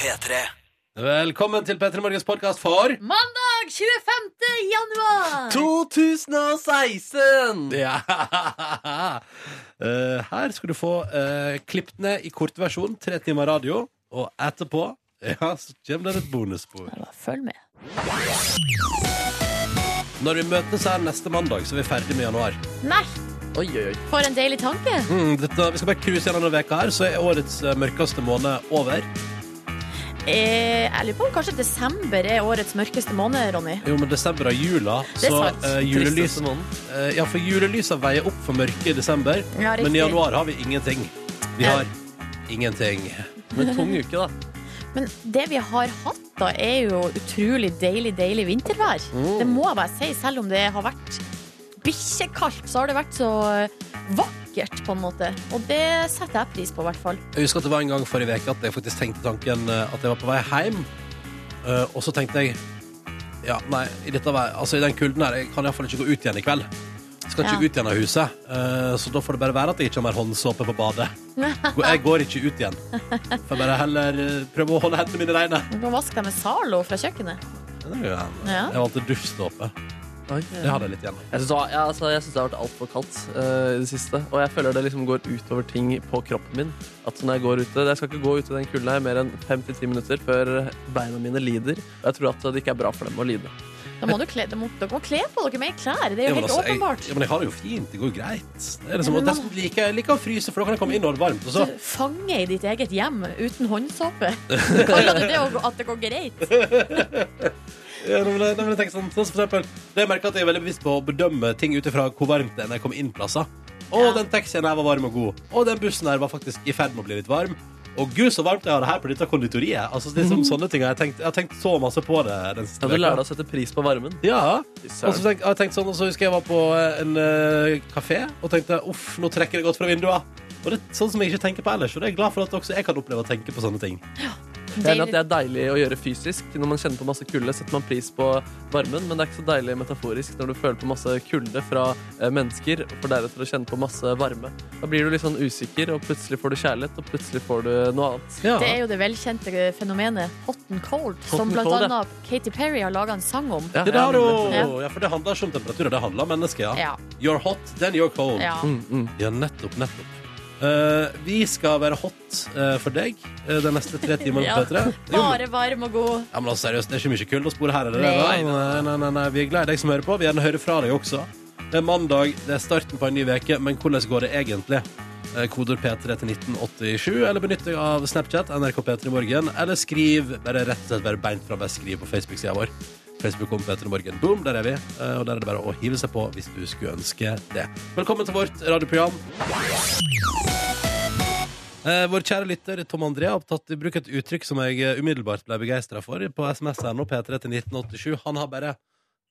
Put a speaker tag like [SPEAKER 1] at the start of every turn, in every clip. [SPEAKER 1] P3.
[SPEAKER 2] Velkommen til P3 Morgens podkast for
[SPEAKER 3] Mandag 25. januar!
[SPEAKER 1] 2016!
[SPEAKER 2] ja. Eh, Her skal du få uh, klippet ned i kortversjon, tre timer radio, og etterpå ja, så kommer det et bonusspor.
[SPEAKER 3] Bare Følg med.
[SPEAKER 2] Når vi møtes her neste mandag, så er vi ferdig med januar.
[SPEAKER 3] Nei,
[SPEAKER 1] Oi, oi, oi.
[SPEAKER 3] for en deilig tanke.
[SPEAKER 2] Mm, dette, vi skal bare cruise gjennom denne veka her, så er årets eh, mørkeste måned over.
[SPEAKER 3] Eh, jeg lurer på om kanskje desember er årets mørkeste måned, Ronny.
[SPEAKER 2] Jo, men desember er jula,
[SPEAKER 3] Det er
[SPEAKER 2] så
[SPEAKER 3] sant.
[SPEAKER 2] eh, julelys,
[SPEAKER 1] Tristeste måneden.
[SPEAKER 2] eh, Ja, for julelysa veier opp for mørket i desember,
[SPEAKER 3] Ja, riktig. Eh.
[SPEAKER 2] men i januar har vi ingenting. Vi
[SPEAKER 3] Ja.
[SPEAKER 2] har ingenting.
[SPEAKER 1] Men tung uke, da.
[SPEAKER 3] Men det vi har hatt, da, er jo utrolig deilig, deilig vintervær.
[SPEAKER 2] Mm.
[SPEAKER 3] Det må jeg bare si, selv om det har vært bikkjekaldt, så har det vært så vakkert, på en måte. Og det setter jeg pris på, i hvert fall.
[SPEAKER 2] Jeg husker at det var en gang forrige veke at jeg faktisk tenkte tanken eh, at jeg var på vei hjem. Eh, og så tenkte jeg Ja, nei, i, dette vær, altså, i den kulden her jeg kan jeg iallfall ikke gå ut igjen i kveld. Skal ikke
[SPEAKER 3] Ja.
[SPEAKER 2] ut igjen av huset, eh, så da får det bare være at jeg ikke har mer håndsåpe på badet. Jeg går ikke ut igjen. Får bare heller eh, prøve å holde hendene mine reine.
[SPEAKER 3] Du kan vaske deg med Zalo fra kjøkkenet.
[SPEAKER 2] Det er jo en-
[SPEAKER 3] Ja.
[SPEAKER 2] Jeg valgte dusjsåpe. Det hadde jeg litt igjen av.
[SPEAKER 1] Jeg syns det, har- ja, altså, jeg synes det har vært altfor kaldt eh, i det siste. Og jeg føler det liksom går utover ting på kroppen min. At når Jeg går ute, jeg skal ikke gå ute i den kulden her mer enn 5-10 minutter før beina mine lider. Og jeg tror at det ikke er bra for dem å lide.
[SPEAKER 3] Da må du kle, dere må, dere må kle på dere mer klær. Det
[SPEAKER 2] Ja,
[SPEAKER 3] er jo
[SPEAKER 2] men
[SPEAKER 3] helt
[SPEAKER 2] altså, jeg-
[SPEAKER 3] åpenbart.
[SPEAKER 2] Ja, men jeg har det jo fint. Det går greit. Det er liksom,
[SPEAKER 3] Ja,
[SPEAKER 2] og
[SPEAKER 3] men
[SPEAKER 2] dessuten liker jeg liker å fryse, for da kan jeg komme inn og ha det varmt. Og så
[SPEAKER 3] Du Fange i ditt eget hjem uten håndsåpe. Kaller du det å- at det går greit?
[SPEAKER 2] Ja, nå vil jeg, nå vil jeg tenke sånn, sånn som for eksempel, det jeg merker at jeg er veldig bevisst på å bedømme ting ut ifra hvor varmt det er når jeg kommer inn plasser. Å,
[SPEAKER 3] Ja.
[SPEAKER 2] den taxien her var varm og god. Å, den bussen her var faktisk i ferd med å bli litt varm. Og gud, så varmt jeg har det her på dette konditoriet. Altså, det er sånn, sånne ting. Jeg har, tenkt, jeg har tenkt så masse på det den siste
[SPEAKER 1] Ja, du lærer deg å sette pris på varmen.
[SPEAKER 2] Ja. Og så tenk, jeg har tenkt sånn, og så husker jeg jeg var på en eh, kafé og tenkte uff, nå trekker det godt fra vinduet. Og det er sånn som jeg ikke tenker på ellers. Og det er jeg glad for at også jeg kan oppleve å tenke på sånne ting.
[SPEAKER 1] Jeg er enig at det er deilig å gjøre fysisk. Når man kjenner på masse kulde, setter man pris på varmen, men det er ikke så deilig metaforisk når du føler på masse kulde fra eh, mennesker, for deretter å kjenne på masse varme. Da blir du litt sånn usikker, og plutselig får du kjærlighet, og plutselig får du noe annet.
[SPEAKER 2] Ja.
[SPEAKER 3] Det er jo det velkjente fenomenet hot and cold,
[SPEAKER 1] Hot
[SPEAKER 3] som
[SPEAKER 1] and
[SPEAKER 3] blant
[SPEAKER 1] cold, ja.
[SPEAKER 3] annet Katy Perry har laga en sang om.
[SPEAKER 1] Ja,
[SPEAKER 2] Det der,
[SPEAKER 1] jeg er
[SPEAKER 2] og,
[SPEAKER 1] enig.
[SPEAKER 2] ja.
[SPEAKER 3] Ja.
[SPEAKER 2] for det handler ikke om temperaturer, det handler om mennesker. Ja.
[SPEAKER 3] Ja.
[SPEAKER 2] You're hot, then you're cold.
[SPEAKER 3] ja.
[SPEAKER 1] Mm, mm.
[SPEAKER 2] Ja, nettopp, nettopp. Eh, vi skal være hot eh, for deg uh, de neste tre timene på
[SPEAKER 3] Ja.
[SPEAKER 2] P3. Jo, men-
[SPEAKER 3] Bare varm og god.
[SPEAKER 2] Ja, men altså, seriøst, det er ikke mye kulde å spore her. er det det?
[SPEAKER 3] Nei.
[SPEAKER 2] Nei, nei, nei, nei. Vi er glad i deg som hører på. Vi gjerne hører fra deg også. Det er mandag, det er starten på en ny uke, men hvordan går det egentlig? Eh, Koder P3 til 1987, eller benytt deg av Snapchat, NRK P3 Morgen, eller skriv bare rett og slett bare beint fra bare skriv på Facebook-sida vår. Facebook om P3 Morgen. Boom, der er vi. Eh, Og der er det bare å hive seg på hvis du skulle ønske det. Velkommen til vårt radioprogram. Eh, vår kjære lytter Tom André har tatt i bruk et uttrykk som jeg eh, umiddelbart ble begeistra for på SMS her nå, P3 til 1987. Han har bare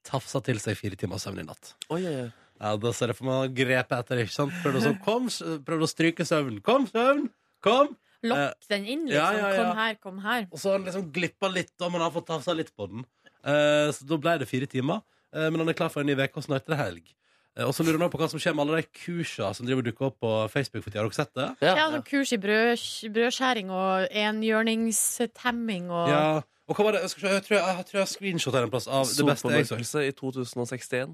[SPEAKER 2] tafsa til seg fire timer søvn i natt.
[SPEAKER 1] Oi, oi, oi.
[SPEAKER 2] Ja, Da ser jeg for meg å grepe etter, ikke sant? Prøvde, å sånn, kom, s- prøvde å stryke søvnen. Kom, søvn! Kom!
[SPEAKER 1] Eh,
[SPEAKER 3] Lokk den inn, liksom.
[SPEAKER 2] ja, ja, ja.
[SPEAKER 3] Kom her, kom her.
[SPEAKER 2] Og så har han liksom glippa litt, og man har fått tafsa litt på den. Eh, så da ble det fire timer. Eh, men han er klar for en ny uke, og snart er det helg. Eh, og så lurer han på hva som skjer med alle de kursa som driver og dukker opp på Facebook. for tiden. Har dere sett det?
[SPEAKER 1] Ja,
[SPEAKER 3] Ja,
[SPEAKER 1] ja.
[SPEAKER 3] sånn kurs i brød, brødskjæring og enhjørningstemming og
[SPEAKER 2] Ja. Og hva var det? Jeg, skal se, jeg, tror jeg, jeg tror jeg har screenshot her en plass av det beste jeg så.
[SPEAKER 1] Solformørkelse i 2061.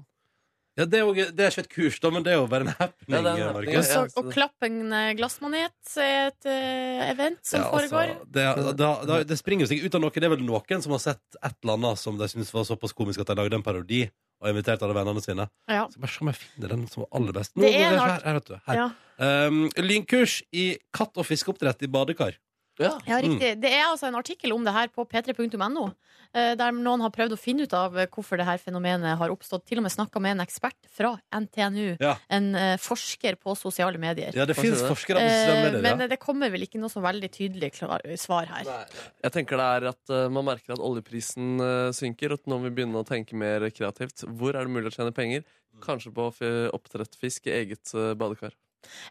[SPEAKER 2] Ja, det er, jo, det er ikke et kurs, da, men det er jo bare en happening.
[SPEAKER 1] Ja, det er en happening,
[SPEAKER 3] Og
[SPEAKER 2] Markus.
[SPEAKER 1] ja.
[SPEAKER 3] så- og klapp en eh, glassmanet er et eh, event som
[SPEAKER 2] Ja, altså,
[SPEAKER 3] foregår.
[SPEAKER 2] det, er- da, da, det springer jo seg ut av noe. Det er vel noen som har sett et eller annet som de syns var såpass komisk at de lagde en parodi og inviterte alle vennene sine.
[SPEAKER 3] Ja.
[SPEAKER 2] Så bare se om jeg finner den som var aller best. Nå,
[SPEAKER 3] Det er en
[SPEAKER 2] her,
[SPEAKER 3] art-
[SPEAKER 2] her, vet du. Her.
[SPEAKER 3] Ja.
[SPEAKER 2] Um, lynkurs i katt- og fiskeoppdrett i badekar.
[SPEAKER 1] Ja.
[SPEAKER 3] Ja,
[SPEAKER 2] Mm.
[SPEAKER 3] riktig. Det er altså en artikkel om det her på p3.no, eh, der noen har prøvd å finne ut av eh, hvorfor det her fenomenet har oppstått. Til og med snakka med en ekspert fra NTNU,
[SPEAKER 2] Ja.
[SPEAKER 3] en eh, forsker på sosiale medier.
[SPEAKER 2] Ja, det
[SPEAKER 1] Hva
[SPEAKER 2] fins
[SPEAKER 1] sier du?
[SPEAKER 2] forskere på
[SPEAKER 3] Eh,
[SPEAKER 2] sosiale
[SPEAKER 3] Men
[SPEAKER 2] medier.
[SPEAKER 3] eh, det kommer vel ikke noe så veldig tydelig klar, svar her.
[SPEAKER 1] Jeg tenker det er at eh, Man merker at oljeprisen eh, synker, og at nå må vi begynne å tenke mer kreativt. Hvor er det mulig å tjene penger? Kanskje på f- oppdrett fisk i eget eh, badekar.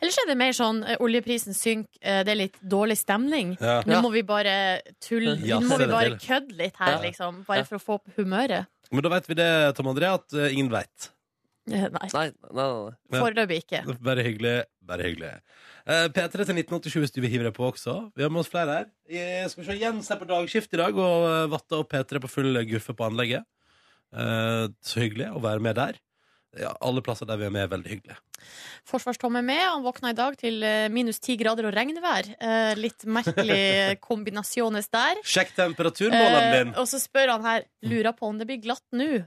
[SPEAKER 3] Ellers er det mer sånn eh, oljeprisen synker, eh, det er litt dårlig stemning.
[SPEAKER 2] Ja.
[SPEAKER 3] Nå må vi bare tulle
[SPEAKER 2] Ja,
[SPEAKER 3] Nå
[SPEAKER 2] se
[SPEAKER 3] må vi
[SPEAKER 2] det
[SPEAKER 3] bare
[SPEAKER 2] til.
[SPEAKER 3] kødde litt her,
[SPEAKER 1] Ja.
[SPEAKER 3] liksom.
[SPEAKER 1] Ja.
[SPEAKER 3] Bare for å få opp humøret.
[SPEAKER 2] Men da vet vi det, Tom André, at eh, ingen veit.
[SPEAKER 3] Nei,
[SPEAKER 1] Nei, nei, nei. nei.
[SPEAKER 3] foreløpig ikke.
[SPEAKER 2] Bare hyggelig. Bare hyggelig. Eh, P3 til 1987 hvis du vil hive deg på også. Vi har med oss flere her. Eh, skal vi se, Jens er på dagskift i dag og eh, vatter opp P3 på full guffe på anlegget. Eh, så hyggelig å være med der. Ja, alle plasser der vi er med, er veldig hyggelig.
[SPEAKER 3] Forsvarstomme er med. Han våkna i dag til eh, minus ti grader og regnvær. Eh, Litt merkelig kombinasjones der.
[SPEAKER 2] Sjekk temperaturmåleren
[SPEAKER 3] Eh,
[SPEAKER 2] din!
[SPEAKER 3] og så spør han her Lurer på om det blir glatt nå. Eh,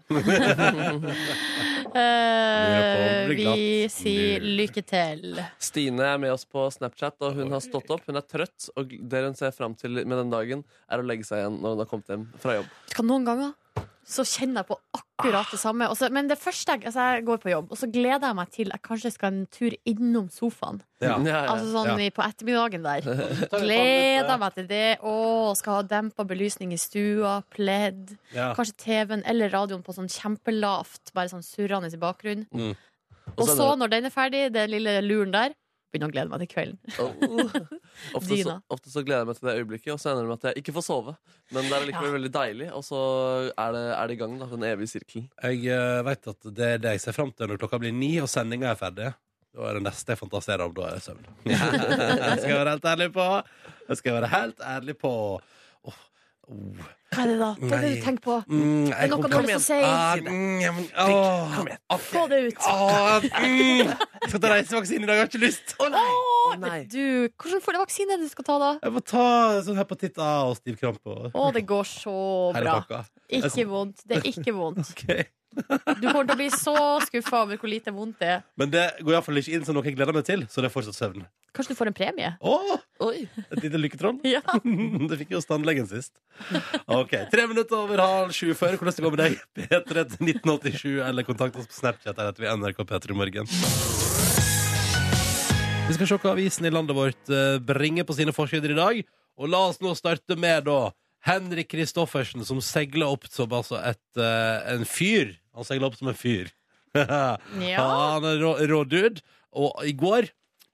[SPEAKER 2] det blir glatt
[SPEAKER 3] vi sier
[SPEAKER 2] nå.
[SPEAKER 3] lykke til.
[SPEAKER 1] Stine er med oss på Snapchat, og hun har stått opp. Hun er trøtt, og det hun ser fram til med den dagen, er å legge seg igjen når hun har kommet hjem fra jobb.
[SPEAKER 3] Vet du hva, Noen ganger så kjenner jeg på akkurat det samme. Og så- men det første jeg, altså jeg går på jobb, og så gleder jeg meg til jeg kanskje skal en tur innom sofaen.
[SPEAKER 2] Ja.
[SPEAKER 1] Ja, ja.
[SPEAKER 3] Altså sånn
[SPEAKER 2] Ja.
[SPEAKER 3] i- på ettermiddagen der.
[SPEAKER 2] Ta litt
[SPEAKER 3] Gleder
[SPEAKER 2] vann
[SPEAKER 3] meg til det. Å, skal ha dempa belysning i stua, pledd.
[SPEAKER 2] ut, Ja.
[SPEAKER 3] Kanskje TV-en eller radioen på sånn kjempelavt, bare sånn surrende i bakgrunnen.
[SPEAKER 2] Mm.
[SPEAKER 3] Og
[SPEAKER 1] Og så er
[SPEAKER 3] så,
[SPEAKER 1] det-
[SPEAKER 3] når den er ferdig, den lille luren der, begynner å glede meg til kvelden.
[SPEAKER 1] Og
[SPEAKER 3] Oh,
[SPEAKER 1] ofte, så,
[SPEAKER 3] Dyna.
[SPEAKER 1] ofte så gleder jeg meg til det øyeblikket, og så ender det med at jeg ikke får sove. Men det er likevel
[SPEAKER 3] Ja.
[SPEAKER 1] veldig deilig, og så er det, er det i gang, da. Den evige sirkelen.
[SPEAKER 2] Jeg eh, vet at det er det jeg ser fram til når klokka blir ni og sendinga er ferdig. Da er det neste jeg fantaserer om. Da er det søvn. det skal jeg være helt ærlig på. Det skal jeg være helt ærlig på. Åh, åh.
[SPEAKER 3] Hva er det da? Hva er det du
[SPEAKER 2] Nei.
[SPEAKER 3] tenker på?
[SPEAKER 2] Mm,
[SPEAKER 3] Det er
[SPEAKER 2] jeg
[SPEAKER 3] noe
[SPEAKER 2] kom-
[SPEAKER 3] du har lyst til å si.
[SPEAKER 2] Ah, mm, ja, men- åh.
[SPEAKER 3] Få det ut.
[SPEAKER 2] Åh, mm. Jeg skal ta reisevaksine i dag, jeg har ikke lyst!
[SPEAKER 3] Å,
[SPEAKER 1] nei.
[SPEAKER 3] Du, hvordan får du vaksine er det du skal ta da?
[SPEAKER 2] Jeg må ta sånn hepatitt A og stiv krampe og
[SPEAKER 3] Å, det går så
[SPEAKER 2] hele
[SPEAKER 3] bra.
[SPEAKER 2] pakka.
[SPEAKER 3] Ikke vondt. Det er ikke vondt.
[SPEAKER 2] Ok.
[SPEAKER 3] Du kommer til å bli så skuffa over hvor lite vondt det er.
[SPEAKER 2] Men det går iallfall ikke inn som noe jeg gleder meg til, så det er fortsatt søvn.
[SPEAKER 3] Kanskje du får en premie?
[SPEAKER 2] Åh,
[SPEAKER 1] Oi.
[SPEAKER 2] et lite lykketroll?
[SPEAKER 3] Ja.
[SPEAKER 2] Det fikk jo tannlegen sist. Ok, Tre minutter over halv sju før. Hvordan det går med deg? P3 til 1987, eller kontakt oss på Snapchat. Der heter vi NRK P3 Morgen. Vi skal se hva avisen i landet vårt eh, bringer på sine forsider i dag. Og la oss nå starte med da Henrik Kristoffersen, som seiler opp som altså et, eh, en fyr. Han seiler opp som en fyr.
[SPEAKER 3] Ja.
[SPEAKER 2] Han er rå, rå dude. Og i går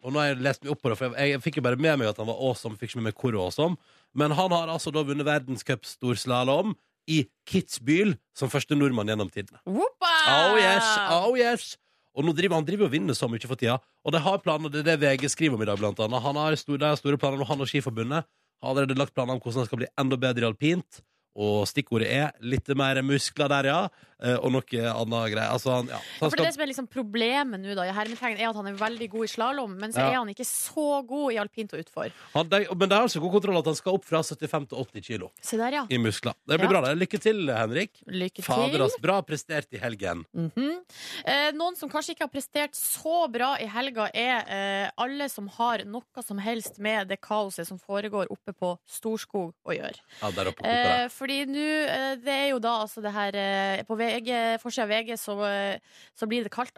[SPEAKER 2] Og nå har jeg lest meg opp på det, for jeg, jeg fikk jo bare med meg at han var awesome. Fikk ikke med meg hvor awesome. Men han har altså da vunnet verdenscupstorslalåm i Kitzbühel som første nordmann gjennom tidene.
[SPEAKER 3] Whoopa!
[SPEAKER 2] Oh yes, oh yes Og nå driver han driver og vinner så mye for tida. Og de har planer, det er det VG skriver om i dag, blant annet. Han har store, de har store planer, og han og Skiforbundet har allerede lagt planer om hvordan han skal bli enda bedre i alpint. Og stikkordet er litt mer muskler der, ja. Eh, Og noe annet greier. Altså, han, ja. Så han
[SPEAKER 3] For det er det som er liksom problemet nå, da, i hermetegn, er at han er veldig god i slalåm, men så
[SPEAKER 2] Ja.
[SPEAKER 3] er han ikke så god i alpint og utfor.
[SPEAKER 2] Han, de, men det er altså god kontroll at han skal opp fra 75 til 80 kilo
[SPEAKER 3] Se der, ja.
[SPEAKER 2] i muskler. Det blir
[SPEAKER 3] Ja.
[SPEAKER 2] bra. det. Lykke til, Henrik.
[SPEAKER 3] Lykke
[SPEAKER 2] Fader, altså.
[SPEAKER 3] til.
[SPEAKER 2] ass. Bra prestert i helgen.
[SPEAKER 3] Mhm. eh, noen som kanskje ikke har prestert så bra i helga, er eh, alle som har noe som helst med det kaoset som foregår oppe på Storskog å gjøre.
[SPEAKER 2] Ja, der oppe koker det.
[SPEAKER 3] Eh, fordi nå, eh, det er jo da altså det her eh, På VG, forsida av VG så, eh, så blir det kalt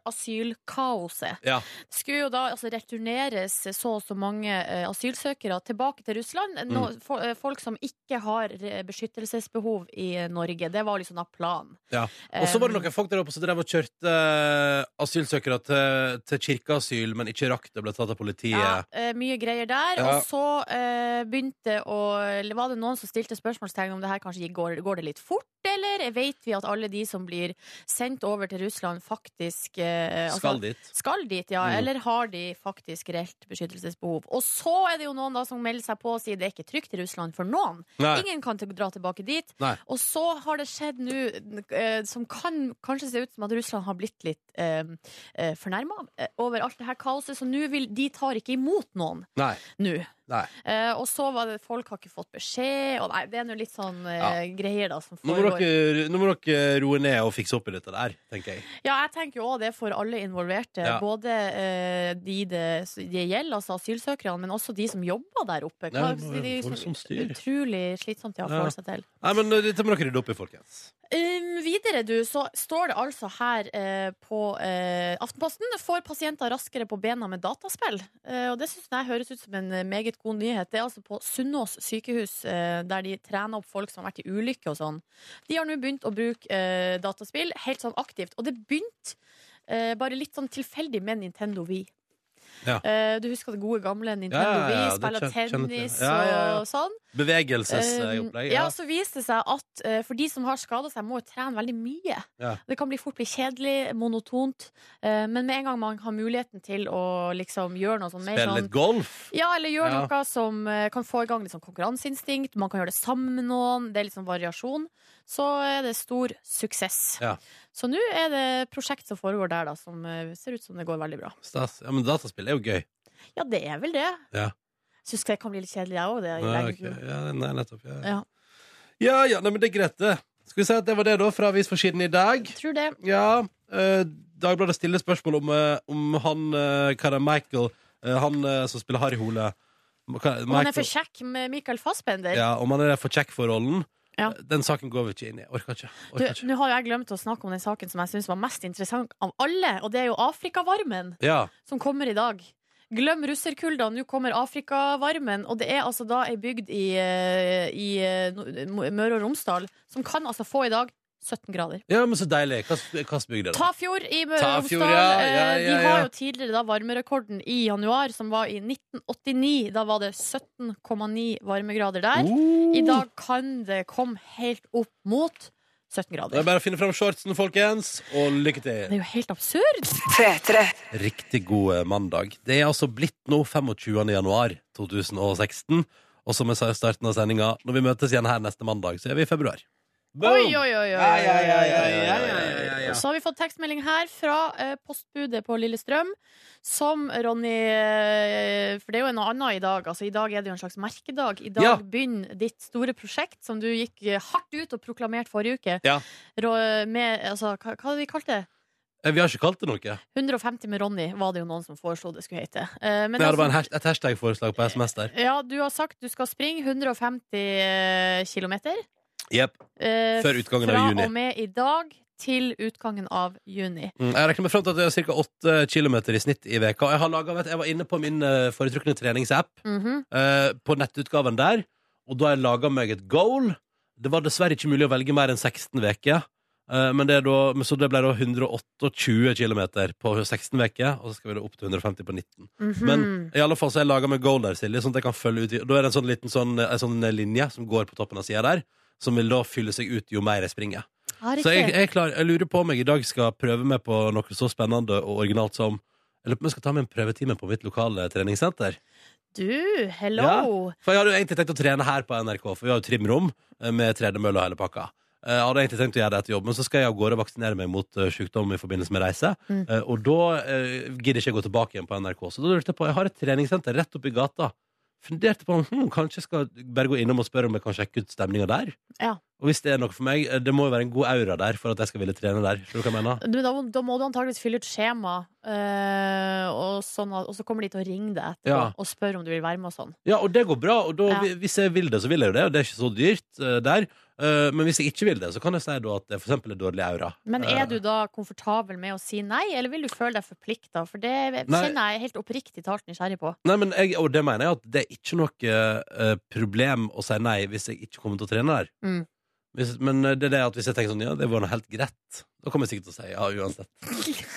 [SPEAKER 3] asylkaoset.
[SPEAKER 2] Ja.
[SPEAKER 3] Det skulle jo da altså, returneres så og så mange eh, asylsøkere tilbake til Russland. Nå,
[SPEAKER 2] Mm.
[SPEAKER 3] fo- eh, folk som ikke har eh, beskyttelsesbehov i eh, Norge. Det var liksom da planen.
[SPEAKER 2] Ja.
[SPEAKER 3] Eh,
[SPEAKER 2] Og så var det noen folk der oppe som drev og kjørte eh, asylsøkere til, til kirkeasyl, men ikke rakk det og ble tatt av politiet.
[SPEAKER 3] Ja, eh, mye greier der.
[SPEAKER 2] Ja.
[SPEAKER 3] Og så eh, begynte å Eller var det noen som stilte spørsmålstegn om det her kanskje gikk- går, går det litt fort, eller vet vi at alle de som blir sendt over til Russland, faktisk eh, altså-
[SPEAKER 2] Skal dit.
[SPEAKER 3] Skal dit, ja.
[SPEAKER 2] Mm.
[SPEAKER 3] Eller har de faktisk reelt beskyttelsesbehov? Og så er det jo noen da som melder seg på og sier det er ikke trygt i Russland for noen.
[SPEAKER 2] Nei.
[SPEAKER 3] Ingen kan til- dra tilbake dit.
[SPEAKER 2] Nei.
[SPEAKER 3] Og så har det skjedd nå eh, som kan kanskje se ut som at Russland har blitt litt eh, eh, fornærma over alt det her kaoset, så nå vil de tar ikke imot noen
[SPEAKER 2] Nei.
[SPEAKER 3] nå.
[SPEAKER 2] Nei.
[SPEAKER 3] Eh, og så var det folk har ikke fått beskjed, og nei, det er nå litt sånn eh, greier da som
[SPEAKER 2] Nå må,
[SPEAKER 3] foregår.
[SPEAKER 2] dere, nå må dere roe ned og fikse opp i dette der, tenker jeg.
[SPEAKER 3] Ja, jeg tenker jo også det for alle involverte.
[SPEAKER 2] Ja.
[SPEAKER 3] Både eh, de det de gjelder, altså asylsøkerne, men også de som jobber der oppe.
[SPEAKER 2] Ja,
[SPEAKER 3] Hva-
[SPEAKER 2] det må jo
[SPEAKER 3] de-
[SPEAKER 2] være
[SPEAKER 3] liksom
[SPEAKER 2] voldsomt styr.
[SPEAKER 3] Utrolig slitsomt ja, å
[SPEAKER 2] Ja.
[SPEAKER 3] forholde seg til.
[SPEAKER 2] Nei, men eh, Dette må dere rydde opp i, folkens.
[SPEAKER 3] Um, videre, du, så står det altså her eh, på eh, Aftenposten Får pasienter raskere på bena med dataspill. Eh, og det syns jeg høres ut som en eh, meget god nyhet. Det er altså på Sunnaas sykehus, eh, der de trener opp folk som har vært i ulykke og sånn. De har nå begynt å bruke eh, dataspill helt sånn aktivt. Og det begynte eh, bare litt sånn tilfeldig med Nintendo Wii.
[SPEAKER 2] Ja.
[SPEAKER 3] Eh, du husker det gode gamle Nintendo
[SPEAKER 2] Ja, ja, ja,
[SPEAKER 3] Wii,
[SPEAKER 2] det
[SPEAKER 3] spiller
[SPEAKER 2] kjen- kjenner til.
[SPEAKER 3] tennis
[SPEAKER 2] Ja, ja, ja.
[SPEAKER 3] og sånn.
[SPEAKER 2] Bevegelsesopplegg.
[SPEAKER 3] Eh, ja, så viste det seg at eh, for de som har skada seg, må jo trene veldig mye.
[SPEAKER 2] Ja.
[SPEAKER 3] Det kan bli fort bli kjedelig, monotont, eh, men med en gang man har muligheten til å liksom gjøre noe sånn mer
[SPEAKER 2] Spille
[SPEAKER 3] sånn
[SPEAKER 2] litt golf.
[SPEAKER 3] ja, eller gjør
[SPEAKER 2] Ja.
[SPEAKER 3] noe som eh, kan få i gang litt sånn konkurranseinstinkt. Man kan gjøre det sammen med noen. Det er litt sånn variasjon. Så er det stor suksess.
[SPEAKER 2] Ja.
[SPEAKER 3] Så nå er det prosjekt som foregår der, da, som eh, ser ut som det går veldig bra.
[SPEAKER 2] Stas. Ja, men dataspill er jo gøy.
[SPEAKER 3] Ja, det er vel det.
[SPEAKER 2] Ja.
[SPEAKER 3] Syns det kan bli litt kjedelig, jeg òg. Det, i
[SPEAKER 2] Ja, ok.
[SPEAKER 3] lengden.
[SPEAKER 2] ja, nei, nettopp. Ja, ja.
[SPEAKER 3] Ja.
[SPEAKER 2] ja, ja nei, men det er greit, det. Skal vi si at det var det, da, fra avisforsiden i dag?
[SPEAKER 3] Tror det.
[SPEAKER 2] Ja. eh, Dagbladet stiller spørsmål om, eh, om han eh, Hva er det, Michael eh, Han eh, som spiller Harry Hole. Hva-
[SPEAKER 3] Om han er for
[SPEAKER 2] Michael-
[SPEAKER 3] kjekk med Michael Fassbender.
[SPEAKER 2] Ja, om han er for kjekk for rollen.
[SPEAKER 3] Ja.
[SPEAKER 2] Eh, Den saken går vi ikke inn i. Orker ikke.
[SPEAKER 3] Du,
[SPEAKER 2] Orker ikke.
[SPEAKER 3] nå har jo jeg glemt å snakke om den saken som jeg syns var mest interessant av alle, og det er jo Afrikavarmen.
[SPEAKER 2] Ja.
[SPEAKER 3] som kommer i dag. Glem russerkulda, nå kommer Afrikavarmen. Og det er altså da ei bygd i, eh, i eh, Nor- Møre og Romsdal som kan altså få i dag 17 grader.
[SPEAKER 2] ja, men så deilig. Hva slags bygd er det?
[SPEAKER 3] Tafjord i Møre og
[SPEAKER 2] Tafjord,
[SPEAKER 3] Romsdal.
[SPEAKER 2] ja,
[SPEAKER 3] eh,
[SPEAKER 2] ja, ja,
[SPEAKER 3] De har
[SPEAKER 2] ja.
[SPEAKER 3] jo tidligere da varmerekorden i januar, som var i 1989. Da var det 17,9 varmegrader der.
[SPEAKER 2] Oh!
[SPEAKER 3] I dag kan det komme helt opp mot 17
[SPEAKER 2] Det er
[SPEAKER 3] grader.
[SPEAKER 2] bare å finne fram shortsen, folkens, og lykke til.
[SPEAKER 3] Det er jo helt absurd!
[SPEAKER 2] Riktig god eh, mandag. Det er altså blitt nå 25. januar 2016. Og som jeg sa i starten av sendinga, når vi møtes igjen her neste mandag, så er vi i februar.
[SPEAKER 3] Oi, oi, oi, oi,
[SPEAKER 2] Ja, ja, ja, ja,
[SPEAKER 3] oi,
[SPEAKER 2] ja,
[SPEAKER 3] oi,
[SPEAKER 2] ja,
[SPEAKER 3] oi.
[SPEAKER 2] ja, ja.
[SPEAKER 3] Og Så har vi fått tekstmelding her fra eh, postbudet på Lillestrøm, som Ronny eh, For det er jo noe annet i dag. Altså, I dag er det jo en slags merkedag. I dag
[SPEAKER 2] Ja.
[SPEAKER 3] begynner ditt store prosjekt som du gikk eh, hardt ut og proklamerte forrige uke.
[SPEAKER 2] Ja.
[SPEAKER 3] Rå- Med, altså, hva, hva hadde vi kalt det?
[SPEAKER 2] Eh, Vi har ikke kalt det noe.
[SPEAKER 3] 150 med Ronny var det jo noen som foreslo det skulle hete. Eh, men
[SPEAKER 2] Det
[SPEAKER 3] altså-
[SPEAKER 2] hadde bare en hasht- et hashtag-forslag på SMS der.
[SPEAKER 3] ja, du har sagt du skal springe 150 km.
[SPEAKER 2] Jepp.
[SPEAKER 3] Eh,
[SPEAKER 2] Før utgangen av juni.
[SPEAKER 3] Fra og med i dag til utgangen av juni.
[SPEAKER 2] Mm, Jeg regner meg fram til at det er ca. 8 km i snitt i veka Og Jeg, har laget, vet, du, jeg var inne på min eh, foretrukne treningsapp,
[SPEAKER 3] Mhm.
[SPEAKER 2] eh, på nettutgaven der, og da har jeg laga meg et goal. Det var dessverre ikke mulig å velge mer enn 16 uker. eh, Men det er da, men så det ble da 128 km på 16 uker, og så skal vi da opp til 150 på 19.
[SPEAKER 3] Mhm.
[SPEAKER 2] Men i alle fall så har jeg laga meg goal der, Silje, sånn at jeg kan følge ut i- Da er det en sånn liten sånn, en sånn linje som går på toppen av sida der, som vil da fylle seg ut jo mer jeg springer.
[SPEAKER 3] Ja, riktig.
[SPEAKER 2] Så jeg, jeg, er klar, jeg lurer på om jeg i dag skal prøve meg på noe så spennende og originalt som Jeg lurer på om jeg skal ta med en prøvetime på mitt lokale treningssenter.
[SPEAKER 3] Du, hello!
[SPEAKER 2] For jeg hadde jo egentlig tenkt å trene her på NRK, for vi har jo trimrom eh, med tredemølle og hele pakka. Eh, Jeg hadde egentlig tenkt å gjøre det etter jobb, men så skal jeg av gårde og vaksinere meg mot eh, sykdom i forbindelse med reise.
[SPEAKER 3] Mm.
[SPEAKER 2] Eh, Og da eh, gidder jeg ikke gå tilbake igjen på NRK. Så da lurte jeg på Jeg har et treningssenter rett oppi gata. Funderte på om hm, kanskje jeg skal bare gå innom og spørre om jeg kan sjekke ut stemninga der.
[SPEAKER 3] Ja.
[SPEAKER 2] Og hvis det er noe for meg, eh, det må jo være en god aura der for at jeg skal ville trene der. Skjønner du hva jeg mener?
[SPEAKER 3] Du, da, da må du antageligvis fylle ut skjema, eh, og, sånn, at- og så kommer de til å ringe deg etterpå
[SPEAKER 2] Ja.
[SPEAKER 3] og spørre om du vil være med og sånn.
[SPEAKER 2] Ja, og det går bra. Og da,
[SPEAKER 3] Ja.
[SPEAKER 2] hvi- hvis jeg vil det, så vil jeg jo det. Og det er ikke så dyrt eh, der. Eh, men hvis jeg ikke vil det, så kan jeg si da at det for eksempel er dårlig aura.
[SPEAKER 3] Men
[SPEAKER 2] Eh,
[SPEAKER 3] er du da komfortabel med å si nei, eller vil du føle deg forplikta? For
[SPEAKER 2] Nei.
[SPEAKER 3] det kjenner jeg helt oppriktig talt nysgjerrig på.
[SPEAKER 2] Nei, men jeg, og det mener jeg at det er ikke noe eh, problem å si nei hvis jeg ikke kommer til å trene der.
[SPEAKER 3] Mm.
[SPEAKER 2] Hvis, men det er det at hvis jeg tenker sånn, ja, det var nå helt greit, da kommer jeg sikkert til å si ja uansett.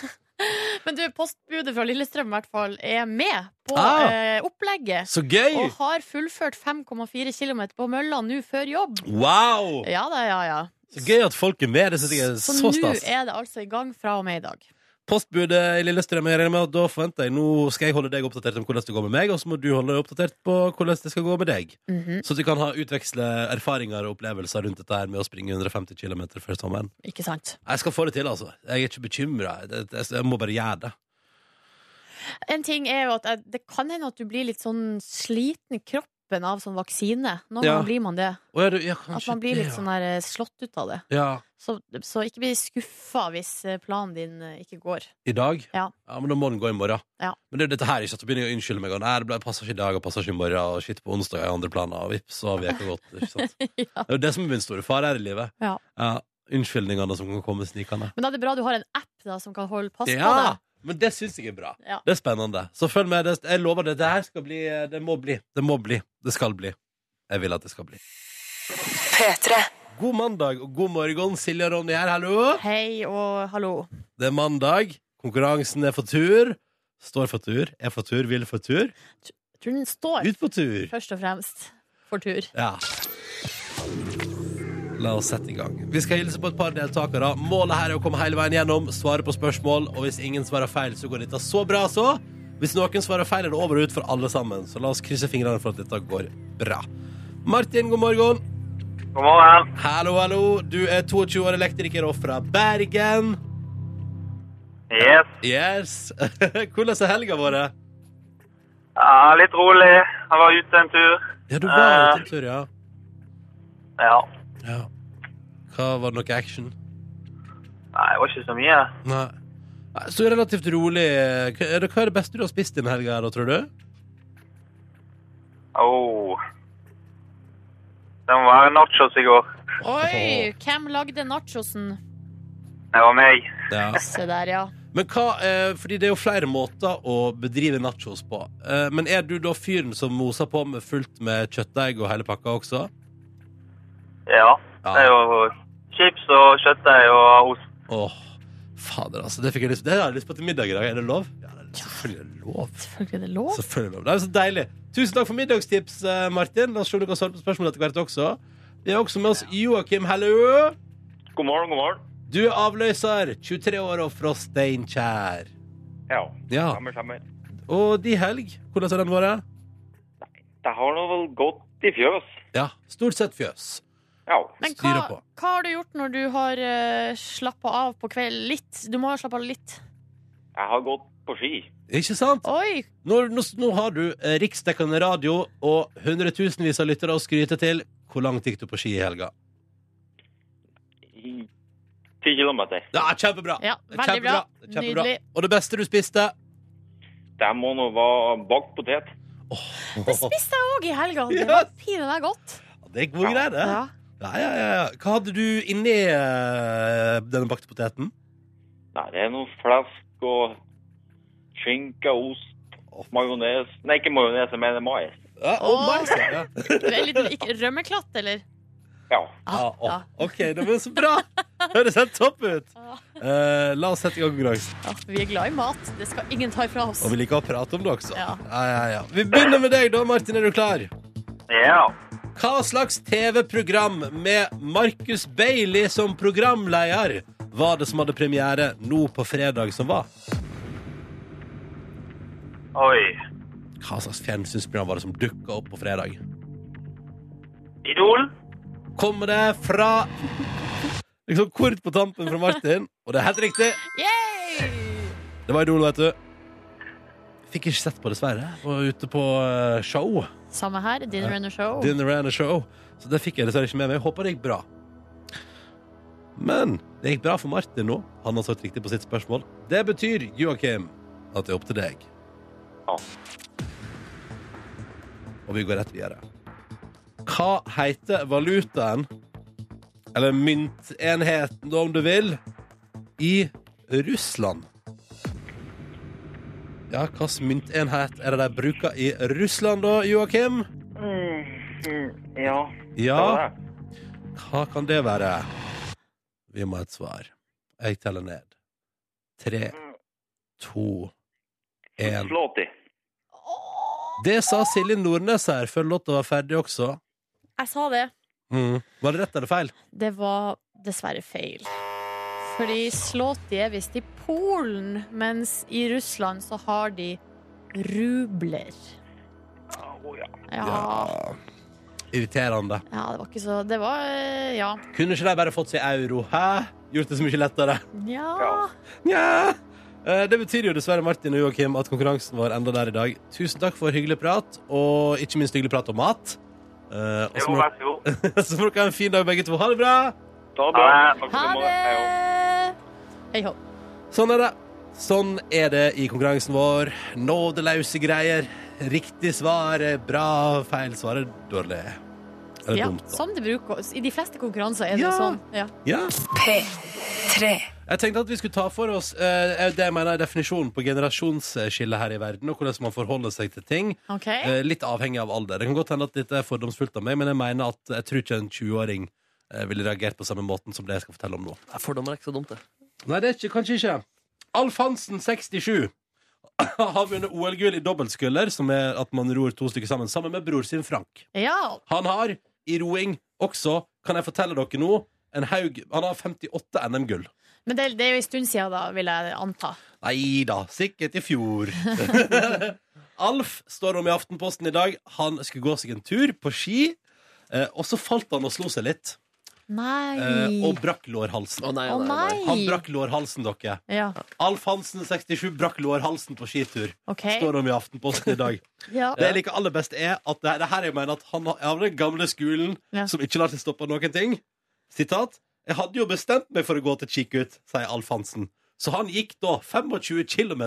[SPEAKER 3] Men du, postbudet fra Lillestrøm i hvert fall er med på
[SPEAKER 2] Ah.
[SPEAKER 3] eh, opplegget.
[SPEAKER 2] Så gøy!
[SPEAKER 3] Og har fullført 5,4 km på mølla nå før jobb.
[SPEAKER 2] Wow!
[SPEAKER 3] Ja da, ja ja.
[SPEAKER 2] Så gøy at folk er med. Det syns jeg er
[SPEAKER 3] Så
[SPEAKER 2] så,
[SPEAKER 3] nå
[SPEAKER 2] stas.
[SPEAKER 3] er det altså i gang fra og med i dag.
[SPEAKER 2] Postbudet i Lillestrøm, jeg regner med at da forventer jeg nå skal jeg holde deg oppdatert om hvordan det går med meg, og så må du holde deg oppdatert på hvordan det skal gå med deg.
[SPEAKER 3] Mhm.
[SPEAKER 2] Så at vi kan ha utveksle erfaringer og opplevelser rundt dette her med å springe 150 km før sommeren.
[SPEAKER 3] Ikke sant.
[SPEAKER 2] Jeg skal få det til, altså. Jeg er ikke bekymra. Jeg må bare gjøre det.
[SPEAKER 3] En ting er jo at jeg, det kan hende at du blir litt sånn sliten i kroppen av sånn vaksine. Noen
[SPEAKER 2] Ja.
[SPEAKER 3] ganger blir man det.
[SPEAKER 2] Å, ja, du, ja, kanskje
[SPEAKER 3] At man blir
[SPEAKER 2] det,
[SPEAKER 3] litt
[SPEAKER 2] ja.
[SPEAKER 3] sånn der, eh, slått ut av det.
[SPEAKER 2] Ja,
[SPEAKER 3] Så, så ikke bli skuffa hvis eh, planen din eh, ikke går.
[SPEAKER 2] I dag?
[SPEAKER 3] Ja.
[SPEAKER 2] Men da må den gå i morgen.
[SPEAKER 3] Ja.
[SPEAKER 2] Men det er jo dette her ikke at du begynner å unnskylde meg. Og, Nei, det ble- passer ikke i dag, og passer ikke i morgen, og shit på onsdag og i andre planer, og vips, så har veka gått. Ikke sant?
[SPEAKER 3] ja.
[SPEAKER 2] Det er jo det som er min store fare her i livet.
[SPEAKER 3] Ja.
[SPEAKER 2] Unnskyldningene som kan komme snikende.
[SPEAKER 3] Men da er det bra du har en app da som kan holde pass på
[SPEAKER 2] Ja!
[SPEAKER 3] deg.
[SPEAKER 2] Men det syns jeg er bra.
[SPEAKER 3] Ja.
[SPEAKER 2] Det er spennende. Så følg med. det- Jeg lover det. Det her skal bli eh, Det må bli. Det må bli. Det skal bli. Jeg vil at det skal bli. God mandag og god morgen, Silje og Ronny her. Hallo!
[SPEAKER 3] Hei og hallo.
[SPEAKER 2] Det er mandag. Konkurransen er for tur. Står for tur, er for tur, vil for tur.
[SPEAKER 3] Jeg tror den står
[SPEAKER 2] Ut på tur!
[SPEAKER 3] først og fremst for tur.
[SPEAKER 2] Ja. La oss sette i gang. Vi skal hilse på et par deltakere. Målet her er å komme hele veien gjennom, svare på spørsmål, og hvis ingen svarer feil, så går dette så bra, så. Hvis noen svarer feil, er det over og ut for alle sammen, så la oss krysse fingrene for at dette går bra. Martin, god morgen.
[SPEAKER 4] God morgen.
[SPEAKER 2] Hallo, hallo. Du er 22 år elektriker og fra Bergen.
[SPEAKER 4] Yes.
[SPEAKER 2] Yes. Hvordan har helga vært?
[SPEAKER 4] Ja, litt rolig. Jeg var ute en tur.
[SPEAKER 2] Ja, du var ute en tur, ja.
[SPEAKER 4] Ja.
[SPEAKER 2] ja. Hva var det noe action?
[SPEAKER 4] Nei, det var ikke så mye.
[SPEAKER 2] Nei. Nei, Så relativt rolig. eh, Hva er det, hva er det beste du har spist denne helga, da, tror du?
[SPEAKER 4] Oh. Det må være nachos i går.
[SPEAKER 3] Oi! Hvem lagde nachosen?
[SPEAKER 4] Det var meg.
[SPEAKER 2] Ja.
[SPEAKER 3] Se der, ja.
[SPEAKER 2] Men hva, eh, fordi det er jo flere måter å bedrive nachos på. Eh, men er du da fyren som moser på med fullt med kjøttdeig og hele pakka også?
[SPEAKER 4] Ja.
[SPEAKER 2] Ja.
[SPEAKER 4] Det er jo chips og kjøttdeig og ost.
[SPEAKER 2] Åh, fader, altså. Det fikk jeg lyst Det har jeg lyst på til middag i dag. Er det lov? Ja, det er selvfølgelig er det lov.
[SPEAKER 3] Selvfølgelig er det lov.
[SPEAKER 2] Selvfølgelig er det lov. Det er jo så deilig. Tusen takk for middagstips, eh, Martin. La oss se om du kan svare på spørsmål etter hvert også. Vi har også med oss Joakim Hallø.
[SPEAKER 4] God morgen, god morgen.
[SPEAKER 2] Du er avløser, 23 år og fra Steinkjer.
[SPEAKER 4] Ja.
[SPEAKER 2] Ja.
[SPEAKER 4] stemmer.
[SPEAKER 2] Og de helg, hvordan har den vært?
[SPEAKER 4] Det har nå vel gått i fjøs.
[SPEAKER 2] Ja, stort sett fjøs.
[SPEAKER 4] Ja.
[SPEAKER 3] Men hva,
[SPEAKER 2] styrer på.
[SPEAKER 3] hva har du gjort når du har uh, slappa av på kvelden? Litt? Du må ha slappa av litt.
[SPEAKER 4] Jeg har gått på ski.
[SPEAKER 2] Ikke sant?
[SPEAKER 3] Oi!
[SPEAKER 2] Nå, nå, nå har du eh, riksdekkende radio og hundretusenvis av lyttere å skryte til. Hvor langt gikk du på ski i helga?
[SPEAKER 4] I ti kilometer.
[SPEAKER 2] Ja, kjempebra!
[SPEAKER 3] Ja, veldig bra.
[SPEAKER 2] Kjempebra.
[SPEAKER 3] Nydelig.
[SPEAKER 2] Og det beste du spiste?
[SPEAKER 4] Det må nå være bakt potet.
[SPEAKER 3] Det spiste jeg òg i helga. Det
[SPEAKER 2] Yes.
[SPEAKER 3] var pinadø godt.
[SPEAKER 2] Det er gode greier, det.
[SPEAKER 3] Ja.
[SPEAKER 2] Ja, ja, ja. ja. Hva hadde du inni eh, denne bakte poteten?
[SPEAKER 4] Nei, det er noe flesk og skinke, ost, majones. Nei, ikke majones, jeg mener mais.
[SPEAKER 2] Ja,
[SPEAKER 3] Åh.
[SPEAKER 2] og mais, ja. ja.
[SPEAKER 3] Det er litt, ikke, rømmeklatt, eller?
[SPEAKER 4] Ja.
[SPEAKER 2] Ja, å,
[SPEAKER 3] ja.
[SPEAKER 2] OK, det var så bra! Høres helt topp ut!
[SPEAKER 3] Ja.
[SPEAKER 2] Eh, la oss sette i gang konkurransen.
[SPEAKER 3] Ja, vi er glad i mat. Det skal ingen ta ifra oss.
[SPEAKER 2] Og vi liker å prate om det også.
[SPEAKER 3] Ja.
[SPEAKER 2] Ja, ja, ja. Vi begynner med deg, da, Martin. Er du klar?
[SPEAKER 4] Ja.
[SPEAKER 2] Hva slags TV-program med Marcus Bailey som programleder var det som hadde premiere nå på fredag som var?
[SPEAKER 4] Oi.
[SPEAKER 2] Hva slags fjernsynsprogram var det som dukka opp på fredag?
[SPEAKER 4] Idol?
[SPEAKER 2] Kommer det fra Liksom kort på tampen fra Martin, og det er helt riktig.
[SPEAKER 3] Yay!
[SPEAKER 2] Det var Idol, vet du. Fikk ikke sett på, dessverre. Var ute på eh, show.
[SPEAKER 3] Samme her. Dinner and a show.
[SPEAKER 2] Dinner and a show. Så det fikk jeg dessverre ikke med meg. Jeg Håper det gikk bra. Men det gikk bra for Martin nå. Han har svart riktig på sitt spørsmål. Det betyr, Joakim, at det er opp til deg.
[SPEAKER 4] Ja.
[SPEAKER 2] Og vi går rett videre. Hva heter valutaen, eller myntenheten da, om du vil, i Russland? Ja, hvilken myntenhet er det de bruker i Russland da, Joakim?
[SPEAKER 4] Eh, Ja.
[SPEAKER 2] Ja, hva kan det være? Vi må ha et svar. Jeg teller ned. Tre, to, én
[SPEAKER 4] Slåti.
[SPEAKER 2] Det sa Silje Nordnes her før låta var ferdig også.
[SPEAKER 3] Jeg sa det.
[SPEAKER 2] Mm. Var det rett eller feil?
[SPEAKER 3] Det var dessverre feil. Fordi Slåti er visst i Polen, mens i Russland så har de rubler.
[SPEAKER 4] Å ja.
[SPEAKER 3] Ja,
[SPEAKER 2] Irriterende.
[SPEAKER 3] ja det var ikke så Det var eh, Ja.
[SPEAKER 2] Kunne ikke de bare fått seg euro? Hæ? Gjort det så mye lettere?
[SPEAKER 3] Nja
[SPEAKER 4] Ja.
[SPEAKER 2] Nja. Eh, Det betyr jo dessverre Martin og Joakim at konkurransen var enda der i dag. Tusen takk for hyggelig prat, og ikke minst hyggelig prat om mat. Eh, og så
[SPEAKER 4] Jo,
[SPEAKER 2] må,
[SPEAKER 4] vær så god.
[SPEAKER 2] så må dere ha en fin dag, begge to. Ha det bra!
[SPEAKER 4] Ta det bra.
[SPEAKER 3] Ha det! Hei hå.
[SPEAKER 2] Sånn er det. Sånn er det i konkurransen vår. Nådeløse greier. Riktig svar er bra, feil svar er dårlig. Eller
[SPEAKER 3] Ja, sånn.
[SPEAKER 2] dumt. da.
[SPEAKER 3] som det bruker. I de fleste konkurranser er det jo
[SPEAKER 2] Ja.
[SPEAKER 3] sånn. Ja.
[SPEAKER 2] Ja.
[SPEAKER 5] P3.
[SPEAKER 2] Jeg tenkte at vi skulle ta for oss eh, det jeg mener er definisjonen på generasjonsskille her i verden, og hvordan man forholder seg til ting.
[SPEAKER 3] OK?
[SPEAKER 2] Eh, litt avhengig av alder. Det kan godt hende at dette er fordomsfullt av meg, men jeg mener at jeg tror ikke en 20-åring eh, ville reagert på samme måten som det jeg skal fortelle om nå.
[SPEAKER 1] Fordommer er ikke så dumt, det.
[SPEAKER 2] Nei, det er ikke, kanskje ikke. Alf Hansen, 67. har vunnet OL-gull i dobbeltsculler, som er at man ror to stykker sammen, sammen med bror sin Frank.
[SPEAKER 3] Ja.
[SPEAKER 2] Han har i roing også, kan jeg fortelle dere nå, en haug Han har 58 NM-gull.
[SPEAKER 3] Men det, det er jo en stund siden, da, vil jeg anta.
[SPEAKER 2] Nei da, sikkert i fjor. Alf står om i Aftenposten i dag. Han skulle gå seg en tur på ski, eh, og så falt han og slo seg litt.
[SPEAKER 3] Nei.
[SPEAKER 2] Eh, og brakk lårhalsen.
[SPEAKER 1] Å nei,
[SPEAKER 3] Å, nei.
[SPEAKER 2] Han brakk lårhalsen, dere.
[SPEAKER 3] Ja,
[SPEAKER 2] Alf Hansen, 67, brakk lårhalsen på skitur.
[SPEAKER 3] OK.
[SPEAKER 2] Står om i Aftenposten i dag.
[SPEAKER 3] Ja.
[SPEAKER 2] Det jeg liker aller best, er at det, det her jeg mener at han har- av den gamle skolen
[SPEAKER 3] Ja.
[SPEAKER 2] som ikke lar seg stoppe av noen ting. Sitat. Jeg hadde jo bestemt meg for å gå til Kikkut, sier Alf Hansen. Så han gikk da 25 km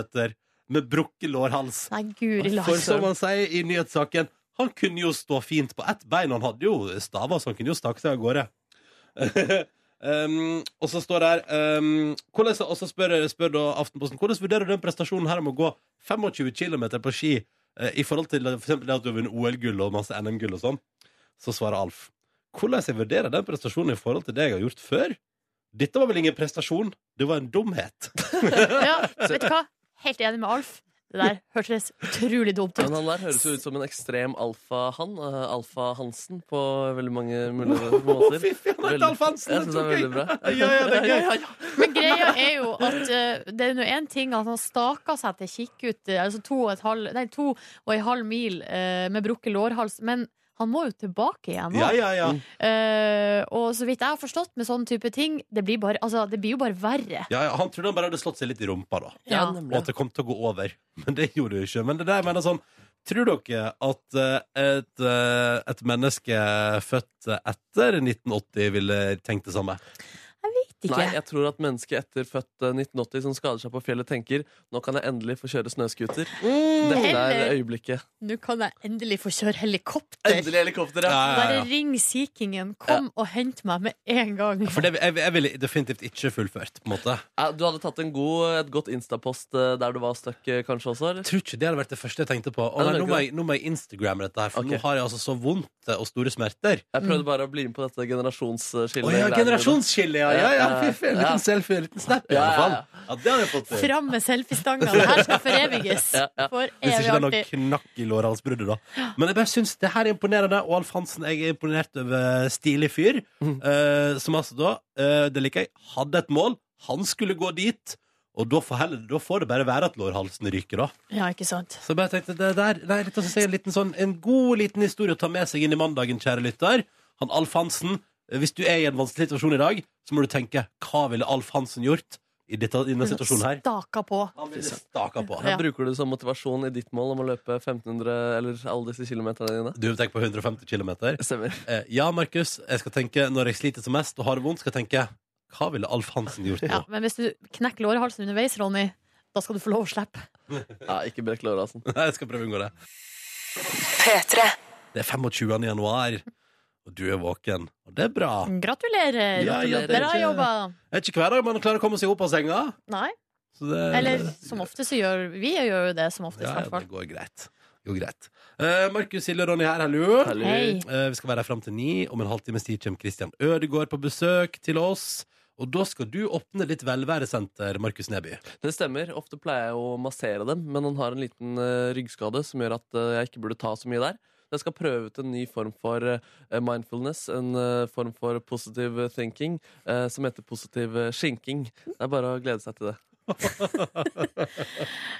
[SPEAKER 2] med brukket lårhals.
[SPEAKER 3] Nei, guri
[SPEAKER 2] For som
[SPEAKER 3] land.
[SPEAKER 2] han sier i nyhetssaken, han kunne jo stå fint på ett bein. Han hadde jo staver, så han kunne jo stakke seg av gårde. um, og så står det her um, hvordan, Og så spør, spør da Aftenposten hvordan vurderer du den prestasjonen her om å gå 25 km på ski eh, i forhold til for eksempel det at du har vunnet OL-gull og masse NM-gull og sånn? Så svarer Alf. Hvordan jeg vurderer den prestasjonen i forhold til det jeg har gjort før? Dette var vel ingen prestasjon, det var en dumhet.
[SPEAKER 3] Ja, vet du hva? Helt enig med Alf. Det der hørtes utrolig dumt
[SPEAKER 1] Men
[SPEAKER 3] ut.
[SPEAKER 1] han der høres jo ut som en ekstrem alfahann. Uh, Alfa-Hansen på veldig mange mulige måter.
[SPEAKER 2] Fy faen, det er Alf Hansen,
[SPEAKER 1] Jeg synes det er
[SPEAKER 2] det
[SPEAKER 1] veldig
[SPEAKER 2] tok
[SPEAKER 1] bra.
[SPEAKER 2] jeg. Ja, ja, det er gøy.
[SPEAKER 3] Men greia er jo at eh, det er nå én ting at han staka seg til kikkut, eh, altså to og, et halv, nei, to og en halv mil eh, med brukket lårhals, men han må jo tilbake igjen nå.
[SPEAKER 2] Ja, ja, ja.
[SPEAKER 3] Eh, og så vidt jeg har forstått med sånne type ting, det blir, bare, altså, det blir jo bare verre.
[SPEAKER 2] Ja, ja, Han trodde han bare hadde slått seg litt i rumpa, da.
[SPEAKER 1] Ja,
[SPEAKER 3] Ja.
[SPEAKER 2] Og
[SPEAKER 1] nemlig.
[SPEAKER 2] at det kom til å gå over. Men det gjorde det jo ikke. Men det der mener sånn Tror dere at eh, et, eh, et menneske født etter 1980 ville tenkt det samme?
[SPEAKER 3] Vet
[SPEAKER 1] Nei,
[SPEAKER 3] ikke.
[SPEAKER 1] jeg tror at mennesket etter født eh, 1980 som skader seg på fjellet, tenker nå kan jeg endelig få kjøre snøscooter. Dette er
[SPEAKER 3] Eller-
[SPEAKER 1] øyeblikket.
[SPEAKER 3] Nå kan jeg endelig få kjøre helikopter.
[SPEAKER 1] Endelig helikopter, ja!
[SPEAKER 2] Ja, ja,
[SPEAKER 3] Bare
[SPEAKER 2] ja.
[SPEAKER 3] ring Sea Kingen. Kom og hent meg med en gang.
[SPEAKER 2] For det, jeg, jeg ville definitivt ikke fullført, på en måte.
[SPEAKER 1] Ja, Du hadde tatt en god, et godt Insta-post eh, der du var stuck, eh, kanskje også? eller?
[SPEAKER 2] Jeg tror ikke det hadde vært det første jeg tenkte på. Å,
[SPEAKER 1] Nei,
[SPEAKER 2] nei,
[SPEAKER 1] det
[SPEAKER 2] nå,
[SPEAKER 1] var
[SPEAKER 2] må
[SPEAKER 1] ikke
[SPEAKER 2] jeg, nå må jeg Instagramme dette her, for
[SPEAKER 1] Ok.
[SPEAKER 2] nå har jeg altså så vondt og store smerter.
[SPEAKER 1] Jeg prøvde bare å bli med på dette generasjonsskillet.
[SPEAKER 2] Å ja,
[SPEAKER 1] greiene.
[SPEAKER 2] generasjonsskille, ja! ja, ja. Fy, faen, en
[SPEAKER 1] Ja.
[SPEAKER 2] liten selfie, en liten snap, i
[SPEAKER 1] Ja,
[SPEAKER 2] alle
[SPEAKER 1] ja,
[SPEAKER 2] fall. Ja, det hadde jeg fått til.
[SPEAKER 3] Fram med selfiestanga. Det her skal foreviges.
[SPEAKER 1] Ja, ja.
[SPEAKER 3] For
[SPEAKER 2] Hvis
[SPEAKER 3] evig
[SPEAKER 2] ikke det er noe
[SPEAKER 3] artig.
[SPEAKER 2] knakk i lårhalsbruddet, da. Men jeg bare syns det her er imponerende, og Alf Hansen jeg er imponert over stilig fyr. eh, som altså da, eh, det liker jeg, hadde et mål. Han skulle gå dit. Og da får, heller, da får det bare være at lårhalsen ryker, da.
[SPEAKER 3] Ja, ikke sant.
[SPEAKER 2] Så jeg bare tenkte, det der, nei, dette synes jeg er en, liten sånn, en god liten historie å ta med seg inn i mandagen, kjære lytter. Han Alf Hansen, eh, hvis du er i en vanskelig situasjon i dag, så må du tenke hva ville Alf Hansen gjort i, dette, i denne situasjonen her?
[SPEAKER 3] Staka på.
[SPEAKER 2] Han ville staka på.
[SPEAKER 1] Her
[SPEAKER 3] Ja.
[SPEAKER 1] bruker du det som motivasjon i ditt mål om å løpe 1500 eller alle disse kilometerne dine.
[SPEAKER 2] Du tenker på 150 km.
[SPEAKER 1] Stemmer.
[SPEAKER 2] Eh, ja, Markus, jeg skal tenke når jeg sliter som mest og har det vondt, skal jeg tenke hva ville Alf Hansen gjort nå?
[SPEAKER 3] Ja, men hvis du knekker lårhalsen underveis, Ronny, da skal du få lov å slippe.
[SPEAKER 1] Ja, ikke brekk altså. lårhalsen.
[SPEAKER 2] Nei, jeg skal prøve å unngå det.
[SPEAKER 5] P3.
[SPEAKER 2] Det er 25. januar, og du er våken. Og det er bra.
[SPEAKER 3] Gratulerer!
[SPEAKER 2] Ja, ja, det er
[SPEAKER 3] Bra
[SPEAKER 2] ikke-
[SPEAKER 3] jobba.
[SPEAKER 2] Det er ikke hver dag man klarer å komme seg opp av senga.
[SPEAKER 3] Nei.
[SPEAKER 2] Så det,
[SPEAKER 3] Eller som ofte så gjør vi gjør jo det som oftest, i
[SPEAKER 2] ja,
[SPEAKER 3] hvert
[SPEAKER 2] det
[SPEAKER 3] fall.
[SPEAKER 2] går greit. Det går greit. Eh, Markus, Silje og Ronny her, hallo.
[SPEAKER 1] Hallo.
[SPEAKER 3] Hei.
[SPEAKER 2] Eh, vi skal være her fram til ni. Om en halvtimes tid kommer Christian Ødegaard på besøk til oss. Og da skal du åpne ditt velværesenter, Markus Neby.
[SPEAKER 1] Det stemmer. Ofte pleier jeg å massere dem, men han har en liten eh, ryggskade som gjør at eh, jeg ikke burde ta så mye der. Så Jeg skal prøve ut en ny form for eh, mindfulness, en eh, form for positive thinking, eh, som heter positiv eh, skinking. Det er bare å glede seg til det.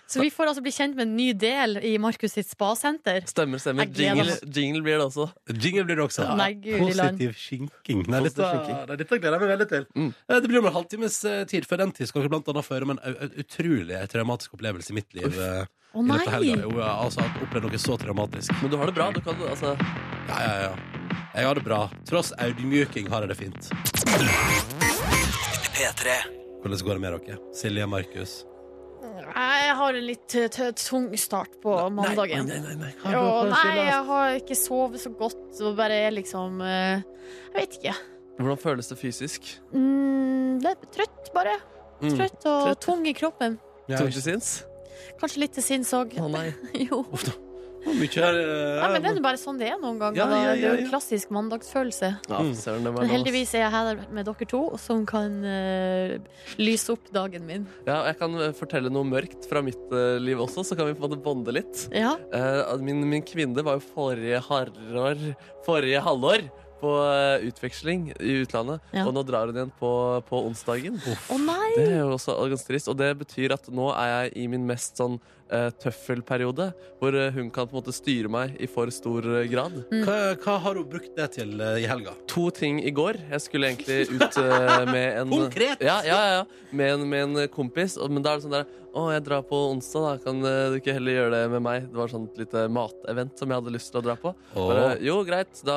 [SPEAKER 3] Så vi får altså bli kjent med en ny del i Markus sitt spasenter.
[SPEAKER 1] Stemmer, stemmer.
[SPEAKER 3] Jeg gleder
[SPEAKER 1] Jingle,
[SPEAKER 3] meg.
[SPEAKER 1] jingle blir det også.
[SPEAKER 2] Jingle blir det også.
[SPEAKER 3] Nei, guri land.
[SPEAKER 2] Positiv skinking. Nei,
[SPEAKER 1] Positiv
[SPEAKER 2] dette,
[SPEAKER 1] skinking.
[SPEAKER 2] nei, dette gleder jeg meg veldig til.
[SPEAKER 1] Mm.
[SPEAKER 2] Eh, Det blir om en halvtimes eh, tid. Før den tid skal dere blant annet få høre om en au- au- utrolig traumatisk opplevelse i mitt liv. eh,
[SPEAKER 3] Å
[SPEAKER 2] I løpet av helga.
[SPEAKER 3] nei!
[SPEAKER 2] Jo, jeg har altså, har opplevd noe så traumatisk.
[SPEAKER 1] Men du har det bra. Du kan, altså,
[SPEAKER 2] Ja, ja, ja. Jeg har det bra. Tross audmyking har jeg det fint. Hvordan går det med dere? Silje og Markus?
[SPEAKER 3] Jeg har en litt eh, t- tung start på mandagen.
[SPEAKER 2] Nei, nei, nei.
[SPEAKER 3] Ja, nei, jeg har ikke sovet så godt og bare er liksom eh, Jeg vet ikke.
[SPEAKER 1] hvordan føles det fysisk?
[SPEAKER 3] Mm, det er trøtt, bare.
[SPEAKER 2] Mm.
[SPEAKER 3] Trøtt og
[SPEAKER 1] Trøtt.
[SPEAKER 3] tung i kroppen.
[SPEAKER 2] Ja,
[SPEAKER 1] Tror du det syns?
[SPEAKER 3] Kanskje litt til sinns òg.
[SPEAKER 1] Å nei.
[SPEAKER 3] Jo.
[SPEAKER 2] Hvor mye her eh,
[SPEAKER 3] Nei, men det er jo bare sånn det er noen ganger.
[SPEAKER 2] Ja,
[SPEAKER 3] da.
[SPEAKER 2] ja,
[SPEAKER 3] Det er
[SPEAKER 2] ja,
[SPEAKER 3] jo
[SPEAKER 2] ja.
[SPEAKER 3] en klassisk mandagsfølelse.
[SPEAKER 1] Ja,
[SPEAKER 2] Mm.
[SPEAKER 1] søren, det var
[SPEAKER 3] Men
[SPEAKER 1] lov, ass.
[SPEAKER 3] heldigvis er jeg her med dere to, som kan eh, lyse opp dagen min.
[SPEAKER 1] Ja, og jeg kan eh, fortelle noe mørkt fra mitt eh, liv også, så kan vi på en måte bonde litt.
[SPEAKER 3] Ja,
[SPEAKER 1] Eh, min, min kvinne var jo forrige, harår, forrige halvår på eh, utveksling i utlandet,
[SPEAKER 3] Ja.
[SPEAKER 1] og nå drar hun igjen på, på onsdagen.
[SPEAKER 3] Å nei!
[SPEAKER 1] Det er jo også ganske trist, og det betyr at nå er jeg i min mest sånn eh, tøffelperiode, hvor eh, hun kan på en måte styre meg i for stor eh, grad.
[SPEAKER 2] hva, hva har hun brukt det til eh, i helga?
[SPEAKER 1] to ting i går. Jeg skulle egentlig ut eh, med
[SPEAKER 2] Mm.
[SPEAKER 1] en
[SPEAKER 2] Konkret!
[SPEAKER 1] Ja, ja, ja, ja. Med, en, med en kompis. og- Men da er det sånn der Å, jeg drar på onsdag, da. Kan eh, du ikke heller gjøre det med meg? Det var sånn et lite matevent som jeg hadde lyst til å dra på. Bare,
[SPEAKER 2] Åh,
[SPEAKER 1] jo, greit, da,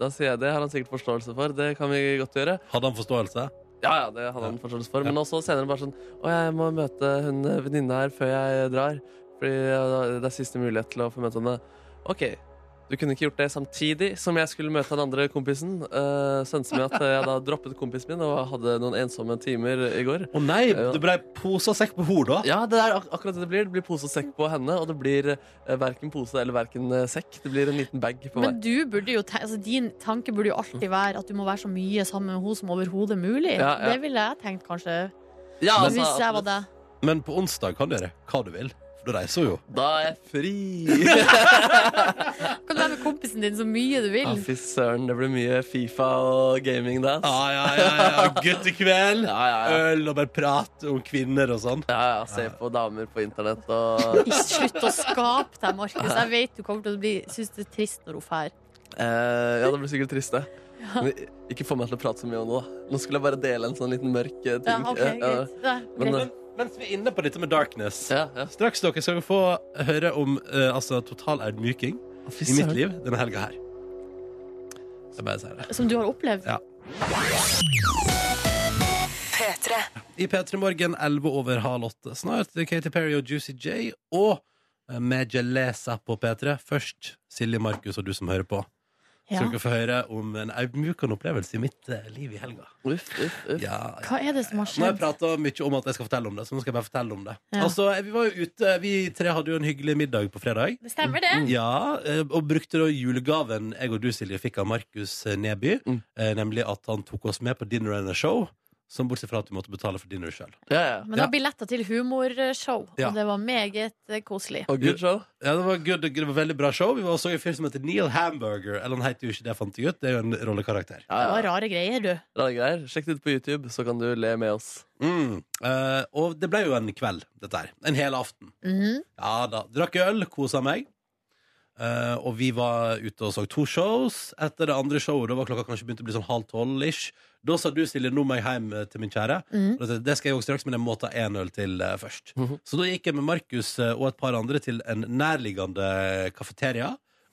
[SPEAKER 1] da sier jeg det. Har han sikkert forståelse for. Det kan vi godt gjøre.
[SPEAKER 2] hadde han forståelse?
[SPEAKER 1] Ja, ja, det hadde han forståelse for. Men også senere bare sånn Å, jeg må møte hun eh, venninna her før jeg drar. Fordi eh, det er siste mulighet til å få møte henne. OK. Du kunne ikke gjort det samtidig som jeg skulle møte den andre kompisen. Uh, Sønte med at jeg da droppet kompisen min og hadde noen ensomme timer i går.
[SPEAKER 2] Å nei,
[SPEAKER 1] Ja.
[SPEAKER 2] det ble pose og sekk på hodet da?
[SPEAKER 1] Ja, det er ak akkurat det det blir. Det blir pose og sekk på henne, og det blir uh, verken pose eller verken eh, sekk. Det blir en liten bag på meg.
[SPEAKER 3] Men du burde jo, te- altså, din tanke burde jo alltid være at du må være så mye sammen med henne som overhodet mulig.
[SPEAKER 1] Ja, ja.
[SPEAKER 3] Det ville jeg tenkt, kanskje.
[SPEAKER 1] Ja, altså,
[SPEAKER 3] hvis jeg var
[SPEAKER 1] absolutt.
[SPEAKER 3] deg.
[SPEAKER 2] Men på onsdag kan du gjøre hva du vil. For du reiser jo.
[SPEAKER 1] Da er jeg fri!
[SPEAKER 3] Kan du være med kompisen din så mye du
[SPEAKER 1] Ja,
[SPEAKER 3] vil?
[SPEAKER 1] Fy søren, det blir mye Fifa og gaming da. ass.
[SPEAKER 2] Ja, ja, ja, ja. Guttekveld.
[SPEAKER 1] Ja, ja,
[SPEAKER 3] Eh.
[SPEAKER 1] ja.
[SPEAKER 2] Øl og bare prate om kvinner og sånn.
[SPEAKER 1] Ja, ja, se på damer på internett og
[SPEAKER 3] Ikke Slutt å skape deg, Markus. Jeg vet du kommer til å bli, synes det er trist når hun drar.
[SPEAKER 1] eh, Ja, det blir sikkert trist, det. Men ikke få meg til å prate så mye om det, da. Nå skulle jeg bare dele en sånn liten mørk eh, ting.
[SPEAKER 3] Ja, ok,
[SPEAKER 1] Eh, eh,
[SPEAKER 3] greit. Ja,
[SPEAKER 1] Men,
[SPEAKER 3] greit.
[SPEAKER 1] eh,
[SPEAKER 2] Mens vi er inne på dette med darkness
[SPEAKER 1] ja, ja.
[SPEAKER 2] Straks dere skal få høre om eh, altså, total erdmyking
[SPEAKER 1] Fy
[SPEAKER 2] i mitt
[SPEAKER 1] søren.
[SPEAKER 2] liv denne helga her. Jeg bare sier det.
[SPEAKER 3] Som du har opplevd?
[SPEAKER 2] Ja.
[SPEAKER 5] P3.
[SPEAKER 2] I P3 Morgen 11 over halv åtte. Snart Katy Perry og Juicy J og eh, Megelesa på P3. Først Silje, Markus og du som hører på. Så
[SPEAKER 3] Ja.
[SPEAKER 2] dere får høre om en erdmykende opplevelse i mitt eh, liv i helga.
[SPEAKER 1] Uff, uff, uff.
[SPEAKER 2] Ja, ja.
[SPEAKER 3] Hva er det som har
[SPEAKER 2] Nå har jeg
[SPEAKER 3] skjedd?
[SPEAKER 2] prata mye om at jeg skal fortelle om det, så nå skal jeg bare fortelle om det.
[SPEAKER 3] Ja.
[SPEAKER 2] Altså, Vi var jo ute, vi tre hadde jo en hyggelig middag på fredag.
[SPEAKER 3] Det stemmer, det.
[SPEAKER 2] Ja, eh, Og brukte da julegaven jeg og du, Silje, fikk av Markus eh, Neby.
[SPEAKER 1] Mm.
[SPEAKER 2] eh, Nemlig at han tok oss med på dinner and a show. Som bortsett fra at vi måtte betale for dinner sjøl.
[SPEAKER 1] Ja, ja.
[SPEAKER 2] mm.
[SPEAKER 3] Men
[SPEAKER 2] Ja.
[SPEAKER 3] da billetter til humorshow,
[SPEAKER 2] Ja.
[SPEAKER 3] og det var meget eh, koselig.
[SPEAKER 1] Og good show.
[SPEAKER 2] Ja, det var good, det var veldig bra show. Vi var også i en fyr som heter Neil Hamburger. Eller han heter jo ikke det, fant jeg ut. Det er jo en rollekarakter.
[SPEAKER 1] Ja,
[SPEAKER 3] Det var
[SPEAKER 1] ja.
[SPEAKER 3] rare greier, du.
[SPEAKER 1] Rare greier. Sjekk det ut på YouTube, så kan du le med oss.
[SPEAKER 2] Mm. eh, og det ble jo en kveld, dette her. En hel aften.
[SPEAKER 3] Mhm.
[SPEAKER 2] Ja da. Drakk øl, kosa meg. Eh, og vi var ute og så to shows. Etter det andre showet da var klokka kanskje begynt å bli sånn halv tolv-ish. Da sa du, Silje, nå må jeg hjem eh, til min kjære.
[SPEAKER 3] Mhm.
[SPEAKER 2] Og da sa jeg, Det skal jeg også straks, men jeg må ta én øl til eh, først.
[SPEAKER 1] Mhm.
[SPEAKER 2] Så da gikk jeg med Markus eh, og et par andre til en nærliggende kafeteria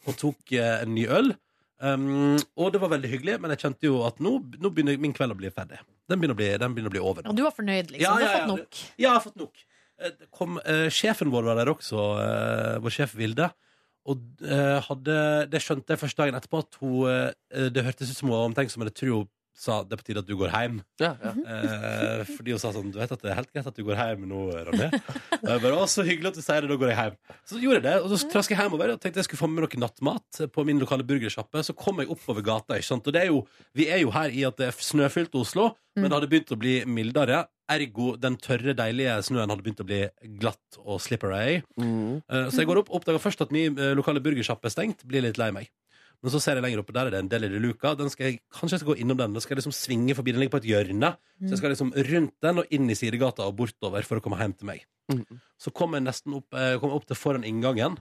[SPEAKER 2] og tok eh, en ny øl. Um, og det var veldig hyggelig, men jeg kjente jo at nå, nå begynner min kveld å bli ferdig. Den begynner å bli, den begynner å bli over. nå.
[SPEAKER 3] Og du var fornøyd, liksom.
[SPEAKER 2] Ja,
[SPEAKER 3] du
[SPEAKER 2] ja,
[SPEAKER 3] har
[SPEAKER 2] ja,
[SPEAKER 3] fått
[SPEAKER 2] det-
[SPEAKER 3] nok.
[SPEAKER 2] Ja, jeg har fått nok. Eh, det Kom, eh, sjefen vår var der også, eh, vår sjef Vilde. Og eh, hadde, det skjønte jeg først dagen etterpå, at hun, eh, det hørtes ut som hun var omtenksom, men jeg tror hun sa det er på tide at du går hjem.
[SPEAKER 1] Ja, ja.
[SPEAKER 3] Mhm.
[SPEAKER 2] Eh, fordi hun sa sånn Du vet at det er helt greit at du går hjem nå, Ronny. Og jeg bare, å, så hyggelig at du sier det, da går jeg hjem. Så gjorde jeg det. Og så traska jeg hjemover og tenkte jeg skulle få med meg noe nattmat på min lokale burgersjappe. Så kom jeg oppover gata, ikke sant. Og det er jo, vi er jo her i at det er snøfylt Oslo, men det hadde begynt å bli mildere. Ergo den tørre, deilige snøen hadde begynt å bli glatt og slippery.
[SPEAKER 1] Mm.
[SPEAKER 2] Eh, Så jeg går opp, oppdager først at min eh, lokale burgersjappe er stengt. Blir litt lei meg. Men så ser jeg lenger opp, og der er det en Deli de Luca. Den skal jeg, kanskje jeg skal gå innom den. Den skal jeg liksom svinge forbi. Den ligger på et hjørne. Så jeg skal liksom rundt den og inn i sidegata og bortover for å komme hjem til meg.
[SPEAKER 1] Mm.
[SPEAKER 2] Så kommer jeg nesten opp, eh, kommer opp til foran inngangen,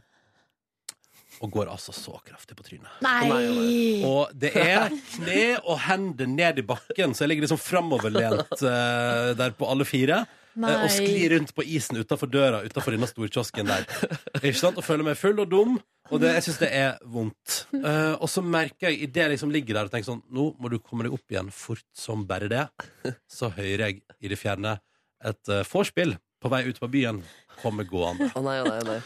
[SPEAKER 2] og går altså så kraftig på trynet.
[SPEAKER 3] Nei!
[SPEAKER 2] Og det er kne og hender ned i bakken, så jeg ligger liksom framoverlent eh, der på alle fire.
[SPEAKER 3] Nei.
[SPEAKER 2] eh, Og sklir rundt på isen utafor døra utafor denne storkiosken der. Ikke sant? Og føler meg full og dum, og det, jeg syns det er vondt. Eh, og så merker jeg, idet jeg liksom ligger der og tenker sånn Nå må du komme deg opp igjen fort som bare det. Så hører jeg i det fjerne et eh, vorspiel på vei ut på byen komme gående.
[SPEAKER 1] Å nei, å nei, å nei.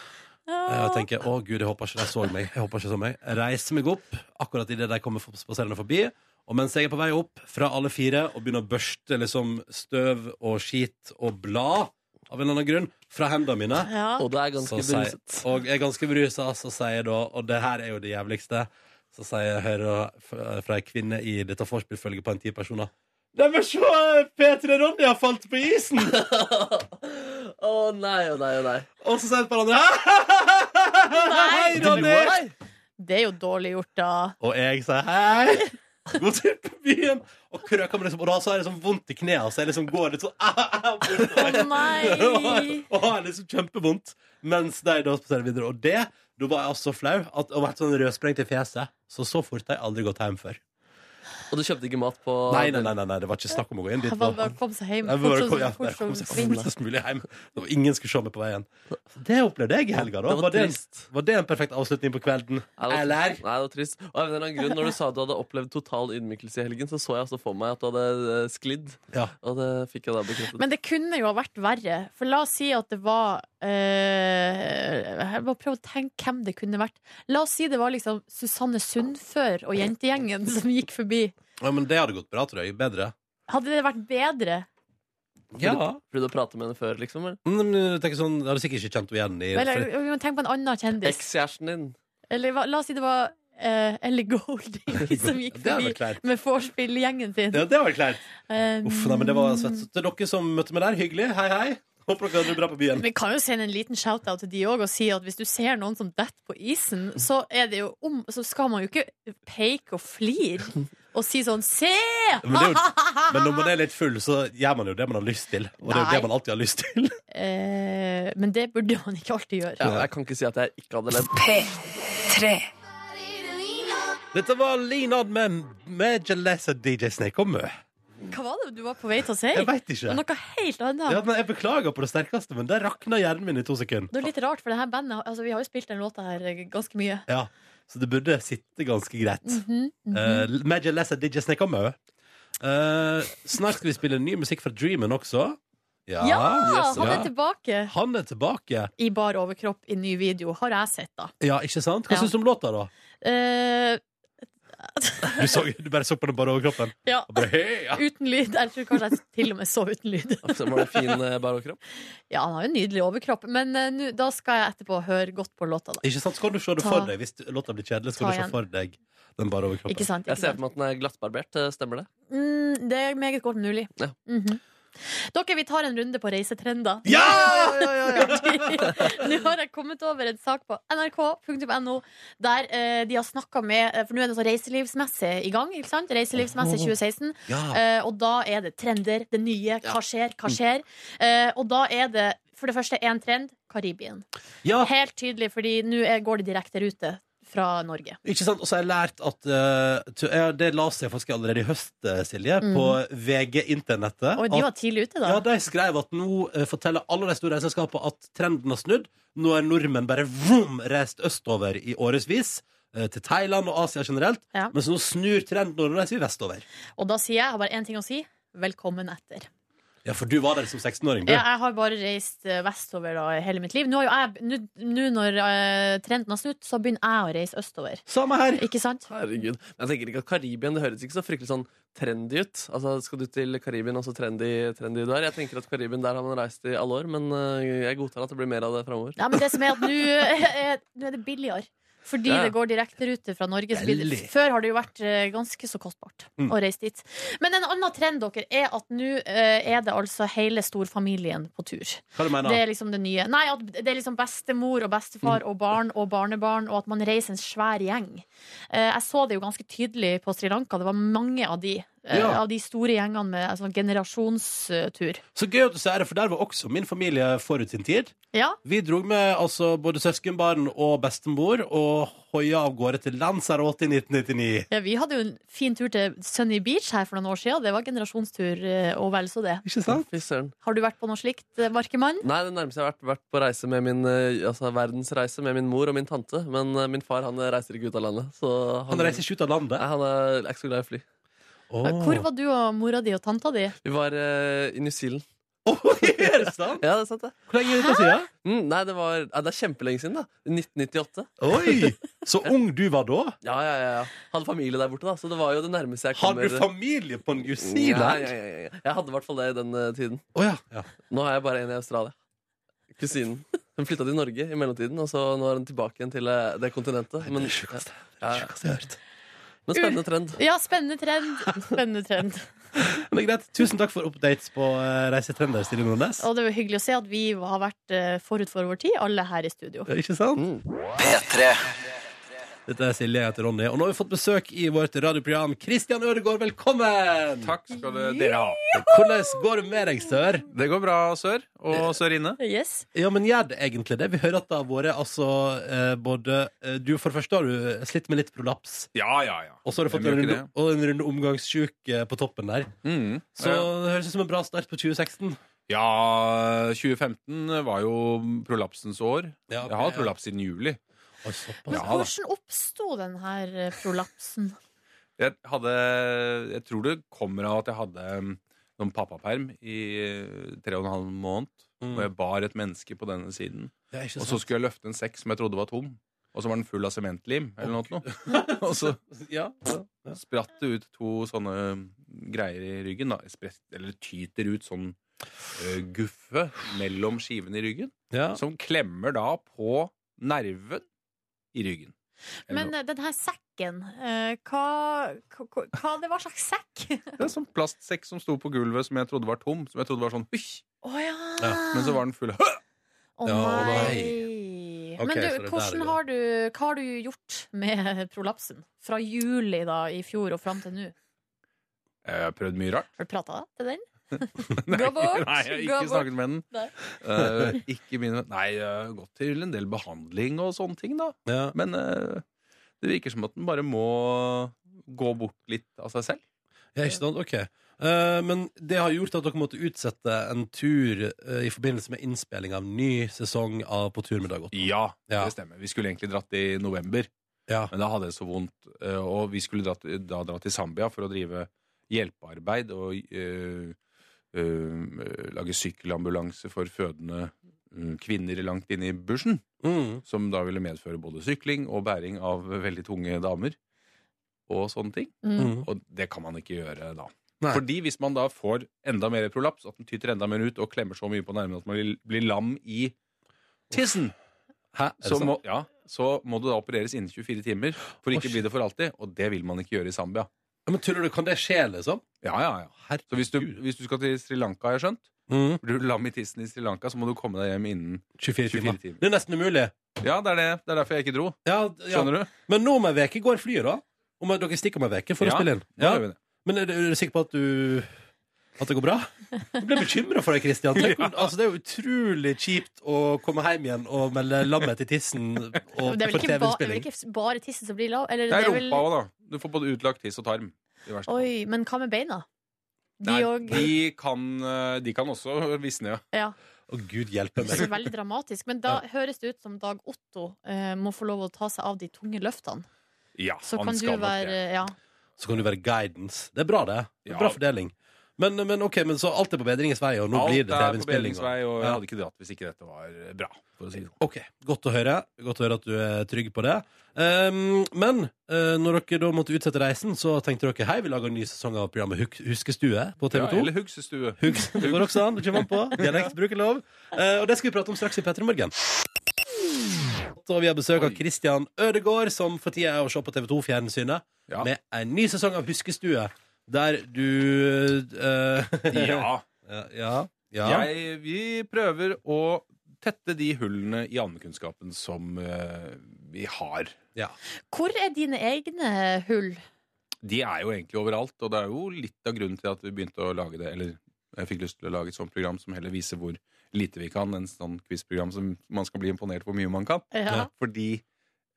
[SPEAKER 2] Eh, Og jeg tenker, å gud, jeg håper ikke de så meg Jeg håper ikke de så meg Jeg reiser meg opp, akkurat i det de kommer spaserende forbi Og mens jeg er på vei opp fra alle fire Og begynner å børste liksom støv og skit og blad av en eller annen grunn fra hendene mine.
[SPEAKER 3] Ja.
[SPEAKER 1] Og det er
[SPEAKER 2] Så
[SPEAKER 1] ganske
[SPEAKER 2] sier,
[SPEAKER 1] bruset.
[SPEAKER 2] og jeg er ganske brusa, så sier jeg da Og det her er jo det jævligste. Så sier jeg hører fra fra ei kvinne i dette forspillfølget på en ti personer. Neimen, se! P3 Ronny har falt på isen!
[SPEAKER 1] Å nei, å nei, å nei.
[SPEAKER 2] Og så sier et par andre Hei, Ronny!
[SPEAKER 1] Nei.
[SPEAKER 3] Det er jo dårlig gjort, da.
[SPEAKER 2] Og jeg sier hei. God tur på byen! Og krøker med liksom, og da så har jeg liksom vondt i knærne, så jeg liksom går litt sånn ah, ah, ah,
[SPEAKER 3] Å
[SPEAKER 2] bortover.
[SPEAKER 3] nei!
[SPEAKER 2] og har liksom kjempevondt. Mens de da spaserer videre. Og det, da var jeg altså så flau at, og vært sånn rødsprengt i fjeset. Så så fort har jeg aldri gått hjem før.
[SPEAKER 1] Og du kjøpte ikke mat på
[SPEAKER 2] Nei, nei, nei, nei, nei, det var ikke snakk om å gå inn dit.
[SPEAKER 3] Han var bare å komme seg hjem.
[SPEAKER 2] Jeg bare kom, ja,
[SPEAKER 3] Fort som-
[SPEAKER 2] jeg
[SPEAKER 3] fort
[SPEAKER 2] kom
[SPEAKER 3] som
[SPEAKER 2] seg
[SPEAKER 3] vind.
[SPEAKER 2] fortest mulig hjem. Det var ingen skulle se meg på veien. Det opplevde jeg i helga, da.
[SPEAKER 1] Det var
[SPEAKER 2] Var det,
[SPEAKER 1] trist.
[SPEAKER 2] var det en perfekt avslutning på kvelden?
[SPEAKER 1] Nei, det var-
[SPEAKER 2] Eller?
[SPEAKER 1] Nei, det var trist. Og av en eller annen grunn, når du sa at du hadde opplevd total ydmykelse i helgen, så så jeg altså for meg at du hadde eh, sklidd.
[SPEAKER 2] Ja.
[SPEAKER 1] Og det fikk jeg da bekreftet.
[SPEAKER 3] Men det kunne jo ha vært verre. For la oss si at det var eh, Jeg må prøve å tenke hvem det kunne vært. La oss si det var liksom Susanne Sundfør og jentegjengen som gikk forbi.
[SPEAKER 2] ja, men det hadde gått bra, tror jeg. Bedre.
[SPEAKER 3] Hadde det vært bedre?
[SPEAKER 2] Ja.
[SPEAKER 1] Fordi du pratet med henne før, liksom? eller?
[SPEAKER 2] Mm, men jeg tenker sånn, jeg hadde sikkert ikke kjent henne igjen i
[SPEAKER 3] Eller vi må tenke på en annen kjendis.
[SPEAKER 1] Ekskjæresten din.
[SPEAKER 3] Eller hva- la oss si det var uh, Ellie Golding som gikk
[SPEAKER 2] Det hadde
[SPEAKER 3] forbi
[SPEAKER 2] vært kleint.
[SPEAKER 3] med vorspiel-gjengen sin.
[SPEAKER 2] Ja, det hadde vært kleint.
[SPEAKER 3] Um,
[SPEAKER 2] Uff, nei, men det var svett. Så Til dere som møtte meg der, hyggelig. Hei, hei. Håper dere hadde det bra på byen.
[SPEAKER 3] Vi kan jo sende en liten shout-out til de òg og si at hvis du ser noen som detter på isen, så, er det jo om, så skal man jo ikke peke og flire og si sånn Se!
[SPEAKER 2] Men, det er jo, men når man er litt full, så gjør man jo det man har lyst til. Og det er jo
[SPEAKER 3] Nei.
[SPEAKER 2] det man alltid har lyst til.
[SPEAKER 3] Eh, men det burde man ikke alltid gjøre.
[SPEAKER 1] Ja, jeg kan ikke si at jeg ikke hadde ledd.
[SPEAKER 5] P3.
[SPEAKER 2] Dette var Linad med Major Lesser DJ Snake og Mø.
[SPEAKER 3] Hva var det du var på vei til å si?
[SPEAKER 2] Jeg veit
[SPEAKER 3] Det
[SPEAKER 2] ikke.
[SPEAKER 3] var Noe helt annet.
[SPEAKER 2] Ja, nei, jeg beklager på det sterkeste, men der rakna hjernen min i to sekunder.
[SPEAKER 3] Det er litt rart, for det her bandet altså, Vi har jo spilt den låta her ganske mye.
[SPEAKER 2] Ja, Så det burde sitte ganske greit.
[SPEAKER 3] Mhm, mhm.
[SPEAKER 2] Eh, Major Lesser DJ Snake og Mø. Eh, snart skal vi spille ny musikk fra Dreamen også. Ja!
[SPEAKER 3] ja, han er
[SPEAKER 2] ja.
[SPEAKER 3] tilbake!
[SPEAKER 2] Han er tilbake.
[SPEAKER 3] I bar overkropp i ny video, har jeg sett, da.
[SPEAKER 2] Ja, ikke sant? Hva
[SPEAKER 3] Ja.
[SPEAKER 2] syns du om låta, da?
[SPEAKER 3] Eh,
[SPEAKER 2] Du, så, du bare så på den bare over kroppen?
[SPEAKER 3] ja.
[SPEAKER 2] Og bare, hei, ja.
[SPEAKER 3] Uten lyd. Jeg tror kanskje jeg til og med så uten lyd.
[SPEAKER 1] Så var det fin eh, bar overkropp.
[SPEAKER 3] Ja, han har jo en nydelig overkropp, men eh, nå- da skal jeg etterpå høre godt på låta. Da.
[SPEAKER 2] Ikke sant? Skal du se det
[SPEAKER 3] Ta-
[SPEAKER 2] for deg hvis låta blir kjedelig? Skal du
[SPEAKER 3] Ta
[SPEAKER 2] se
[SPEAKER 3] igjen.
[SPEAKER 2] for deg den bare over kroppen?
[SPEAKER 3] Ikke sant?
[SPEAKER 1] Jeg
[SPEAKER 3] Ikke
[SPEAKER 1] ser for meg
[SPEAKER 3] sant?
[SPEAKER 1] at den er glattbarbert. eh, Stemmer det?
[SPEAKER 3] Mm, det er meget godt mulig.
[SPEAKER 1] Ja.
[SPEAKER 3] Mhm. Dere, vi tar en runde på reisetrender.
[SPEAKER 2] Ja!
[SPEAKER 3] nå har jeg kommet over en sak på nrk.no der eh, de har snakka med eh, For nå er det så reiselivsmesse i gang. ikke sant? Reiselivsmesse 2016.
[SPEAKER 2] Ja.
[SPEAKER 3] Eh, og da er det trender, det nye. Hva skjer, hva skjer? Eh, og da er det for det første én trend Karibien.
[SPEAKER 2] ja,
[SPEAKER 3] Helt tydelig, fordi nå er- går det direkte rute fra Norge.
[SPEAKER 2] ikke sant? Og så har jeg lært at eh, tu- ja, Det leste jeg faktisk allerede i høst, eh, Silje, på VG-internettet.
[SPEAKER 3] Og Mm. de var
[SPEAKER 2] at-
[SPEAKER 3] tidlig ute,
[SPEAKER 2] Ah. Ja,
[SPEAKER 3] da.
[SPEAKER 2] De skrev at nå eh, forteller alle de store reiseselskapene at trenden har snudd. Nå er nordmenn bare vroom, reist østover i årevis. eh, Til Thailand og Asia generelt.
[SPEAKER 3] Ja.
[SPEAKER 2] Mens nå snur trenden, og nå reiser vi vestover.
[SPEAKER 3] Og da sier jeg, jeg har bare én ting å si. Velkommen etter.
[SPEAKER 2] Ja, For du var der som 16-åring, du.
[SPEAKER 3] Jeg, jeg har bare reist eh, vestover da, i hele mitt liv. Nå, har jo jeg, nå, nå når eh, trenden har snudd, så begynner jeg å reise østover.
[SPEAKER 2] Samme her.
[SPEAKER 3] Ikke sant?
[SPEAKER 1] Herregud. Men jeg tenker ikke at Karibien det høres ikke så fryktelig sånn trendy ut. Altså, Skal du til Karibien, og så trendy, trendy du er? Jeg tenker at Karibien der har man reist i alle år, men eh, jeg godtar at det blir mer av det framover.
[SPEAKER 3] Nei, men det som er at nå er, nå er det billigere. Fordi
[SPEAKER 1] Ja.
[SPEAKER 3] det går direkterute fra Norge. så blir det-
[SPEAKER 2] Veldig.
[SPEAKER 3] Før har det jo vært eh, ganske så kostbart
[SPEAKER 2] Mm.
[SPEAKER 3] å reise dit. Men en annen trend dere er at nå eh, er det altså hele storfamilien på tur.
[SPEAKER 2] Hva du mener
[SPEAKER 3] Det er liksom det nye. Nei, at det er liksom bestemor og bestefar og barn og barnebarn, og at man reiser en svær gjeng. Eh, Jeg så det jo ganske tydelig på Sri Lanka. Det var mange av de. eh,
[SPEAKER 2] Ja.
[SPEAKER 3] Av de store gjengene med sånn generasjonstur.
[SPEAKER 2] Så gøy at du sier det, for der var også min familie forut sin tid.
[SPEAKER 3] Ja,
[SPEAKER 2] Vi dro med altså, både søskenbarn og bestemor og hoia av gårde til lands her åtte i 1999.
[SPEAKER 3] ja, vi hadde jo en fin tur til Sunny Beach her for noen år siden. Det var generasjonstur eh, og vel så det.
[SPEAKER 2] Ikke sant?
[SPEAKER 1] Fy søren.
[SPEAKER 3] Har du vært på noe slikt, eh, Markemann?
[SPEAKER 1] Nei, det nærmeste jeg har vært, vært på reise med min, eh, altså verdensreise med min mor og min tante. Men eh, min far han reiser ikke ut av landet. Så han,
[SPEAKER 2] Han reiser ikke ut av
[SPEAKER 1] Nei,
[SPEAKER 2] landet.
[SPEAKER 1] han er er ikke så glad i fly.
[SPEAKER 2] Oh.
[SPEAKER 3] Hvor var du og mora di og tanta di?
[SPEAKER 1] Vi var eh, i New Zealand.
[SPEAKER 2] er det sant?
[SPEAKER 1] Ja, det er sant, det.
[SPEAKER 2] Hvor lenge er dette siden?
[SPEAKER 1] Mm, nei, det var ja, Det er kjempelenge siden, da. 1998.
[SPEAKER 2] Oi! Så ung du var da.
[SPEAKER 1] Ja, ja, ja. ja. Hadde familie der borte, da. Så det var jo det nærmeste jeg
[SPEAKER 2] Har
[SPEAKER 1] kommer
[SPEAKER 2] du familie på New
[SPEAKER 1] Ja, ja,
[SPEAKER 2] Zealand?
[SPEAKER 1] ja, ja. Jeg hadde i hvert fall det i den eh, tiden.
[SPEAKER 2] Å ja. ja.
[SPEAKER 1] Nå har jeg bare en i Australia. Kusinen. Hun flytta til Norge i mellomtiden, og så nå er hun tilbake igjen til eh, det kontinentet. Men, ja, ja.
[SPEAKER 2] Sjukeste jeg har hørt.
[SPEAKER 1] men spennende trend.
[SPEAKER 3] Ja, spennende trend. Spennende trend.
[SPEAKER 2] Men det er greit. Tusen takk for updates på eh, reisetrender, Silje Nordnes.
[SPEAKER 3] Og det var hyggelig å se at vi har vært eh, forut for vår tid, alle her i studio.
[SPEAKER 2] Ja, Ikke sant?
[SPEAKER 1] Mm.
[SPEAKER 2] Dette er Silje, jeg heter Ronny. Og nå har vi fått besøk i vårt radioprogram. Kristian Ødegaard, velkommen!
[SPEAKER 6] Takk skal du- dere ha.
[SPEAKER 2] Hvordan går det med deg, sør?
[SPEAKER 6] Det går bra sør og sørinne.
[SPEAKER 3] Yes.
[SPEAKER 2] Ja, men gjør det egentlig det? Vi hører at det har vært altså eh, både eh, Du, for det første har du slitt med litt prolaps.
[SPEAKER 6] Ja, ja, ja.
[SPEAKER 2] Og så har du fått
[SPEAKER 6] Jeg
[SPEAKER 2] en
[SPEAKER 6] bruker
[SPEAKER 2] runde, og en runde omgangssjuk eh, på toppen der.
[SPEAKER 6] Mm.
[SPEAKER 2] Så det høres ut som en bra start på 2016.
[SPEAKER 6] Ja, 2015 var jo prolapsens år.
[SPEAKER 2] Ja, ok,
[SPEAKER 6] Jeg har hatt
[SPEAKER 2] ja.
[SPEAKER 6] prolaps siden juli.
[SPEAKER 2] Oi, såpass.
[SPEAKER 3] Men
[SPEAKER 6] Ja, da.
[SPEAKER 3] hvordan oppsto den her eh, prolapsen?
[SPEAKER 6] Jeg hadde Jeg tror det kommer av at jeg hadde mm, noen pappaperm i eh, tre og en halv måned.
[SPEAKER 2] Mm.
[SPEAKER 6] Og jeg bar et menneske på denne siden.
[SPEAKER 2] Det er ikke
[SPEAKER 6] Og så
[SPEAKER 2] sant.
[SPEAKER 6] skulle jeg løfte en sekk som jeg trodde var tom. Og så var den full av sementlim eller noe. Og så
[SPEAKER 2] ja, ja, ja.
[SPEAKER 6] spratt det ut to sånne mm, greier i ryggen. Da. Sprett, eller tyter ut sånn ø, guffe mellom skivene i ryggen.
[SPEAKER 2] ja.
[SPEAKER 6] Som klemmer da på nerven i ryggen. Eller
[SPEAKER 3] Men
[SPEAKER 6] noe.
[SPEAKER 3] eh, den her sekken, eh, hva, hva, hva det var slags sekk?
[SPEAKER 6] det er en sånn plastsekk som sto på gulvet, som jeg trodde var tom. Som jeg trodde var sånn «Hysj!»
[SPEAKER 3] Å ja.
[SPEAKER 6] Men så var den full av
[SPEAKER 3] Å
[SPEAKER 2] Ja, og da-
[SPEAKER 3] nei.
[SPEAKER 2] Ok, så
[SPEAKER 3] Men
[SPEAKER 2] det
[SPEAKER 3] du,
[SPEAKER 2] er der
[SPEAKER 3] hvordan
[SPEAKER 2] det-
[SPEAKER 3] har du, hva har du gjort med prolapsen? Fra juli da, i fjor og fram til nå?
[SPEAKER 6] Jeg har prøvd mye rart.
[SPEAKER 3] Har du prata til den?
[SPEAKER 6] Nei,
[SPEAKER 3] Gå bort,
[SPEAKER 6] Nei,
[SPEAKER 3] gå
[SPEAKER 6] jeg har ikke
[SPEAKER 3] bort.
[SPEAKER 6] snakket med den.
[SPEAKER 3] Nei.
[SPEAKER 6] Eh, ikke mine Nei, jeg har gått til en del behandling og sånne ting, da.
[SPEAKER 2] Ja.
[SPEAKER 6] Men eh, det virker som at den bare må gå bort litt av seg selv.
[SPEAKER 2] Ja, ikke sant? Ok. Eh, men det har gjort at dere måtte utsette en tur eh, i forbindelse med innspilling av ny sesong av På tur med Dag Otto.
[SPEAKER 6] Ja,
[SPEAKER 2] Ja.
[SPEAKER 6] det stemmer. Vi skulle egentlig dratt i november,
[SPEAKER 2] Ja.
[SPEAKER 6] men da hadde jeg så vondt. eh, Og vi skulle dratt, da dra til Zambia for å drive hjelpearbeid og eh, eh, lage sykkelambulanse for fødende eh, kvinner langt inne i bushen.
[SPEAKER 2] Mm.
[SPEAKER 6] Som da ville medføre både sykling og bæring av veldig tunge damer. Og sånne ting.
[SPEAKER 3] Mm.
[SPEAKER 2] Mm.
[SPEAKER 6] Og det kan man ikke gjøre da.
[SPEAKER 2] Nei.
[SPEAKER 6] Fordi hvis man da får enda mer prolaps, at den tyter enda mer ut og klemmer så mye på nervene at man blir- blir lam i tissen
[SPEAKER 2] Hæ? Er det
[SPEAKER 6] så
[SPEAKER 2] sant?
[SPEAKER 6] må, ja, så må du da opereres innen 24 timer for ikke å bli det for alltid. Og det vil man ikke gjøre i Zambia.
[SPEAKER 2] Ja, Men tuller du, kan det skje, liksom?
[SPEAKER 6] Ja, ja, ja. Så hvis du, hvis du skal til Sri Lanka, har jeg skjønt,
[SPEAKER 2] Mm.
[SPEAKER 6] blir du lam i tissen i Sri Lanka, så må du komme deg hjem innen
[SPEAKER 2] 24,
[SPEAKER 6] 24
[SPEAKER 2] timer.
[SPEAKER 6] timer.
[SPEAKER 2] Det er nesten umulig.
[SPEAKER 6] Ja, det er det. Det er derfor jeg ikke dro.
[SPEAKER 2] Ja, ja.
[SPEAKER 6] Skjønner du?
[SPEAKER 2] Men nå om ei uke går flyet, da? Om Dere stikker om ei uke for
[SPEAKER 6] Ja,
[SPEAKER 2] å spille inn?
[SPEAKER 6] Da gjør vi det.
[SPEAKER 2] Men er du, er du sikker på at du At det går bra? Jeg ble bekymra for deg, Kristian. Tenk, om- altså, det er jo utrolig kjipt å komme hjem igjen og melde lammet i tissen og, for
[SPEAKER 3] Det er vel ikke, ba, det er vel
[SPEAKER 2] TV-innspilling.
[SPEAKER 3] ikke bare tissen som blir lav? Eller,
[SPEAKER 6] Det er
[SPEAKER 3] vel-
[SPEAKER 6] rumpa òg, da. Du får både utlagt tiss og tarm. i verste fall.
[SPEAKER 3] Oi, men hva med beina? De
[SPEAKER 6] Nei,
[SPEAKER 3] òg
[SPEAKER 6] de, kan, eh, de kan også visne, ja.
[SPEAKER 3] ja,
[SPEAKER 2] Å, gud hjelpe
[SPEAKER 3] ikke så
[SPEAKER 2] meg.
[SPEAKER 3] veldig dramatisk. Men da høres det ut som Dag Otto eh, må få lov å ta seg av de tunge løftene.
[SPEAKER 6] ja
[SPEAKER 3] Så
[SPEAKER 6] han
[SPEAKER 3] kan du
[SPEAKER 6] skal nok
[SPEAKER 3] være
[SPEAKER 6] det.
[SPEAKER 3] ja.
[SPEAKER 2] Så kan du være guidance. Det er bra, det. det er
[SPEAKER 6] Ja.
[SPEAKER 2] bra fordeling. Men, men ok, men så alt er på bedringens vei, og nå blir det
[SPEAKER 6] Alt er på
[SPEAKER 2] TV-innspilling.
[SPEAKER 6] bedringsvei, og jeg
[SPEAKER 2] Ja.
[SPEAKER 6] hadde ikke dratt hvis ikke dette var bra. For å si det. sånn.
[SPEAKER 2] Ok, godt å høre. Godt å høre at du er trygg på det. Ehm, men eh, når dere da måtte utsette reisen, så tenkte dere hei, vi lager en ny sesong av programmet Huk Huskestue på TV 2.
[SPEAKER 6] Ja, eller hugsestue.
[SPEAKER 2] Hugs, det går også an. Du kommer an på. Dialekt, brukerlov. Eh, og det skal vi prate om straks i P3 Morgen. Så vi har besøk av
[SPEAKER 6] Oi.
[SPEAKER 2] Christian Ødegaard, som for tida er å se på TV 2-fjernsynet,
[SPEAKER 6] Ja.
[SPEAKER 2] med en ny sesong av Huskestue, der du eh,
[SPEAKER 6] ja.
[SPEAKER 2] ja. ja.
[SPEAKER 6] Jeg, vi prøver å tette de hullene i allmennkunnskapen som eh, vi har.
[SPEAKER 3] Hvor er dine egne hull?
[SPEAKER 6] De er jo egentlig overalt, og det er jo litt av grunnen til at vi begynte å lage det. Eller jeg fikk lyst til å lage et sånt program som heller viser hvor lite vi kan. En sånn quizprogram som man skal bli imponert hvor mye man kan.
[SPEAKER 3] Ja.
[SPEAKER 6] Fordi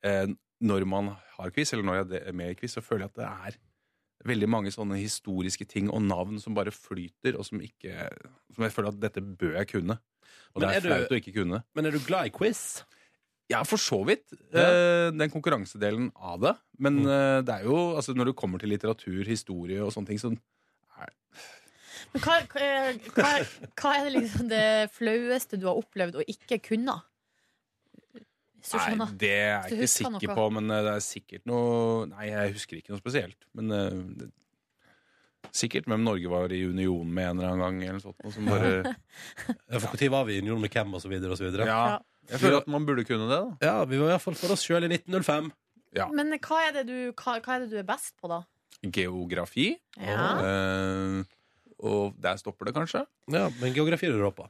[SPEAKER 6] eh, når man har quiz, eller når jeg er med i quiz, så føler jeg at det er veldig mange sånne historiske ting og navn som bare flyter, og som ikke Som jeg føler at dette bør jeg kunne. Og
[SPEAKER 2] Men
[SPEAKER 6] det
[SPEAKER 2] er
[SPEAKER 6] er,
[SPEAKER 2] du-
[SPEAKER 6] flaut å ikke kunne.
[SPEAKER 2] Men er du glad i quiz?
[SPEAKER 6] Ja, for så vidt. Eh, den konkurransedelen av det.
[SPEAKER 2] Mm.
[SPEAKER 6] Men eh, det er jo, altså, når du kommer til litteratur, historie og sånne ting, så
[SPEAKER 3] Men hva, hva, hva, hva er det liksom det flaueste du har opplevd og ikke kunne? Hvis du
[SPEAKER 6] Nei,
[SPEAKER 3] skjønner.
[SPEAKER 6] det er
[SPEAKER 3] Hvis du
[SPEAKER 6] jeg ikke
[SPEAKER 3] husker
[SPEAKER 6] sikker
[SPEAKER 3] noe.
[SPEAKER 6] på, men eh, det er sikkert noe Nei, jeg husker ikke noe spesielt. Men eh, det, Sikkert hvem Norge var i union med en eller annen gang. Eller noe sånt, noe som bare,
[SPEAKER 2] For når var vi i union med hvem, og så videre, og så videre.
[SPEAKER 6] ja. Jeg føler at man burde kunne det. da
[SPEAKER 2] Ja, vi var iallfall for oss sjøl i 1905.
[SPEAKER 6] Ja.
[SPEAKER 3] Men hva er, det du, hva, hva er det du er best på, da?
[SPEAKER 6] Geografi.
[SPEAKER 3] Ja.
[SPEAKER 6] Eh, og der stopper det kanskje.
[SPEAKER 2] Ja, men geografi er du rå på.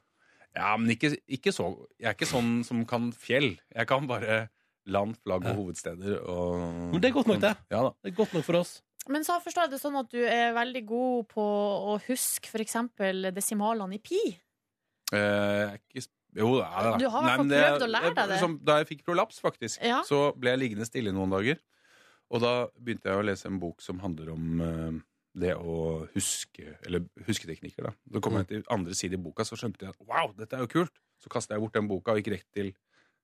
[SPEAKER 6] Ja, men ikke, ikke så Jeg er ikke sånn som kan fjell. Jeg kan bare land, flagg
[SPEAKER 2] Ja.
[SPEAKER 6] og hovedsteder og
[SPEAKER 2] Men det er godt nok, det.
[SPEAKER 6] Ja da.
[SPEAKER 2] Det er godt nok for oss.
[SPEAKER 3] Men så forstår jeg det sånn at du er veldig god på å huske f.eks. desimalene i pi.
[SPEAKER 6] Eh, jeg er ikke, sp- jo, ja, da.
[SPEAKER 3] Du har i hvert
[SPEAKER 6] men
[SPEAKER 3] fall prøvd å lære deg det.
[SPEAKER 6] Som, da jeg fikk prolaps, faktisk,
[SPEAKER 3] Ja.
[SPEAKER 6] så ble jeg liggende stille noen dager. Og da begynte jeg å lese en bok som handler om eh, det å huske Eller husketeknikker, da. Da kom
[SPEAKER 3] Mm.
[SPEAKER 6] jeg til andre side i boka, så skjønte jeg at wow, dette er jo kult. Så kasta jeg bort den boka og gikk rett til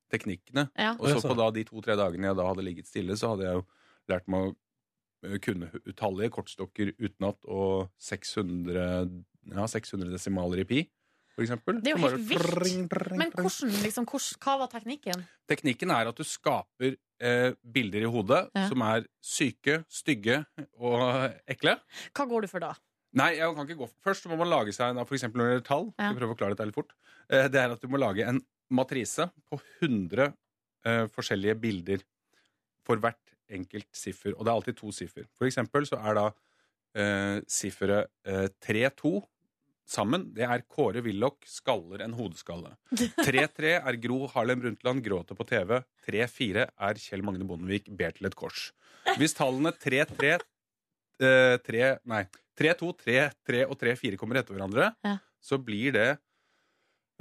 [SPEAKER 6] teknikkene.
[SPEAKER 3] Ja.
[SPEAKER 6] Og
[SPEAKER 2] Ja, så.
[SPEAKER 6] så på da de to-tre dagene jeg da hadde ligget stille, så hadde jeg jo lært meg å eh, kunne utallige kortstokker utenat og 600, ja, 600 desimaler i pi, for eksempel.
[SPEAKER 3] Det er jo
[SPEAKER 6] Som bare
[SPEAKER 3] helt vilt.
[SPEAKER 6] tring, tring,
[SPEAKER 3] Men
[SPEAKER 6] tring.
[SPEAKER 3] hvordan, liksom, hvordan, hva var teknikken?
[SPEAKER 6] Teknikken er at du skaper eh, bilder i hodet
[SPEAKER 3] Ja.
[SPEAKER 6] som er syke, stygge og eh, ekle.
[SPEAKER 3] Hva går du for da?
[SPEAKER 6] Nei, jeg kan ikke gå Først må man lage seg en, for eksempel når det gjelder tall,
[SPEAKER 3] Ja.
[SPEAKER 6] skal prøve å klare dette litt fort, eh, det er at du må lage en matrise på 100 eh, forskjellige bilder for hvert enkelt siffer. Og det er alltid to siffer. For eksempel så er da eh, sifferet eh, 3-2 sammen. Det er Kåre Willoch skaller en hodeskalle. 3-3 er Gro Harlem Brundtland gråter på TV. 3-4 er Kjell Magne Bondevik ber til et kors. Hvis tallene 3-3 eh, 3, Nei. 3, 2, 3, 3 og 3, 4 kommer etter hverandre,
[SPEAKER 3] Ja.
[SPEAKER 6] så blir det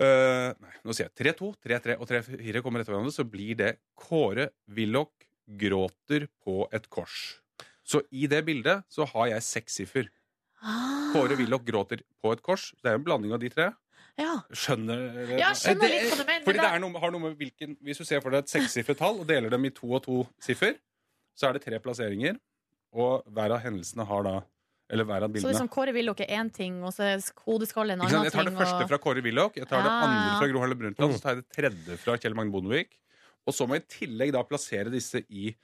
[SPEAKER 6] eh, Nei, nå sier jeg 3, 2, 3, 3 og 3, 4 kommer etter hverandre, så blir det Kåre Willoch gråter på et kors. Så i det bildet så har jeg seks siffer. Kåre Willoch gråter på et kors. Det er en blanding av de tre.
[SPEAKER 3] Ja.
[SPEAKER 6] Skjønner
[SPEAKER 3] Ja, jeg skjønner litt hva du mener,
[SPEAKER 6] Fordi
[SPEAKER 3] men
[SPEAKER 6] det
[SPEAKER 3] da-
[SPEAKER 6] er noe, har noe med hvilken Hvis du ser for deg et sekssifret tall og deler dem i to og to siffer, så er det tre plasseringer, og hver av hendelsene har da Eller hver av
[SPEAKER 3] Så
[SPEAKER 6] bildene.
[SPEAKER 3] liksom Kåre Willoch er én ting, og så er kodeskalle en
[SPEAKER 6] Ikke sant?
[SPEAKER 3] annen
[SPEAKER 6] Jeg tar det
[SPEAKER 3] ting.
[SPEAKER 6] første fra Kåre Willoch, jeg tar det
[SPEAKER 3] Ja,
[SPEAKER 6] andre
[SPEAKER 3] ja.
[SPEAKER 6] fra Gro Harlem Brundtland, så tar jeg det tredje fra Kjell Magne Bondevik. Og så må jeg i tillegg da plassere disse i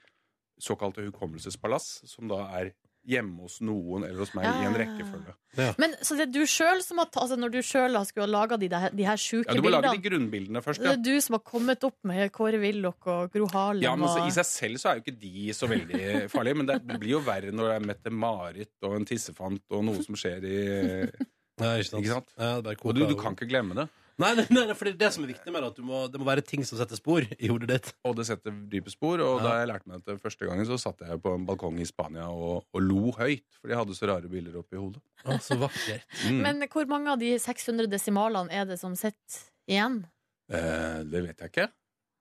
[SPEAKER 6] såkalte hukommelsespalass, som da er hjemme hos noen eller hos meg
[SPEAKER 3] Ja,
[SPEAKER 6] i en
[SPEAKER 3] ja, ja.
[SPEAKER 6] rekkefølge.
[SPEAKER 3] Men så det er du sjøl som har ta- altså, Når du sjøl skulle ha laga de, der- de her sjuke
[SPEAKER 6] Ja, du må lage
[SPEAKER 3] bildene,
[SPEAKER 6] de grunnbildene først,
[SPEAKER 3] det
[SPEAKER 6] ja.
[SPEAKER 3] er du som har kommet opp med Kåre Willoch og Gro Harlem
[SPEAKER 6] Ja, men så, I
[SPEAKER 3] og
[SPEAKER 6] seg selv så er jo ikke de så veldig farlige, men det det blir jo verre når det er Mette-Marit og en tissefant og noe som skjer i
[SPEAKER 2] Nei, ikke sant?
[SPEAKER 6] Ikke sant?
[SPEAKER 2] Ja, det er bare
[SPEAKER 6] Og du, du kan ikke glemme det.
[SPEAKER 2] Nei, nei, nei, nei, for det er det som er viktig med det, at du må, det må være ting som setter spor i hodet ditt.
[SPEAKER 6] Og det setter dype spor. Og
[SPEAKER 2] Ja.
[SPEAKER 6] da jeg lærte meg dette første gangen, så satt jeg på en balkong i Spania og, og lo høyt, for de hadde så rare bilder oppi hodet.
[SPEAKER 2] Å, så vakkert.
[SPEAKER 6] Mm.
[SPEAKER 3] Men hvor mange av de 600 desimalene er det som sitter igjen?
[SPEAKER 6] Eh, det vet jeg ikke.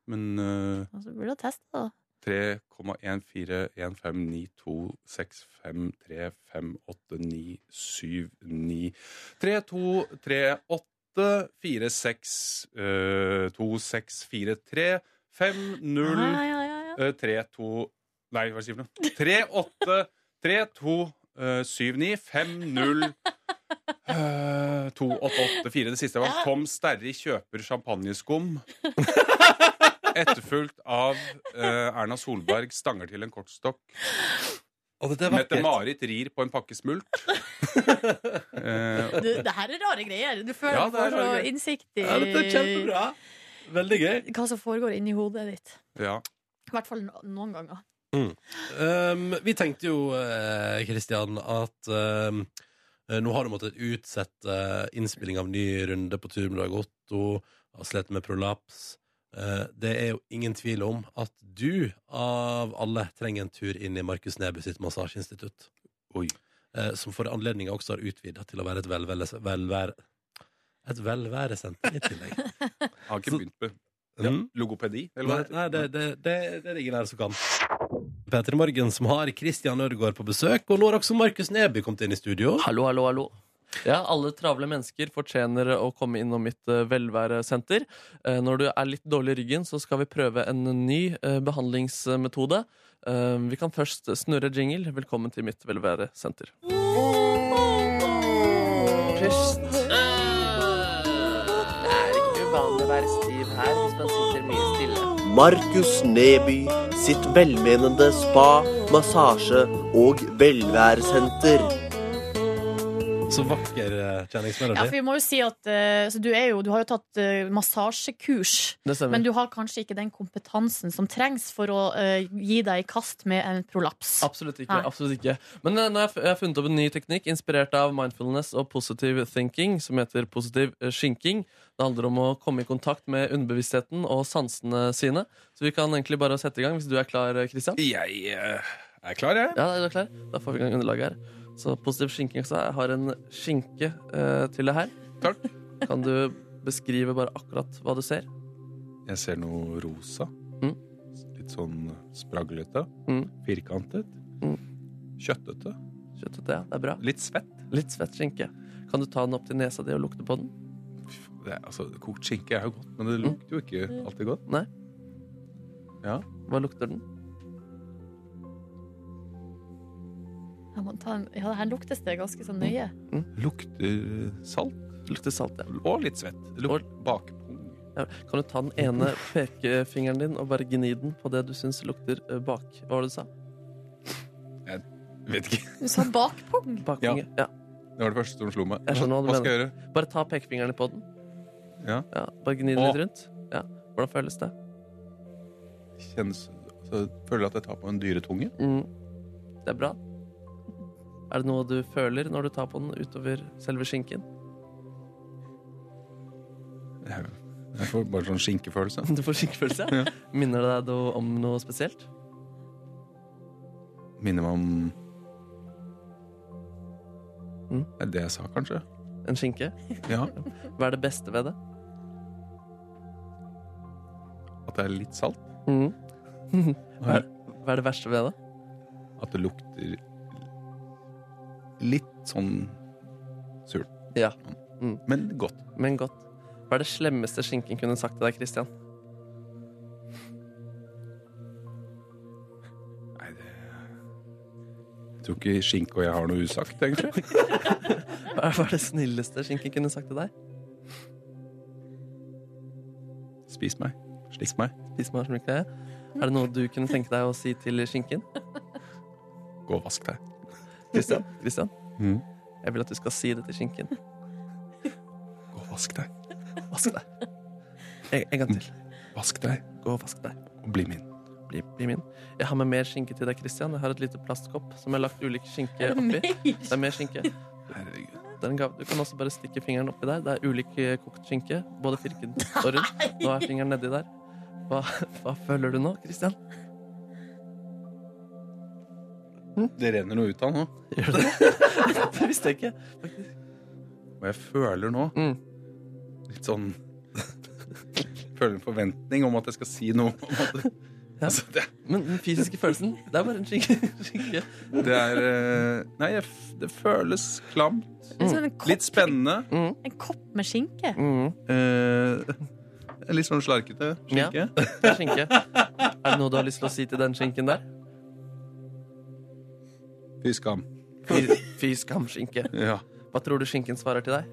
[SPEAKER 6] Men eh,
[SPEAKER 3] Altså, burde du teste, da.
[SPEAKER 6] 3,141592653589793238462 3, 2, 3, 8, 4, 6, eh, 2, 6, 4, 3, 5, 0,
[SPEAKER 3] Ja, ja, ja, ja.
[SPEAKER 6] eh, 3, 2, nei, hva sier du for noe? 3, 8, 3, 2, eh, 7, 9, 5, 0, eh, 2, 8, 8, 4. Det siste var Tom Sterri kjøper champagneskum. Etterfulgt av eh, Erna Solberg stanger til en kortstokk.
[SPEAKER 2] Å, dette er vakkert.
[SPEAKER 6] Mette-Marit rir på en pakke smult. Eh,
[SPEAKER 3] Du, det her er rare greier. Du føler
[SPEAKER 6] Ja,
[SPEAKER 3] du
[SPEAKER 6] det er
[SPEAKER 3] får så
[SPEAKER 6] rare greier.
[SPEAKER 3] innsikt i
[SPEAKER 2] Ja, dette er kjempebra. Veldig gøy.
[SPEAKER 3] hva som foregår inni hodet ditt.
[SPEAKER 6] ja.
[SPEAKER 3] I hvert fall no- noen ganger.
[SPEAKER 2] Um, vi tenkte jo, eh, Kristian, at um, eh, nå har du måttet utsette eh, innspilling av ny runde på tur med Dag Otto, har slitt med prolaps. Eh, det er jo ingen tvil om at du, av alle, trenger en tur inn i Markus Neby sitt massasjeinstitutt.
[SPEAKER 6] Oi.
[SPEAKER 2] Eh, som for anledninga også har utvida til å være et velvære... velvære et velværesenter i tillegg.
[SPEAKER 6] Jeg har ikke
[SPEAKER 2] Så-
[SPEAKER 6] begynt på ja.
[SPEAKER 2] Mm.
[SPEAKER 6] logopedi, eller hva
[SPEAKER 2] Nei,
[SPEAKER 6] det
[SPEAKER 2] nei det,
[SPEAKER 6] heter.
[SPEAKER 2] det, det, det er det ingen her som kan. Peter Morgen som har Christian Ødegaard på besøk, og nå har også Markus Neby kommet inn i studio.
[SPEAKER 1] Hallo, hallo, hallo. Ja, alle travle mennesker fortjener å komme innom mitt eh, velværesenter. Eh, Når du er litt dårlig i ryggen, så skal vi prøve en ny eh, behandlingsmetode. Eh, Vi kan først snurre jingle. Velkommen til mitt velværesenter. Pust. Det er ikke uvanlig å være stiv her hvis man sitter mye stille.
[SPEAKER 7] Markus Neby sitt velmenende spa, massasje og velværesenter.
[SPEAKER 2] Så vakker eh,
[SPEAKER 3] Ja, for
[SPEAKER 2] kjenningsmelodi.
[SPEAKER 3] vi må jo si at eh, så du, er jo, du har jo tatt eh, massasjekurs,
[SPEAKER 1] Det stemmer.
[SPEAKER 3] men du har kanskje ikke den kompetansen som trengs for å eh, gi deg i kast med en prolaps.
[SPEAKER 1] Absolutt ikke.
[SPEAKER 3] Nei.
[SPEAKER 1] absolutt ikke Men eh, nå har jeg f- jeg har funnet opp en ny teknikk inspirert av mindfulness og positive thinking, som heter positiv eh, skinking. Det handler om å komme i kontakt med underbevisstheten og sansene sine. Så vi kan egentlig bare sette i gang, hvis du er klar, eh, Christian.
[SPEAKER 6] Jeg eh, er klar, jeg.
[SPEAKER 1] Ja, er du klar? Da får vi i gang underlaget her. Så positiv skinking også. Jeg har en skinke eh, til deg her.
[SPEAKER 6] Takk.
[SPEAKER 1] Kan du beskrive bare akkurat hva du ser?
[SPEAKER 6] Jeg ser noe rosa.
[SPEAKER 1] Mm.
[SPEAKER 6] Litt sånn spraglete.
[SPEAKER 1] Mm.
[SPEAKER 6] Firkantet.
[SPEAKER 1] Mm.
[SPEAKER 6] Kjøttete.
[SPEAKER 1] Kjøttet, ja. Det er bra.
[SPEAKER 6] Litt svett.
[SPEAKER 1] Litt svett skinke. Kan du ta den opp til nesa di og lukte på den?
[SPEAKER 6] Fy faen, Det er, altså, kokt skinke er jo godt,
[SPEAKER 1] Mm.
[SPEAKER 6] men det lukter jo ikke alltid godt.
[SPEAKER 1] Hva lukter den?
[SPEAKER 3] Jeg må ta en, ja, her luktes det ganske så nøye.
[SPEAKER 6] Lukter salt
[SPEAKER 1] Det lukter salt, ja.
[SPEAKER 6] og litt svett. Det lukter bakpung.
[SPEAKER 1] ja. Kan du ta den ene pekefingeren din og bare gni den på det du syns lukter eh, bak... Hva var det du sa?
[SPEAKER 6] Vet ikke.
[SPEAKER 3] Du sa bakpung.
[SPEAKER 1] Bakfinger? Ja.
[SPEAKER 6] Det var det første som slo meg.
[SPEAKER 1] Jeg skjønner hva du
[SPEAKER 6] hva skal jeg gjøre?
[SPEAKER 1] Bare ta pekefingeren din på den.
[SPEAKER 6] Ja.
[SPEAKER 1] Bare gni den
[SPEAKER 6] Å.
[SPEAKER 1] litt rundt. Ja. Hvordan føles det?
[SPEAKER 6] Kjennes, altså, føler at jeg tar på en dyretunge.
[SPEAKER 1] Mm. Det er bra. Er det noe du føler når du tar på den utover selve skinken?
[SPEAKER 6] Jeg jeg får bare sånn skinkefølelse.
[SPEAKER 1] Du får skinkefølelse?
[SPEAKER 6] Ja.
[SPEAKER 1] Minner det deg noe om noe spesielt?
[SPEAKER 6] Minner meg om
[SPEAKER 1] Mm.
[SPEAKER 6] Det er det jeg sa, kanskje.
[SPEAKER 1] En skinke?
[SPEAKER 6] Ja,
[SPEAKER 1] Hva er det beste ved det?
[SPEAKER 6] At det er litt salt.
[SPEAKER 1] Mm.
[SPEAKER 6] Hva
[SPEAKER 1] Hva, er, hva er det verste ved det?
[SPEAKER 6] At det lukter litt sånn surt.
[SPEAKER 1] Ja. Mm.
[SPEAKER 6] Mm. Men godt.
[SPEAKER 1] Men godt. Hva er det slemmeste skinken kunne sagt til deg, Christian?
[SPEAKER 6] Nei, det... Jeg tror ikke skinke og jeg har noe usagt, egentlig.
[SPEAKER 1] Hva er, hva er det snilleste skinken kunne sagt til deg?
[SPEAKER 6] Spis meg. Slikk meg.
[SPEAKER 1] Spis meg, slik det er. Er det noe du kunne tenke deg å si til skinken?
[SPEAKER 6] Gå og vask deg.
[SPEAKER 1] Christian? Christian?
[SPEAKER 6] Mm.
[SPEAKER 1] Jeg vil at du skal si det til skinken.
[SPEAKER 6] Gå og vask deg.
[SPEAKER 1] Vask deg. En, en gang til.
[SPEAKER 6] Vask deg
[SPEAKER 1] Gå og vask deg.
[SPEAKER 6] og bli min.
[SPEAKER 1] Bli, bli min. Jeg har med mer skinke til deg, Christian. Jeg har et lite plastkopp som jeg har lagt ulik skinke oppi. Det er mer skinke.
[SPEAKER 6] Herregud.
[SPEAKER 1] Det er en gave. Du kan også bare stikke fingeren oppi der. Det er ulik eh, kokt skinke. Både firkant og rund. Nå er fingeren nedi der. Hva, hva føler du nå, Christian?
[SPEAKER 6] Det renner noe ut av nå.
[SPEAKER 1] Gjør du det? Det visste jeg ikke.
[SPEAKER 6] Og jeg føler nå
[SPEAKER 1] Mm.
[SPEAKER 6] litt sånn Føler en forventning om at jeg skal si noe. Om at det,
[SPEAKER 1] Ja.
[SPEAKER 6] altså, det,
[SPEAKER 1] Men den fysiske følelsen, det er bare en skinke. skinke.
[SPEAKER 6] det er eh, Nei, jeg, f- det føles klamt.
[SPEAKER 3] Det er som en kopp,
[SPEAKER 6] Litt spennende.
[SPEAKER 3] en kopp med skinke.
[SPEAKER 1] Mm.
[SPEAKER 6] Eh, litt sånn slarkete skinke.
[SPEAKER 1] Det er skinke. Er det noe du har lyst til å si til den skinken der?
[SPEAKER 6] Fy skam.
[SPEAKER 1] Fy, fy skam, skinke.
[SPEAKER 6] Ja.
[SPEAKER 1] Hva tror du skinken svarer til deg?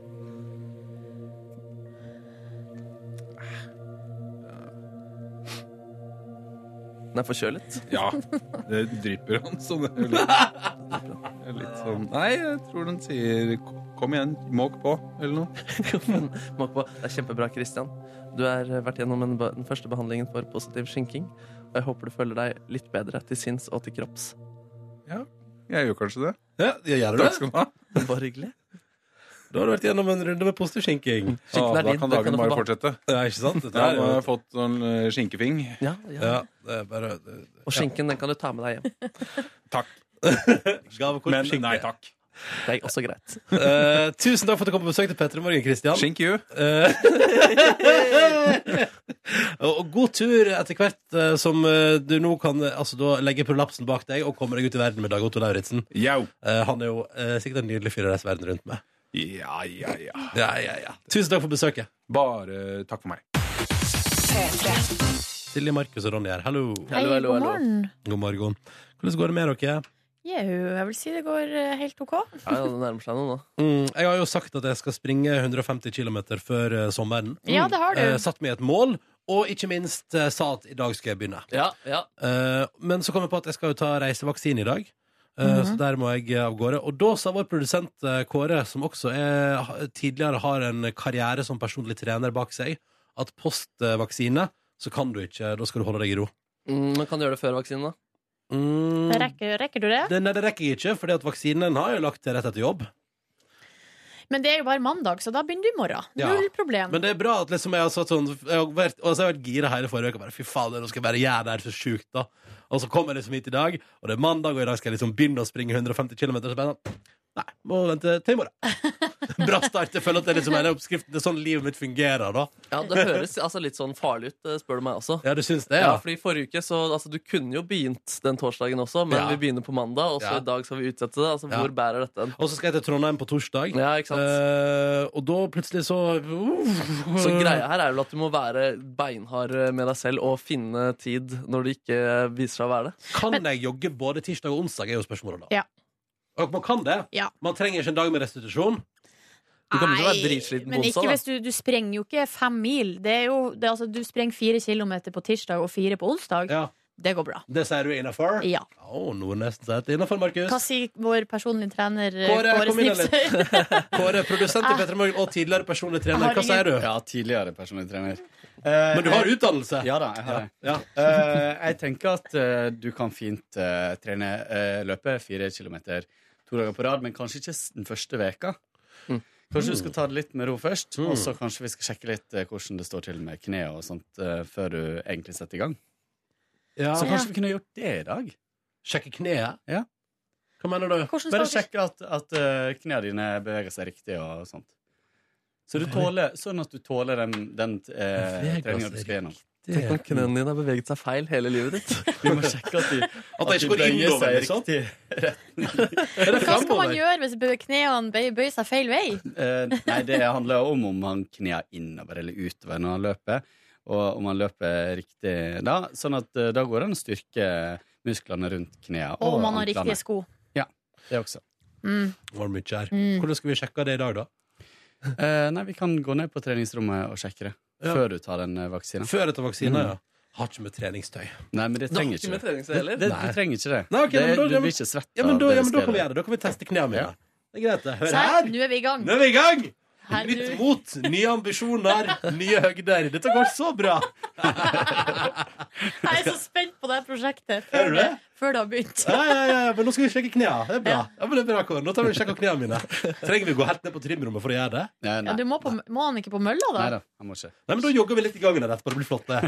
[SPEAKER 1] Den er forkjølet.
[SPEAKER 6] ja. Det drypper han sånn. Det er litt, det er litt sånn Nei, jeg tror den sier kom igjen, måk på, eller noe.
[SPEAKER 1] Men Måk på. Det er kjempebra, Christian. Du har vært gjennom en, be- den første behandlingen for positiv skinking. Og jeg håper du føler deg litt bedre til sinns og til kropps.
[SPEAKER 6] Jeg gjør kanskje det.
[SPEAKER 2] Ja, jeg gjør det.
[SPEAKER 6] Takk skal du ha.
[SPEAKER 1] Det var hyggelig.
[SPEAKER 2] Da har du vært gjennom en runde med positiv skinking.
[SPEAKER 1] Skinken
[SPEAKER 6] Ja,
[SPEAKER 1] er
[SPEAKER 6] da
[SPEAKER 1] din,
[SPEAKER 6] kan
[SPEAKER 1] den kan
[SPEAKER 6] dagen
[SPEAKER 1] du få
[SPEAKER 6] bare
[SPEAKER 1] bak-
[SPEAKER 6] fortsette.
[SPEAKER 2] Ja, ikke sant? Dette
[SPEAKER 6] Da
[SPEAKER 2] er
[SPEAKER 6] har
[SPEAKER 2] jo
[SPEAKER 6] jeg fått sånn eh, skinkefing.
[SPEAKER 1] Ja, ja.
[SPEAKER 2] Ja, det er bare
[SPEAKER 1] Og skinken den kan du ta med deg hjem.
[SPEAKER 6] Takk.
[SPEAKER 2] Gavekort
[SPEAKER 6] Men nei takk.
[SPEAKER 1] Det er også greit.
[SPEAKER 2] Eh, tusen takk for at du kom på besøk til Petter i morgen, Kristian.
[SPEAKER 6] Skink you.
[SPEAKER 2] og og god tur etter hvert eh, som eh, du nå kan eh, altså, da legge prolapsen bak deg og komme deg ut i verden med Dag Otto Lauritzen.
[SPEAKER 6] Yo.
[SPEAKER 2] Eh, han er jo eh, sikkert en nydelig fyr å reise verden rundt med.
[SPEAKER 6] Ja, ja, ja.
[SPEAKER 2] Ja, ja, ja. Tusen takk for besøket.
[SPEAKER 6] Bare takk for meg.
[SPEAKER 2] Silje, Markus og Ronny her. Hallo.
[SPEAKER 3] Hei,
[SPEAKER 1] Hallo, hallo,
[SPEAKER 3] god
[SPEAKER 1] hallo.
[SPEAKER 3] morgen.
[SPEAKER 2] God morgen. Hvordan går det med dere?
[SPEAKER 3] Jau, jeg vil si det går eh, helt OK.
[SPEAKER 1] Ja, det nærmer seg noe nå.
[SPEAKER 2] Mm, jeg har jo sagt at jeg skal springe 150 km før eh, sommeren.
[SPEAKER 3] Ja, det har du.
[SPEAKER 2] Eh, satt meg et mål, og ikke minst eh, sa at i dag skal jeg begynne.
[SPEAKER 1] Ja, ja.
[SPEAKER 2] Eh, men så kom jeg på at jeg skal jo ta reisevaksine i dag. Eh,
[SPEAKER 3] Mhm.
[SPEAKER 2] Så der må jeg av gårde. Og da sa vår produsent eh, Kåre, som også er, ha- tidligere har en karriere som personlig trener bak seg, at postvaksine så kan du ikke, da skal du holde deg i ro.
[SPEAKER 1] Mm, man kan gjøre det før vaksinen, da.
[SPEAKER 2] Mm.
[SPEAKER 3] Det rekker, rekker du det?
[SPEAKER 2] Det, nei, det rekker jeg ikke, for vaksinen har jeg lagt til rett etter jobb.
[SPEAKER 3] Men det er jo bare mandag, så da begynner du i morgen.
[SPEAKER 2] Ja.
[SPEAKER 3] Null problem.
[SPEAKER 2] Men det er bra at liksom jeg har satt sånn Jeg har vært, altså jeg har vært gira hele forrige uke. Bare, Fy fader, nå skal jeg bare gjøre det her så sjukt, da. Og så kommer jeg liksom hit i dag, og det er mandag, og i dag skal jeg liksom begynne å springe 150 km. Så bare sånn, Nei, må vente til i morgen. bra start. Jeg føler at det er liksom en oppskrift. Det er sånn livet mitt fungerer, da.
[SPEAKER 1] Ja, Det høres altså, litt sånn farlig ut, eh, spør du meg også.
[SPEAKER 2] Ja, du syns det,
[SPEAKER 1] Ja,
[SPEAKER 2] ja?
[SPEAKER 1] fordi forrige uke så, altså, Du kunne jo begynt den torsdagen også, men
[SPEAKER 2] Ja.
[SPEAKER 1] vi begynner på mandag, og så
[SPEAKER 2] Ja.
[SPEAKER 1] i dag skal vi utsette det. Altså,
[SPEAKER 2] Ja.
[SPEAKER 1] Hvor bærer dette en?
[SPEAKER 2] Og så skal jeg til Trondheim på torsdag.
[SPEAKER 1] Ja, ikke sant?
[SPEAKER 2] Eh, mm. og da plutselig så uh,
[SPEAKER 1] Så greia her er vel at du må være beinhard eh, med deg selv og finne tid når du ikke eh, viser seg å være det.
[SPEAKER 2] Kan jeg jogge både tirsdag og onsdag, er jo spørsmålet da.
[SPEAKER 3] Ja.
[SPEAKER 2] Og man kan det.
[SPEAKER 3] Ja.
[SPEAKER 2] Man trenger ikke en dag med restitusjon.
[SPEAKER 1] Du kommer til å være
[SPEAKER 3] Nei,
[SPEAKER 1] dritsliten på
[SPEAKER 3] Men
[SPEAKER 1] onsdag,
[SPEAKER 3] ikke
[SPEAKER 1] da.
[SPEAKER 3] hvis du, du sprenger jo ikke fem mil. Det er jo, det, er altså, du sprenger fire kilometer på tirsdag og fire på onsdag.
[SPEAKER 2] Ja,
[SPEAKER 3] Det går bra.
[SPEAKER 2] det sier du innafor?
[SPEAKER 3] Ja.
[SPEAKER 2] Å, Nordnes sier det innafor, Markus.
[SPEAKER 3] Hva sier vår personlige trener eh,
[SPEAKER 2] Kåre,
[SPEAKER 3] Kåre
[SPEAKER 2] kom inn,
[SPEAKER 3] Snipsøy?
[SPEAKER 2] Kåre, produsent
[SPEAKER 3] Ah.
[SPEAKER 2] i Petter Morgen og tidligere personlig trener,
[SPEAKER 3] Jeg har
[SPEAKER 2] hva sier du?
[SPEAKER 8] Ja, tidligere personlig trener.
[SPEAKER 2] Men du har utdannelse?
[SPEAKER 8] Ja da, jeg har det.
[SPEAKER 2] Ja.
[SPEAKER 8] Eh, jeg tenker at eh, du kan fint eh, trene eh, løpe fire kilometer to dager på rad, men kanskje ikke s- den første veka. Kanskje du skal ta det litt med ro først, og så kanskje vi skal sjekke litt eh, hvordan det står til med kneet og sånt eh, før du egentlig setter i gang.
[SPEAKER 2] Ja.
[SPEAKER 8] Så kanskje vi kunne gjort det i dag?
[SPEAKER 2] Sjekke kneet?
[SPEAKER 8] Ja.
[SPEAKER 2] Hva mener du?
[SPEAKER 3] Hvordan
[SPEAKER 8] Bare
[SPEAKER 3] skal dere-
[SPEAKER 8] sjekke at, at eh, knærne dine beveger seg riktig og sånt. Så du tåler, sånn at du tåler den, den eh,
[SPEAKER 2] Beveger
[SPEAKER 8] treninga
[SPEAKER 2] seg
[SPEAKER 8] du skal gjennom.
[SPEAKER 1] Tenk om knærne dine har beveget seg feil hele livet ditt.
[SPEAKER 8] Vi må sjekke at de,
[SPEAKER 2] At det ikke går innover, liksom?
[SPEAKER 8] riktig.
[SPEAKER 2] Er det
[SPEAKER 3] Hva skal man
[SPEAKER 2] fremover?
[SPEAKER 3] gjøre hvis bø- knærne bøy- bøyer seg feil vei?
[SPEAKER 8] Eh, nei, det handler jo om om han kneer innover eller utover når han løper, og om han løper riktig da. Sånn at eh, da går det an å styrke musklene rundt knærne.
[SPEAKER 3] Og om man har
[SPEAKER 8] anklene.
[SPEAKER 3] riktige sko.
[SPEAKER 8] Det også.
[SPEAKER 3] Mm.
[SPEAKER 2] Var det mye her.
[SPEAKER 3] Mm.
[SPEAKER 2] Hvordan skal vi sjekke det i dag, da?
[SPEAKER 8] Eh, nei, vi kan gå ned på treningsrommet og sjekke det.
[SPEAKER 2] Ja.
[SPEAKER 8] Før du tar den eh, vaksinen.
[SPEAKER 2] Før etter vaksine,
[SPEAKER 8] Mm.
[SPEAKER 2] ja. Har ikke med treningstøy.
[SPEAKER 8] Nei, men det
[SPEAKER 1] Du har
[SPEAKER 8] trenger
[SPEAKER 1] ikke
[SPEAKER 8] ikke
[SPEAKER 1] med
[SPEAKER 8] det.
[SPEAKER 1] treningstøy
[SPEAKER 8] Det,
[SPEAKER 1] heller.
[SPEAKER 8] det,
[SPEAKER 2] Nei.
[SPEAKER 8] du trenger ikke det.
[SPEAKER 2] Nei, ok,
[SPEAKER 8] det
[SPEAKER 2] men da-
[SPEAKER 8] du
[SPEAKER 2] ja, men-
[SPEAKER 8] blir ikke svett
[SPEAKER 2] Ja, men da,
[SPEAKER 8] av det
[SPEAKER 2] ja, men da kan vi
[SPEAKER 8] spillet.
[SPEAKER 2] gjøre det. Da kan vi teste knærne mine.
[SPEAKER 8] Ja.
[SPEAKER 2] Det er greit, det. Hør
[SPEAKER 3] Her,
[SPEAKER 2] her!
[SPEAKER 3] nå er vi i gang.
[SPEAKER 2] Nå er vi i gang!
[SPEAKER 3] Her,
[SPEAKER 2] Nytt
[SPEAKER 3] nå.
[SPEAKER 2] mot, nye ambisjoner, nye høgder. Dette går så bra!
[SPEAKER 3] Jeg er så spent på det her prosjektet
[SPEAKER 2] Er
[SPEAKER 3] før
[SPEAKER 2] du
[SPEAKER 3] det,
[SPEAKER 2] det?
[SPEAKER 3] før det har begynt.
[SPEAKER 2] Ja, ja, ja, men nå skal vi sjekke knærne. Det er bra. Ja, men det er bra, Kåre. Nå tar vi og sjekker knærne mine. Trenger vi å gå helt ned på trimrommet for å gjøre det?
[SPEAKER 8] Ja,
[SPEAKER 3] Ja,
[SPEAKER 8] nei.
[SPEAKER 3] du må, på, må han ikke på mølla, da?
[SPEAKER 8] nei da, jeg må ikke.
[SPEAKER 2] Nei, men Da jogger vi litt i gangen her etterpå. Det blir flott, det.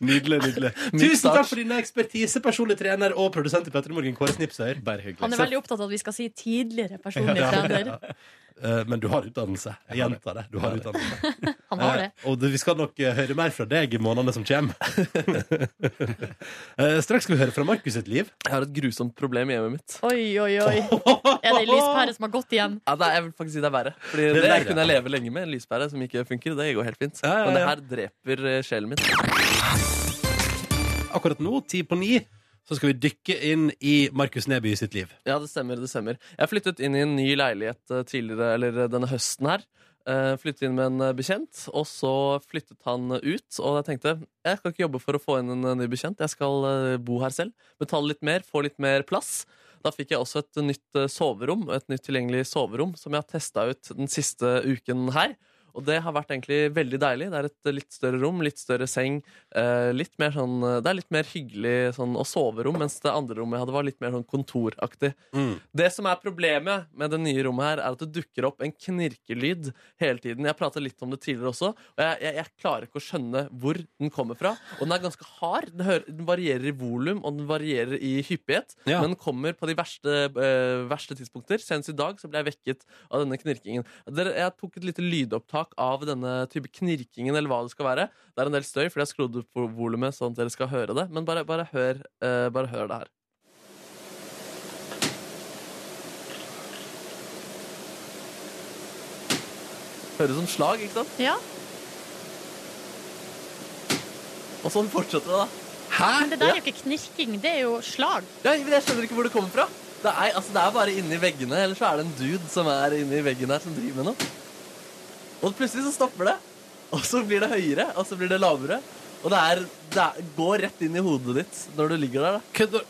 [SPEAKER 2] nydelig. nydelig Tusen takk for din ekspertise, personlig trener og produsent i Petter Morgen, Kåre Snipsøyr.
[SPEAKER 8] Bare hyggelig.
[SPEAKER 3] Han er veldig opptatt av at vi skal si 'tidligere personlig
[SPEAKER 2] Ja.
[SPEAKER 3] trener'.
[SPEAKER 2] Eh, Men du har utdannelse. Jeg gjentar det. Du har utdannelse.
[SPEAKER 3] Han har det.
[SPEAKER 2] Eh, og det, vi skal nok eh, høre mer fra deg i månedene som kommer. Eh, straks skal vi høre fra Markus sitt liv.
[SPEAKER 1] Jeg har et grusomt problem i hjemmet mitt.
[SPEAKER 3] Oi, oi, oi. Er det ei lyspære som har gått igjen?
[SPEAKER 1] Ja, nei, jeg vil faktisk si det er verre. Fordi
[SPEAKER 2] er
[SPEAKER 1] det,
[SPEAKER 2] verre.
[SPEAKER 1] kunne jeg leve lenge med. En lyspære som ikke funker. Det går helt fint.
[SPEAKER 2] Ja, ja, ja.
[SPEAKER 1] Men det her dreper eh, sjelen min.
[SPEAKER 2] Akkurat nå, ti på ni, så skal vi dykke inn i Markus Neby sitt liv.
[SPEAKER 1] Ja, det stemmer. det stemmer Jeg flyttet inn i en ny leilighet eh, tidligere, eller eh, denne høsten her. Eh, flyttet inn med en eh, bekjent, og så flyttet han eh, ut. Og jeg tenkte jeg skal ikke jobbe for å få inn en eh, ny bekjent, jeg skal eh, bo her selv. Betale litt mer, få litt mer plass. Da fikk jeg også et nytt eh, soverom, et nytt tilgjengelig soverom, som jeg har testa ut den siste uken her. Og det har vært egentlig veldig deilig. Det er et eh, litt større rom, litt større seng. Eh, litt mer sånn, eh, det er litt mer hyggelig sånn, å soverom, mens det andre rommet jeg hadde, var litt mer sånn kontoraktig.
[SPEAKER 2] Mm.
[SPEAKER 1] Det som er problemet med det nye rommet her, er at det dukker opp en knirkelyd hele tiden. Jeg pratet litt om det tidligere også, og jeg, jeg, jeg klarer ikke å skjønne hvor den kommer fra. Og den er ganske hard. Den, hører, den varierer i volum, og den varierer i hyppighet.
[SPEAKER 2] Ja.
[SPEAKER 1] Men den kommer på de verste, eh, verste tidspunkter. Senest i dag så ble jeg vekket av denne knirkingen. Dere- Jeg tok et lite lydopptak av denne type knirkingen, eller hva det skal være. Det er en del støy, fordi jeg skrudde opp volumet sånn at dere skal høre det. Men bare, bare, hør, eh, bare hør det her. Høres som slag, ikke sant?
[SPEAKER 3] Ja,
[SPEAKER 1] Og sånn fortsetter det, da.
[SPEAKER 3] Men det der er jo ikke knirking, det er jo slag.
[SPEAKER 1] Ja, men Jeg skjønner ikke hvor det kommer fra. Det er, altså, det er bare inni veggene, eller så er det en dude som er inni veggen her som driver med noe. Og plutselig så stopper det, og så blir det høyere, og så blir det lavere. Og det, er, det er, går rett inn i hodet ditt når du ligger der. da.
[SPEAKER 2] Kødder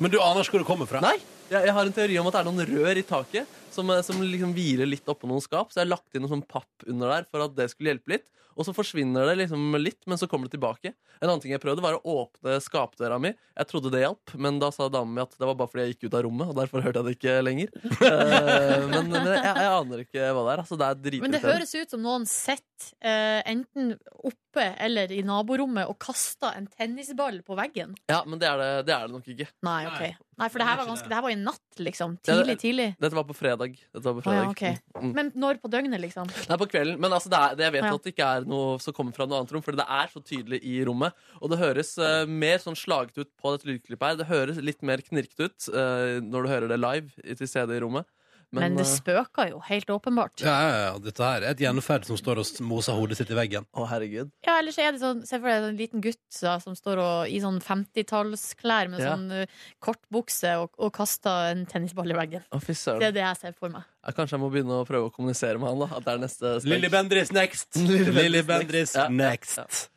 [SPEAKER 2] Men du aner ikke hvor det kommer fra?
[SPEAKER 1] Nei, jeg, jeg har en teori om at det er noen rør i taket som, eh, som liksom hviler litt oppå noen skap. Så jeg har lagt inn noe sånn papp under der for at det skulle hjelpe litt. Og så forsvinner det liksom litt, men så kommer det tilbake. En annen ting jeg prøvde, var å åpne skapdøra mi. Jeg trodde det hjalp, men da sa dama mi at det var bare fordi jeg gikk ut av rommet, og derfor hørte jeg det ikke lenger. Eh, men men jeg, jeg aner ikke hva det er. Altså, det er
[SPEAKER 3] Men det
[SPEAKER 1] dritirriterende.
[SPEAKER 3] høres ut som noen sitter eh, enten oppe eller i naborommet og kaster en tennisball på veggen.
[SPEAKER 1] Ja, men det er det, det er det nok ikke.
[SPEAKER 3] Nei, ok.
[SPEAKER 2] Nei.
[SPEAKER 3] Nei, for det her var, ganske, det her var i natt, liksom.
[SPEAKER 1] Ja,
[SPEAKER 3] Tidlig,
[SPEAKER 1] det-
[SPEAKER 3] tidlig.
[SPEAKER 1] Dette var på fredag. Dette var på
[SPEAKER 3] Å
[SPEAKER 1] fredag.
[SPEAKER 3] Ah, ja, ok.
[SPEAKER 1] Mm.
[SPEAKER 3] Men når på døgnet, liksom?
[SPEAKER 1] Nei, på kvelden, men altså det er, det jeg vet
[SPEAKER 3] Ja.
[SPEAKER 1] at det ikke er noe som kommer fra noe annet rom, Fordi det er så tydelig i rommet. Og det høres eh, mer sånn slaget ut på dette lydklippet her. Det høres litt mer knirket ut eh, når du hører det live i- til CD i rommet.
[SPEAKER 3] Men,
[SPEAKER 1] Men, eh,
[SPEAKER 3] det spøker jo, helt åpenbart. Ja.
[SPEAKER 2] Ja, ja, ja, dette her er et gjenferd som står og moser hodet sitt i veggen.
[SPEAKER 1] eh, Å, herregud.
[SPEAKER 3] ellers er det sånn Se for deg en liten gutt da, som står og, i sånn 50-tallsklær med
[SPEAKER 1] Ja.
[SPEAKER 3] sånn uh, kortbukse og, og kaster en tennisball i veggen.
[SPEAKER 1] Å, fy
[SPEAKER 3] Det
[SPEAKER 1] søren.
[SPEAKER 3] er det jeg ser for meg.
[SPEAKER 1] Ja, Kanskje jeg må begynne å prøve å kommunisere med han, da. At det er neste steg.
[SPEAKER 2] Lilly Bendriss next! Lilly Bendriss
[SPEAKER 1] Ja, ja, ja.
[SPEAKER 2] next!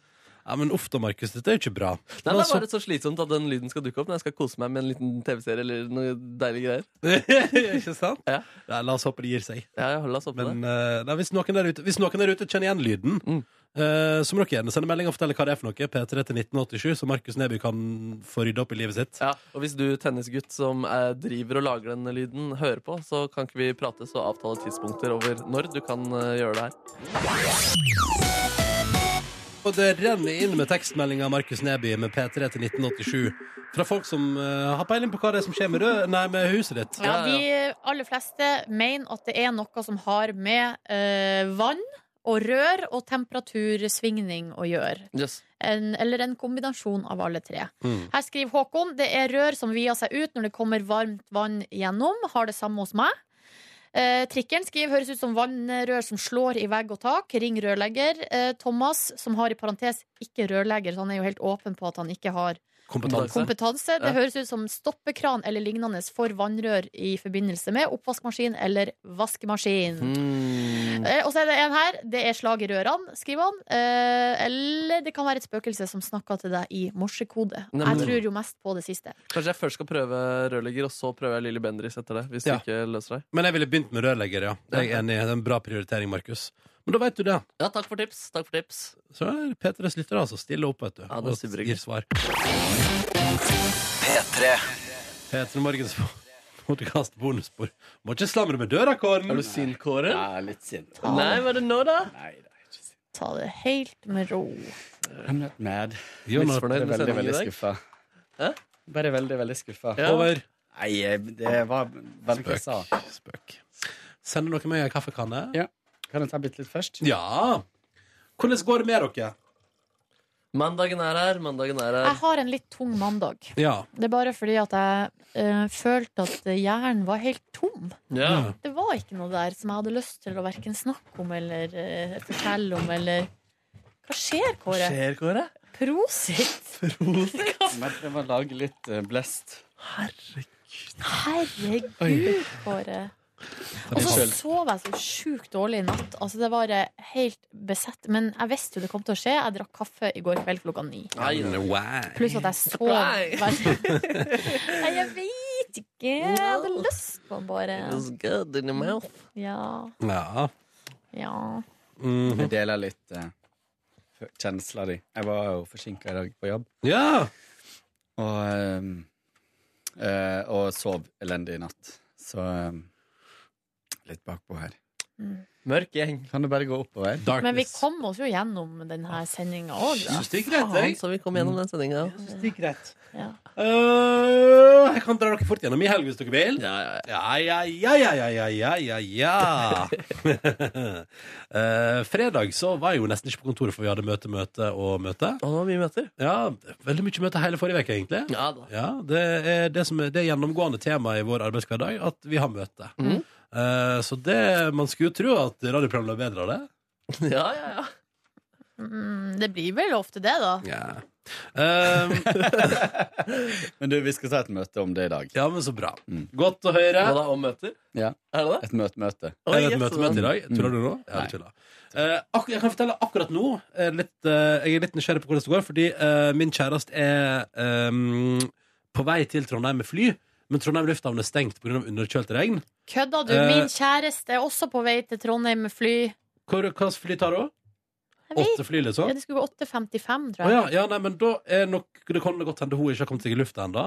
[SPEAKER 2] Ja, men uff da, Markus. Dette er jo ikke bra.
[SPEAKER 1] Nei,
[SPEAKER 2] Men
[SPEAKER 1] det er
[SPEAKER 2] altså-
[SPEAKER 1] bare så slitsomt at den lyden skal dukke opp når jeg skal kose meg med en liten TV-serie eller noe deilige greier.
[SPEAKER 2] ikke sant?
[SPEAKER 1] Ja.
[SPEAKER 2] Nei, la oss håpe det gir seg.
[SPEAKER 1] Ja, jeg holder oss oppe
[SPEAKER 2] Men eh, nei, hvis, noen der ute, hvis noen der ute kjenner igjen lyden,
[SPEAKER 1] Mm.
[SPEAKER 2] eh, så må dere gjerne sende melding og fortelle hva det er for noe. P3 til 1987, så Markus Neby kan få rydda opp i livet sitt.
[SPEAKER 1] Ja, og hvis du, tennisgutt som eh, driver og lager den lyden, hører på, så kan ikke vi prates og avtale tidspunkter over når du kan eh, gjøre det her.
[SPEAKER 2] Og det renner inn med tekstmeldinger av Markus Neby med P3 til 1987 fra folk som eh, har peiling på hva det er som skjer med, rød, nei, med huset ditt.
[SPEAKER 3] Ja,
[SPEAKER 1] Ja,
[SPEAKER 3] de aller fleste mener at det er noe som har med eh, vann og rør og temperatursvingning å gjøre.
[SPEAKER 1] Yes.
[SPEAKER 3] En, eller en kombinasjon av alle tre.
[SPEAKER 2] Mm.
[SPEAKER 3] Her skriver Håkon det er rør som vier seg ut når det kommer varmt vann gjennom. Har det samme hos meg. Eh, trikkeren skriver høres ut som vannrør som slår i vegg og tak. Ring rørlegger. Eh, Thomas, som har i parentes ikke rørlegger, så han er jo helt åpen på at han ikke har
[SPEAKER 2] Kompetanse.
[SPEAKER 3] Kompetanse. Det
[SPEAKER 1] Ja.
[SPEAKER 3] høres ut som stoppekran eller lignende for vannrør i forbindelse med oppvaskmaskin eller vaskemaskin.
[SPEAKER 1] Hmm. Mm.
[SPEAKER 3] Eh, Og så er det en her. Det er slag i rørene, skriver han. Eh, eller det kan være et spøkelse som snakker til deg i morsekode.
[SPEAKER 1] Nei, men-
[SPEAKER 3] Jeg tror jo mest på det siste.
[SPEAKER 1] Kanskje jeg først skal prøve rørlegger, og så prøver jeg Lilly Bendriss etter det. Hvis
[SPEAKER 2] Ja.
[SPEAKER 1] du ikke løser deg.
[SPEAKER 2] Men jeg ville begynt med rørlegger, ja. Det er jeg enig i. Det er en bra prioritering, Markus. Men da veit du det.
[SPEAKER 1] Ja, takk for tips. Takk for tips.
[SPEAKER 2] Så er P3s lyttere altså stiller opp, vet du.
[SPEAKER 1] Ja, det er
[SPEAKER 2] og
[SPEAKER 1] superhyggelig.
[SPEAKER 2] gir svar. P3 Morgens podkast bonusspor. Må ikke slamre med døra,
[SPEAKER 1] Er
[SPEAKER 2] Kåren!
[SPEAKER 1] du sint, Kåre?
[SPEAKER 8] Jeg er litt sint.
[SPEAKER 1] Ah. Nei, hva er det nå, da?
[SPEAKER 8] Nei, det er ikke sint.
[SPEAKER 3] Ah, Ta det helt med ro.
[SPEAKER 8] I'm not mad.
[SPEAKER 2] Jonas,
[SPEAKER 1] Misfornøyd
[SPEAKER 8] Bare
[SPEAKER 1] med
[SPEAKER 8] veldig,
[SPEAKER 1] sendingen i
[SPEAKER 8] veldig
[SPEAKER 1] dag?
[SPEAKER 8] skuffa.
[SPEAKER 1] Hæ?
[SPEAKER 8] Bare veldig, veldig skuffa.
[SPEAKER 1] Ja.
[SPEAKER 2] over.
[SPEAKER 8] Nei, jeg- det var veldig hva jeg sa.
[SPEAKER 2] Spøk. Sender dere meg en kaffekanne?
[SPEAKER 8] Ja. Kan jeg ta bitte litt først?
[SPEAKER 2] Ja. Hvordan går det med dere?
[SPEAKER 1] Mandagen er her, mandagen er her.
[SPEAKER 3] Jeg har en litt tung mandag.
[SPEAKER 2] Ja.
[SPEAKER 3] Det er bare fordi at jeg eh, følte at hjernen var helt tom.
[SPEAKER 1] Ja.
[SPEAKER 3] Det var ikke noe der som jeg hadde lyst til å hverken snakke om eller eh, fortelle om, eller Hva skjer, Kåre?
[SPEAKER 1] Skjer, Kåre?
[SPEAKER 3] Prosit!
[SPEAKER 8] Men jeg må lage litt eh, blest.
[SPEAKER 3] Herregud, Kåre. Og så sov jeg så sjukt dårlig i natt. Altså, det var eh, helt besett. Men jeg visste jo det kom til å skje. Jeg drakk kaffe i går kveld klokka ni.
[SPEAKER 1] Nei, nei.
[SPEAKER 3] Pluss at jeg sov
[SPEAKER 1] Nei.
[SPEAKER 3] veldig Nei, jeg vet ikke. Jeg hadde lyst på den bare.
[SPEAKER 1] It's good in your mouth.
[SPEAKER 3] Ja.
[SPEAKER 2] Ja.
[SPEAKER 3] Ja.
[SPEAKER 2] Mhm.
[SPEAKER 8] Vi deler litt eh, kjensla di. Jeg var jo forsinka i dag på jobb,
[SPEAKER 2] ja.
[SPEAKER 8] og, eh, eh, og sov elendig i natt. Så eh, litt bakpå her.
[SPEAKER 1] Mørk gjeng.
[SPEAKER 8] Kan du bare gå oppover?
[SPEAKER 3] Men vi kom oss jo gjennom denne sendinga òg, da.
[SPEAKER 2] Synes det gikk greit,
[SPEAKER 1] Faen,
[SPEAKER 2] jeg.
[SPEAKER 1] Ah, så vi kom gjennom den sendinga.
[SPEAKER 2] Synes det gikk greit.
[SPEAKER 3] Ja.
[SPEAKER 2] Øh, jeg kan dra dere fort gjennom i helg hvis dere vil.
[SPEAKER 1] Ja, ja, ja.
[SPEAKER 2] Ja, ja, ja, ja, ja, ja, ja, ja, ja. Eh, fredag så var jeg jo nesten ikke på kontoret, for vi hadde møte, møte og møte.
[SPEAKER 1] Å, det var mye møter.
[SPEAKER 2] Ja, veldig mye møte hele forrige uke, egentlig.
[SPEAKER 1] Ja da.
[SPEAKER 2] Ja, det er det som er det gjennomgående temaet i vår arbeidshverdag, at vi har møte.
[SPEAKER 1] Mhm.
[SPEAKER 2] Eh, så det, man skulle jo tro at radioprogrammet er bedre av det.
[SPEAKER 1] Ja, ja, ja.
[SPEAKER 3] Mm, det blir vel ofte det, da.
[SPEAKER 2] Eh,
[SPEAKER 8] Men du, vi skal ta et møte om det i dag.
[SPEAKER 2] ja, men så bra.
[SPEAKER 8] Mm.
[SPEAKER 2] Godt å høre.
[SPEAKER 1] Hva da, om møter?
[SPEAKER 8] Ja.
[SPEAKER 1] Er det det?
[SPEAKER 8] Et møte-møte.
[SPEAKER 2] Er det
[SPEAKER 1] Oi,
[SPEAKER 2] et
[SPEAKER 1] yes,
[SPEAKER 2] møte møte i dag?
[SPEAKER 8] Mm.
[SPEAKER 2] Tuller du nå? Ja,
[SPEAKER 8] Nei.
[SPEAKER 2] du tuller. Eh, ak jeg kan fortelle akkurat nå er det litt, eh, Jeg er litt nysgjerrig på hvordan det går, fordi eh, min kjæreste er eh, på vei til Trondheim med fly, men Trondheim lufthavn er stengt pga. underkjølt regn.
[SPEAKER 3] Kødda du?
[SPEAKER 2] Eh.
[SPEAKER 3] Min kjæreste er også på vei til Trondheim med fly.
[SPEAKER 2] Hvor- Hva slags fly tar du?
[SPEAKER 3] Jeg vet.
[SPEAKER 2] Åtte fly, liksom?
[SPEAKER 3] Ja, det skulle gå 8.55,
[SPEAKER 2] Å
[SPEAKER 3] tror jeg.
[SPEAKER 2] ja, ja, nei, men da er nok, det kan det godt hende hun ikke har kommet seg i lufta ennå.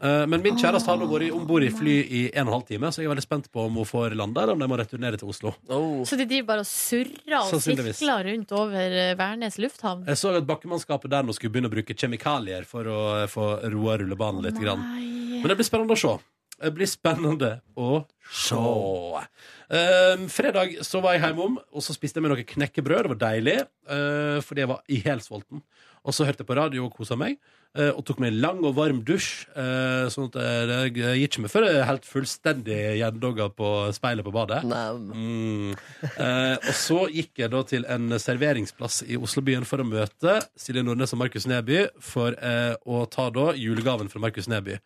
[SPEAKER 2] Eh, Men min kjæreste har nå vært om bord i fly i en og en halv time, så jeg er veldig spent på om hun får landa, eller om de må returnere til Oslo.
[SPEAKER 1] Oh.
[SPEAKER 3] Så de driver bare og surrer og
[SPEAKER 2] Sannsynligvis.
[SPEAKER 3] sirkler rundt over eh, Værnes lufthavn.
[SPEAKER 2] Jeg så at bakkemannskapet der nå skulle begynne å bruke kjemikalier for å eh, få roa rullebanen litt. Grann.
[SPEAKER 3] Nei.
[SPEAKER 2] Men det blir spennende å se. Det blir spennende å se. Ehm, fredag så var jeg hjemom, og så spiste jeg med noe knekkebrød. Det var deilig, eh, fordi jeg var ihelsvolten. Og så hørte jeg på radio og kosa meg, eh, og tok meg en lang og varm dusj. eh, sånn at jeg, jeg gikk ikke med før jeg er helt fullstendig gjendogga på speilet på badet.
[SPEAKER 1] Nam.
[SPEAKER 2] Mm. Eh, og så gikk jeg da til en serveringsplass i Oslobyen for å møte Silje Nordnes og Markus Neby for eh, å ta da julegaven fra Markus Neby.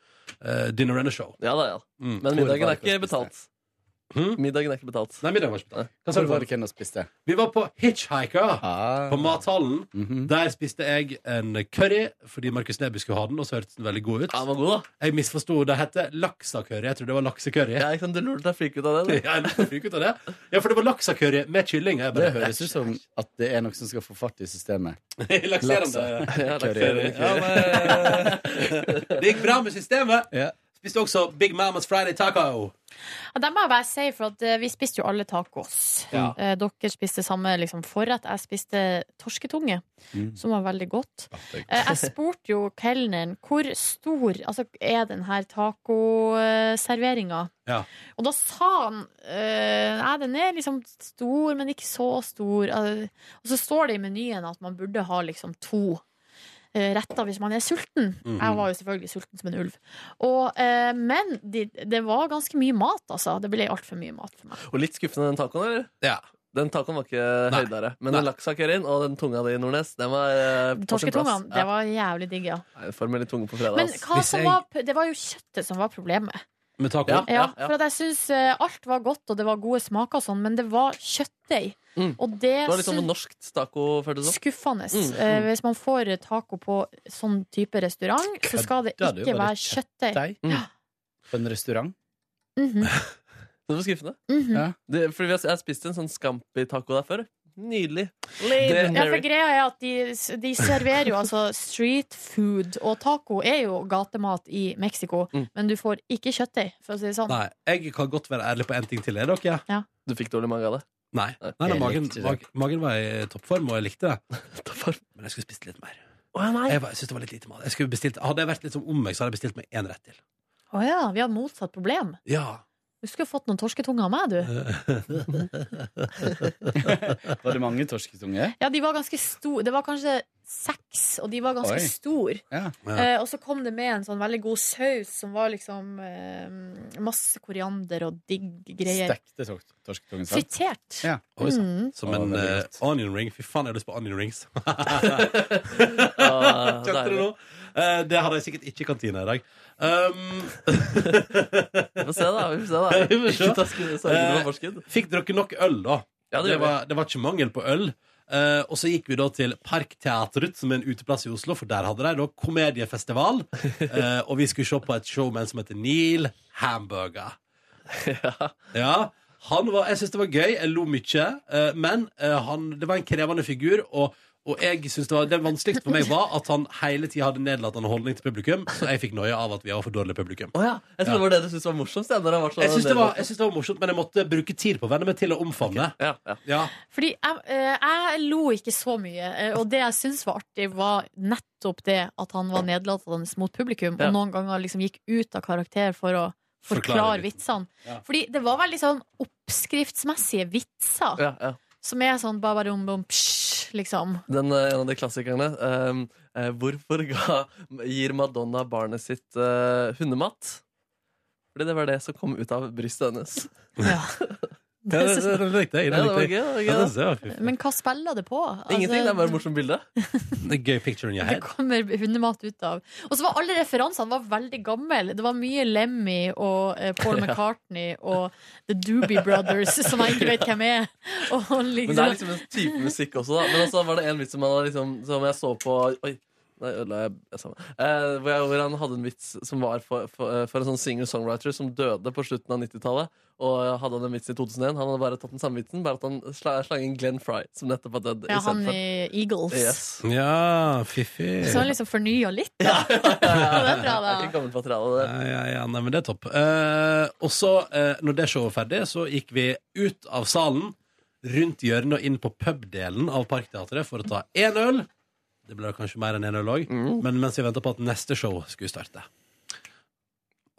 [SPEAKER 2] Eh, Dinner and a show.
[SPEAKER 1] Ja da, ja.
[SPEAKER 2] Mm.
[SPEAKER 1] Men middagen er ikke
[SPEAKER 8] spiste.
[SPEAKER 1] betalt.
[SPEAKER 2] Hm?
[SPEAKER 1] Middagen er ikke betalt.
[SPEAKER 2] Nei, middag var ikke betalt. Hva sa
[SPEAKER 8] Hvor
[SPEAKER 2] du
[SPEAKER 8] var
[SPEAKER 2] for?
[SPEAKER 8] det hvem som spiste? Ah,
[SPEAKER 2] Vi var på Hitchhiker på Mathallen.
[SPEAKER 8] Mhm.
[SPEAKER 2] Der spiste jeg en curry fordi Markus Neby skulle ha den, og så hørtes den veldig god ut.
[SPEAKER 1] Ja, den var god, da.
[SPEAKER 2] Jeg misforsto. Det heter laksacurry. Jeg trodde det var laksecurry.
[SPEAKER 1] Ja, ikke sant? Du lurte deg flink ut av det.
[SPEAKER 2] Jeg er nesten fyk ut av det. Ja, for det var laksacurry med kylling. og Jeg
[SPEAKER 8] Det
[SPEAKER 2] bare,
[SPEAKER 8] høres ut som at det er noe som skal få fart i systemet.
[SPEAKER 2] Lakserende.
[SPEAKER 1] da. Ja, takk.
[SPEAKER 8] Curry.
[SPEAKER 2] Ja, men, det gikk bra med systemet.
[SPEAKER 8] Ja.
[SPEAKER 2] Spiste også Big Mamas Friday Taco.
[SPEAKER 3] Ja, det må jeg bare si, for at eh, vi spiste jo alle tacos.
[SPEAKER 8] Ja.
[SPEAKER 3] Eh, Dere spiste samme liksom, forrett. Jeg spiste torsketunge,
[SPEAKER 8] Mm.
[SPEAKER 3] som var veldig godt.
[SPEAKER 8] det er
[SPEAKER 3] Eh, Jeg spurte jo kelneren hvor stor altså, er denne tacoserveringa.
[SPEAKER 2] Ja.
[SPEAKER 3] Og da sa han eh, Nei, den er liksom stor, men ikke så stor. Eh, Og så står det i menyen at man burde ha liksom to eh, retter hvis man er sulten.
[SPEAKER 2] Mm.
[SPEAKER 1] Mhm.
[SPEAKER 3] Jeg var jo selvfølgelig sulten som en ulv. Og, eh, men de, det var ganske mye mat, altså. Det ble altfor mye mat for meg.
[SPEAKER 1] Og litt skuffende den tacoen, eller?
[SPEAKER 2] Ja.
[SPEAKER 1] Den tacoen var ikke
[SPEAKER 2] Nei.
[SPEAKER 1] høydere. Men
[SPEAKER 2] Nei.
[SPEAKER 1] den laksakørien og den tunga di, Nordnes, den var eh, på sin plass.
[SPEAKER 3] Torsketungene, det var jævlig digg, ja.
[SPEAKER 1] Ja. Jeg får meg litt tunge på fredag.
[SPEAKER 3] Men
[SPEAKER 1] ass.
[SPEAKER 3] hva
[SPEAKER 2] hvis
[SPEAKER 3] som
[SPEAKER 2] jeg-
[SPEAKER 3] var, det var jo kjøttet som var problemet.
[SPEAKER 2] Med taco.
[SPEAKER 1] Ja.
[SPEAKER 3] Ja, for at jeg syns alt var godt, og det var gode smaker og sånn, men det var kjøttdeig.
[SPEAKER 1] Mm.
[SPEAKER 3] Og det,
[SPEAKER 1] Det var litt sånn
[SPEAKER 3] syns-
[SPEAKER 1] norsk taco, føltes det som.
[SPEAKER 3] skuffende.
[SPEAKER 1] Mm, mm.
[SPEAKER 3] Eh, hvis man får taco på sånn type restaurant, så skal det
[SPEAKER 8] Kødda du?
[SPEAKER 3] ikke
[SPEAKER 8] Var
[SPEAKER 3] være
[SPEAKER 8] det
[SPEAKER 3] kjøttdeig.
[SPEAKER 8] Deg?
[SPEAKER 1] Mm.
[SPEAKER 8] På en restaurant?
[SPEAKER 3] Mhm,
[SPEAKER 1] Det var skuffende.
[SPEAKER 3] mhm.
[SPEAKER 8] Ja.
[SPEAKER 1] Det, fordi jeg spiste en sånn Scampi-taco der før. Nydelig.
[SPEAKER 3] Ja, for
[SPEAKER 1] Legendary.
[SPEAKER 3] greia er at de, de serverer jo altså street food, og taco er jo gatemat i Mexico,
[SPEAKER 1] Mm.
[SPEAKER 3] men du får ikke kjøttdeig, for å si det sånn.
[SPEAKER 2] Nei, jeg kan godt være ærlig på én ting til. Er dere?
[SPEAKER 1] Du fikk dårlig mage av det?
[SPEAKER 2] Nei.
[SPEAKER 1] Nei.
[SPEAKER 2] nei, nei
[SPEAKER 8] Jeg
[SPEAKER 2] magen,
[SPEAKER 8] likte det.
[SPEAKER 2] mag, magen var i eh, toppform, og jeg likte det.
[SPEAKER 1] Å
[SPEAKER 2] Men jeg skulle spist litt mer.
[SPEAKER 1] ja, nei.
[SPEAKER 2] Jeg, var- jeg synes det var litt lite mat. Jeg skulle bestilt, hadde jeg vært litt som om meg, så hadde jeg bestilt meg én rett til.
[SPEAKER 3] Å ja, vi hadde motsatt problem.
[SPEAKER 2] Ja.
[SPEAKER 3] Du skulle fått noen torsketunger av meg, du.
[SPEAKER 8] Var det mange torsketunger?
[SPEAKER 3] Ja, de var ganske store. Det var kanskje seks, og de var ganske
[SPEAKER 8] Oi.
[SPEAKER 3] store.
[SPEAKER 8] Ja.
[SPEAKER 2] Ja.
[SPEAKER 3] Eh, og så kom det med en sånn veldig god saus som var liksom eh, masse koriander og digg greier.
[SPEAKER 8] Stekte tor- torsketunger, sant?
[SPEAKER 3] Fritert.
[SPEAKER 8] Ja.
[SPEAKER 2] Oi, sant.
[SPEAKER 3] Mm.
[SPEAKER 2] Som
[SPEAKER 8] Å,
[SPEAKER 2] en
[SPEAKER 8] veldig
[SPEAKER 2] eh,
[SPEAKER 8] godt.
[SPEAKER 2] onion ring. Fy faen, jeg har lyst på onion rings.
[SPEAKER 1] Ah,
[SPEAKER 2] Kjente du
[SPEAKER 1] deilig.
[SPEAKER 2] nå? Eh, det hadde jeg sikkert ikke i kantina i dag. Um,
[SPEAKER 1] Vi får se, da. Vi får se, da.
[SPEAKER 2] Vi får se.
[SPEAKER 1] Ikke ta skru- sorgene på forskudd.
[SPEAKER 2] fikk dere nok øl, da?
[SPEAKER 1] Ja, det
[SPEAKER 2] det,
[SPEAKER 1] gjør vi.
[SPEAKER 2] var, det var ikke mangel på øl. Eh, og så gikk vi da til Parkteatret, som er en uteplass i Oslo, for der hadde de da komediefestival. Eh, og vi skulle se på et show med en som heter Neil Hamburger. Ja, han var, Jeg syns det var gøy. Jeg lo mye. eh, men eh, han, det var en krevende figur. og og jeg synes det, var, det vanskeligste for meg var at han hele tida hadde nedlatende holdning til publikum. Så jeg fikk noia av at vi var for dårlig publikum.
[SPEAKER 1] Å ja. Jeg tror det var det du syntes var morsomst. ja, når han var så
[SPEAKER 2] Jeg syns det, var-
[SPEAKER 1] nedlatende.
[SPEAKER 2] jeg synes det var morsomt, men jeg måtte bruke tid på å venne meg til å omfavne.
[SPEAKER 1] ja, ja.
[SPEAKER 2] Ja.
[SPEAKER 3] Fordi jeg, eh, jeg lo ikke så mye, eh, og det jeg syntes var artig, var nettopp det at han var nedlatende mot publikum,
[SPEAKER 1] Ja.
[SPEAKER 3] og noen ganger liksom gikk ut av karakter for å
[SPEAKER 2] Forklare
[SPEAKER 3] forklare vitsene.
[SPEAKER 2] Ja.
[SPEAKER 3] Fordi det var veldig sånn oppskriftsmessige vitser.
[SPEAKER 1] ja, ja.
[SPEAKER 3] Som er sånn babarum bom psj, liksom.
[SPEAKER 1] Den, eh, en av de klassikerne. ehm, eh, hvorfor ga, gir Madonna barnet sitt eh, hundemat? Fordi det var det som kom ut av brystet hennes.
[SPEAKER 3] Ja.
[SPEAKER 2] Ja, det, det, det likte
[SPEAKER 1] Ja,
[SPEAKER 2] jeg. Det
[SPEAKER 1] det var gøy.
[SPEAKER 2] likte jeg.
[SPEAKER 1] Det var gøy
[SPEAKER 2] Ja,
[SPEAKER 1] da.
[SPEAKER 2] det ser jeg.
[SPEAKER 3] Men hva spiller det på? Altså,
[SPEAKER 1] Ingenting, det er bare et morsomt bilde.
[SPEAKER 2] Det er gøy picture in your
[SPEAKER 3] Det
[SPEAKER 2] head.
[SPEAKER 3] kommer hundemat ut av. Og så var alle referansene var veldig gamle. Det var mye Lemmy og eh, Paul McCartney og The Doobie Brothers, som jeg ikke vet hvem er. Og
[SPEAKER 1] Men det er altså,
[SPEAKER 3] liksom,
[SPEAKER 1] liksom en type musikk også, da. Men også var det en vits som, han hadde liksom, som jeg så på Oi, Nei, ødela jeg jeg sa meg. Eh, hvor, jeg, hvor han hadde en vits som var for, for, eh, for en sånn singer-songwriter som døde på slutten av 90-tallet. Og hadde han en vits i 2001. Han hadde bare tatt den samme vitsen, bare at han sla, slang inn Glenn Fry, som nettopp har dødd.
[SPEAKER 3] Ja,
[SPEAKER 1] i
[SPEAKER 3] han
[SPEAKER 1] Seinfeld.
[SPEAKER 3] i Eagles.
[SPEAKER 1] liksom Yes.
[SPEAKER 2] Ja, fiffig.
[SPEAKER 3] Så han liksom fornya litt, da. det er bra,
[SPEAKER 1] Det er
[SPEAKER 3] da.
[SPEAKER 1] ikke gammelt materiale, det.
[SPEAKER 2] Ja, ja, ja, nei, men det er topp. Eh, og så, eh, når det showet var ferdig, så gikk vi ut av salen, rundt hjørnet og inn på pubdelen av Parkteatret for å ta én øl. Det ble kanskje mer enn én øl òg,
[SPEAKER 3] Mm.
[SPEAKER 2] men mens vi venta på at neste show skulle starte.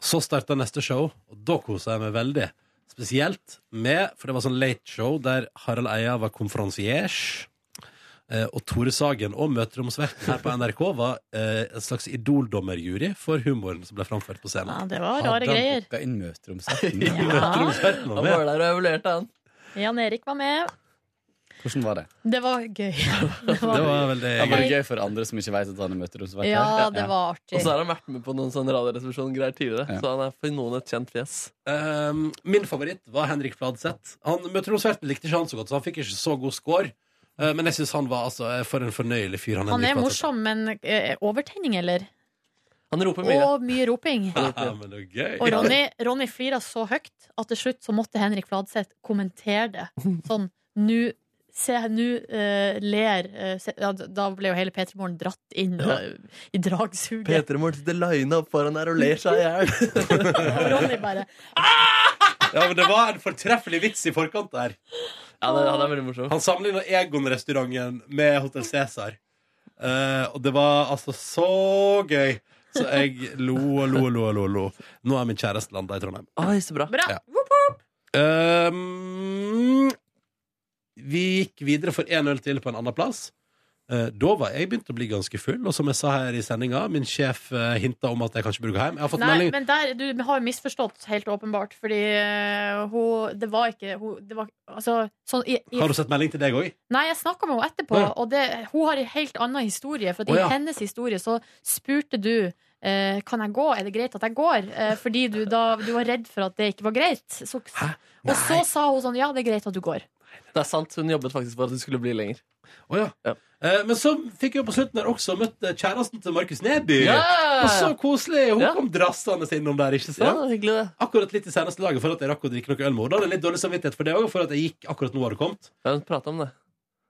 [SPEAKER 2] Så starta neste show, og da kosa jeg meg veldig. Spesielt med, for det var sånn late show der Harald Eia var konferansiers. Eh, og Tore Sagen og møteromsverten her på NRK var eh, en slags idoldommerjury for humoren som ble framført på
[SPEAKER 3] Ja,
[SPEAKER 2] scenen.
[SPEAKER 3] det var
[SPEAKER 8] Hadde
[SPEAKER 3] rare
[SPEAKER 8] han
[SPEAKER 3] greier.
[SPEAKER 8] booka inn møteromsretten?
[SPEAKER 3] Ja.
[SPEAKER 2] Møteromsverten var
[SPEAKER 1] Han
[SPEAKER 2] med.
[SPEAKER 1] var der og evaluerte, han.
[SPEAKER 3] Jan Erik var med.
[SPEAKER 8] Hvordan var det?
[SPEAKER 3] Det var gøy. Det
[SPEAKER 2] Det
[SPEAKER 3] var,
[SPEAKER 2] var veldig
[SPEAKER 8] Det var
[SPEAKER 2] gøy.
[SPEAKER 8] det gøy for andre som ikke vet at han er møteromsvert.
[SPEAKER 3] ja, det var
[SPEAKER 1] Og
[SPEAKER 3] artig.
[SPEAKER 1] så har han vært med på noen sånne radioresepsjon-greier tidligere.
[SPEAKER 8] Ja.
[SPEAKER 1] Så han er for noen et kjent fjes.
[SPEAKER 2] Um, min favoritt var Henrik Fladseth. Han- Møteromsverten likte ikke han så godt, så han fikk ikke så god score. Eh, men jeg syns han var altså, eh, for en fornøyelig fyr. Han,
[SPEAKER 3] Han
[SPEAKER 2] Henrik
[SPEAKER 3] er
[SPEAKER 2] Fladseth.
[SPEAKER 3] morsom, men eh, overtenning, eller?
[SPEAKER 1] Han roper mye.
[SPEAKER 3] Og mye roping.
[SPEAKER 2] Ja, men det er
[SPEAKER 3] Og
[SPEAKER 2] gøy.
[SPEAKER 3] Ronny, Ronny flira så høyt at til slutt så måtte Henrik Fladseth kommentere det. Sånn nu Se, nå eh, ler eh, se, ja, Da ble jo hele P3 Morgen dratt inn eh, i dragsuget.
[SPEAKER 1] P3-morgen sitter lina opp foran her og ler seg i hjel.
[SPEAKER 3] Og Ronny bare
[SPEAKER 2] Ja, men det var en fortreffelig vits i forkant der.
[SPEAKER 1] Ja, det, han er veldig morsom.
[SPEAKER 2] Han sammenligna Egon-restauranten med Hotell Cæsar. Eh, og det var altså så gøy. Så jeg lo og lo og lo. og lo, og lo. Nå er min kjæreste landa i Trondheim.
[SPEAKER 1] Oi, så bra.
[SPEAKER 3] Bra!
[SPEAKER 2] Ja.
[SPEAKER 3] Whoop.
[SPEAKER 2] Um, vi gikk videre for én øl til på en annen plass. Eh, da var jeg begynt å bli ganske full, og som jeg sa her i sendinga, min sjef uh, hinta om at jeg kanskje bruker hjem. Jeg har fått
[SPEAKER 3] Nei,
[SPEAKER 2] melding
[SPEAKER 3] men der, du har jo misforstått helt åpenbart, fordi eh, hun Det var ikke hun, det var, Altså, sånn i, i,
[SPEAKER 2] Har du sett melding til deg òg?
[SPEAKER 3] Nei, jeg snakka med henne etterpå,
[SPEAKER 2] Ja.
[SPEAKER 3] og det, hun har en helt annen historie. For at
[SPEAKER 2] Å, ja.
[SPEAKER 3] i hennes historie så spurte du eh, Kan jeg gå, er det greit at jeg går? Eh, fordi du da du var redd for at det ikke var greit. Så,
[SPEAKER 2] Hæ?
[SPEAKER 3] og så sa hun sånn Ja, det er greit at du går.
[SPEAKER 1] Det er sant, hun jobbet faktisk for at det skulle bli lenger.
[SPEAKER 2] Å ja.
[SPEAKER 1] Ja.
[SPEAKER 2] Eh, men så fikk jeg på slutten her også møtt eh, kjæresten til Markus Neby. Og så koselig! Hun
[SPEAKER 1] Ja.
[SPEAKER 2] kom drassende innom der, ikke
[SPEAKER 1] Ja,
[SPEAKER 2] sant?
[SPEAKER 1] hyggelig det.
[SPEAKER 2] Akkurat litt i seneste laget for at jeg rakk å drikke noe øl med henne. Da hadde jeg litt dårlig samvittighet for det òg, for at jeg gikk akkurat nå har du kommet.
[SPEAKER 1] Ja, hun pratet om det.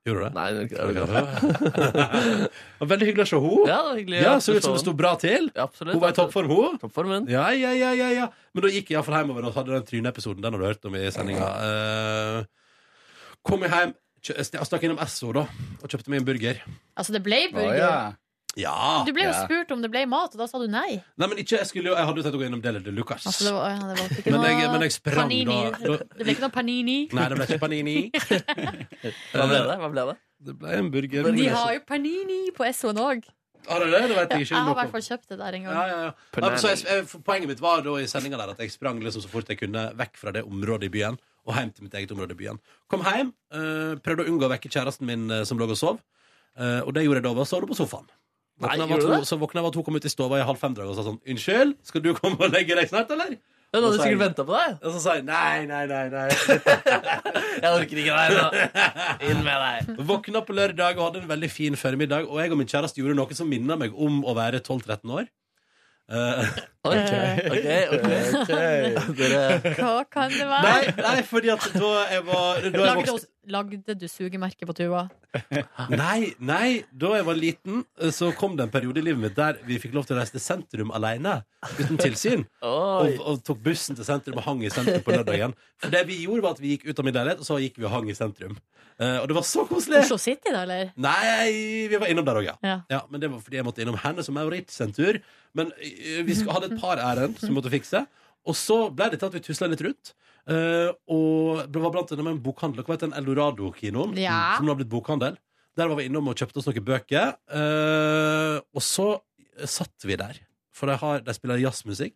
[SPEAKER 2] Gjorde du det?
[SPEAKER 1] Nei, det er ikke det.
[SPEAKER 2] Det var Veldig hyggelig å se henne.
[SPEAKER 1] Ja, det var hyggelig.
[SPEAKER 2] Ja,
[SPEAKER 1] at
[SPEAKER 2] så
[SPEAKER 1] du
[SPEAKER 2] ut som det
[SPEAKER 1] den.
[SPEAKER 2] sto bra til.
[SPEAKER 1] Ja, absolutt.
[SPEAKER 2] Hun var i toppform, hun.
[SPEAKER 1] Toppformen.
[SPEAKER 2] Ja, ja, ja, ja, ja. Men da gikk jeg iallfall hjemover og hadde den tryneepisoden. Den har du hørt om i sendinga. Eh, kom jeg hjem, kjø- st- jeg stakk innom Esso da og kjøpte meg en burger.
[SPEAKER 3] Altså, det ble
[SPEAKER 8] Å,
[SPEAKER 3] burger.
[SPEAKER 8] ja.
[SPEAKER 2] Ja!
[SPEAKER 3] Du ble jo
[SPEAKER 8] Ja.
[SPEAKER 3] spurt om det ble mat, og da sa du nei.
[SPEAKER 2] Nei, men ikke, jeg, skulle jo, jeg hadde jo tenkt å gå innom Deli de Lucas.
[SPEAKER 3] Altså, det var, ja, det var ikke
[SPEAKER 2] Men
[SPEAKER 3] noe
[SPEAKER 2] jeg- men jeg sprang
[SPEAKER 3] panini.
[SPEAKER 2] da- da-
[SPEAKER 3] Det ble ikke noe panini.
[SPEAKER 2] Nei, det ble ikke panini.
[SPEAKER 1] Hva ble det? Hva ble det?
[SPEAKER 2] Det ble en burger.
[SPEAKER 3] De har jo panini på SO-en òg.
[SPEAKER 2] Har de det? Det vet
[SPEAKER 3] Ja,
[SPEAKER 2] jeg
[SPEAKER 3] jeg
[SPEAKER 2] ikke.
[SPEAKER 3] har i
[SPEAKER 2] noe om.
[SPEAKER 3] hvert fall kjøpt det der en gang.
[SPEAKER 2] Ja, ja, ja. Nei, men så jeg, jeg, for poenget mitt var da i sendinga der at jeg sprang liksom så fort jeg kunne vekk fra det området i byen og hjem til mitt eget område i byen. Kom hjem, eh, prøvde å unngå å vekke kjæresten min eh, som lå og sov, eh, og det gjorde jeg da ved å sove på sofaen.
[SPEAKER 1] Nei,
[SPEAKER 2] Våkna av
[SPEAKER 1] gjorde
[SPEAKER 2] at
[SPEAKER 1] du
[SPEAKER 2] hun-
[SPEAKER 1] det?
[SPEAKER 2] så våkna jeg av at hun kom ut i stova i halv fem-draget og sa sånn Unnskyld, skal du komme og legge deg snart, eller?
[SPEAKER 1] Hun hadde
[SPEAKER 2] Hva sa jeg?
[SPEAKER 1] sikkert ventet på deg.
[SPEAKER 2] Og så sa jeg nei, nei, nei. nei
[SPEAKER 1] Jeg orker ikke deg nå. Inn med deg.
[SPEAKER 2] Våkna på lørdag og hadde en veldig fin formiddag, og jeg og min kjæreste gjorde noe som minna meg om å være 12-13 år. Eh,
[SPEAKER 1] Ok, ok, ok. Dere,
[SPEAKER 3] Hva kan det være?
[SPEAKER 2] nei, nei, fordi at da jeg var da jeg
[SPEAKER 3] Lagde,
[SPEAKER 2] vokste-
[SPEAKER 3] oss- lagde du sugemerke på tuba?
[SPEAKER 2] Nei, nei, da jeg var liten eh, Så kom det en periode i livet mitt der Vi fikk lov til å reise til sentrum alene Uten tilsyn og,
[SPEAKER 1] oi.
[SPEAKER 2] og tok bussen til sentrum og hang i sentrum på lørdagen For det vi gjorde var at vi gikk ut av min leilighet Og så gikk vi og hang i sentrum Eh, Og det var så koselig
[SPEAKER 3] Oslo City, da, eller?
[SPEAKER 2] Nei, vi var innom der også, ja
[SPEAKER 3] Ja.
[SPEAKER 2] ja, men det var fordi jeg måtte innom henne som Maurits en tur. Men eh, vi sk- hadde et par ærend som vi måtte fikse. Og så ble det til at vi tusla litt rundt. eh, og det var blant annet med en bokhandel. Hva heter den Eldorado-kinoen?
[SPEAKER 3] Ja.
[SPEAKER 2] Som nå har blitt bokhandel. Der var vi innom og kjøpte oss noen bøker. eh, og så satt vi der. For de, har, de spiller jazzmusikk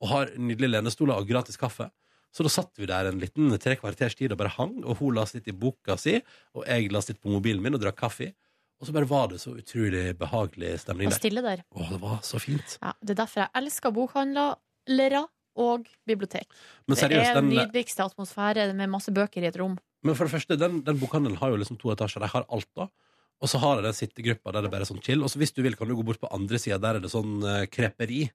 [SPEAKER 2] og har nydelige lenestoler og gratis kaffe. Så da satt vi der en liten tre kvarters tid og bare hang, og hun la sitt i boka si, og jeg la sitt på mobilen min og drakk kaffe. Og så bare var det så utrolig behagelig stemning
[SPEAKER 3] Og
[SPEAKER 2] der.
[SPEAKER 3] stille der.
[SPEAKER 2] Å, det var så fint.
[SPEAKER 3] Ja, det er derfor jeg elsker bokhandlere og bibliotek.
[SPEAKER 2] Men
[SPEAKER 3] det
[SPEAKER 2] seriøst,
[SPEAKER 3] er den
[SPEAKER 2] den, eh,
[SPEAKER 3] nydeligste atmosfære med masse bøker i et rom.
[SPEAKER 2] men for det første, den, den bokhandelen har jo liksom to etasjer. De har alt, da. Og så har jeg den sittegruppa der det bare er sånn chill. Og så hvis du vil, kan du gå bort på andre sida. Der er det sånn eh, kreperi.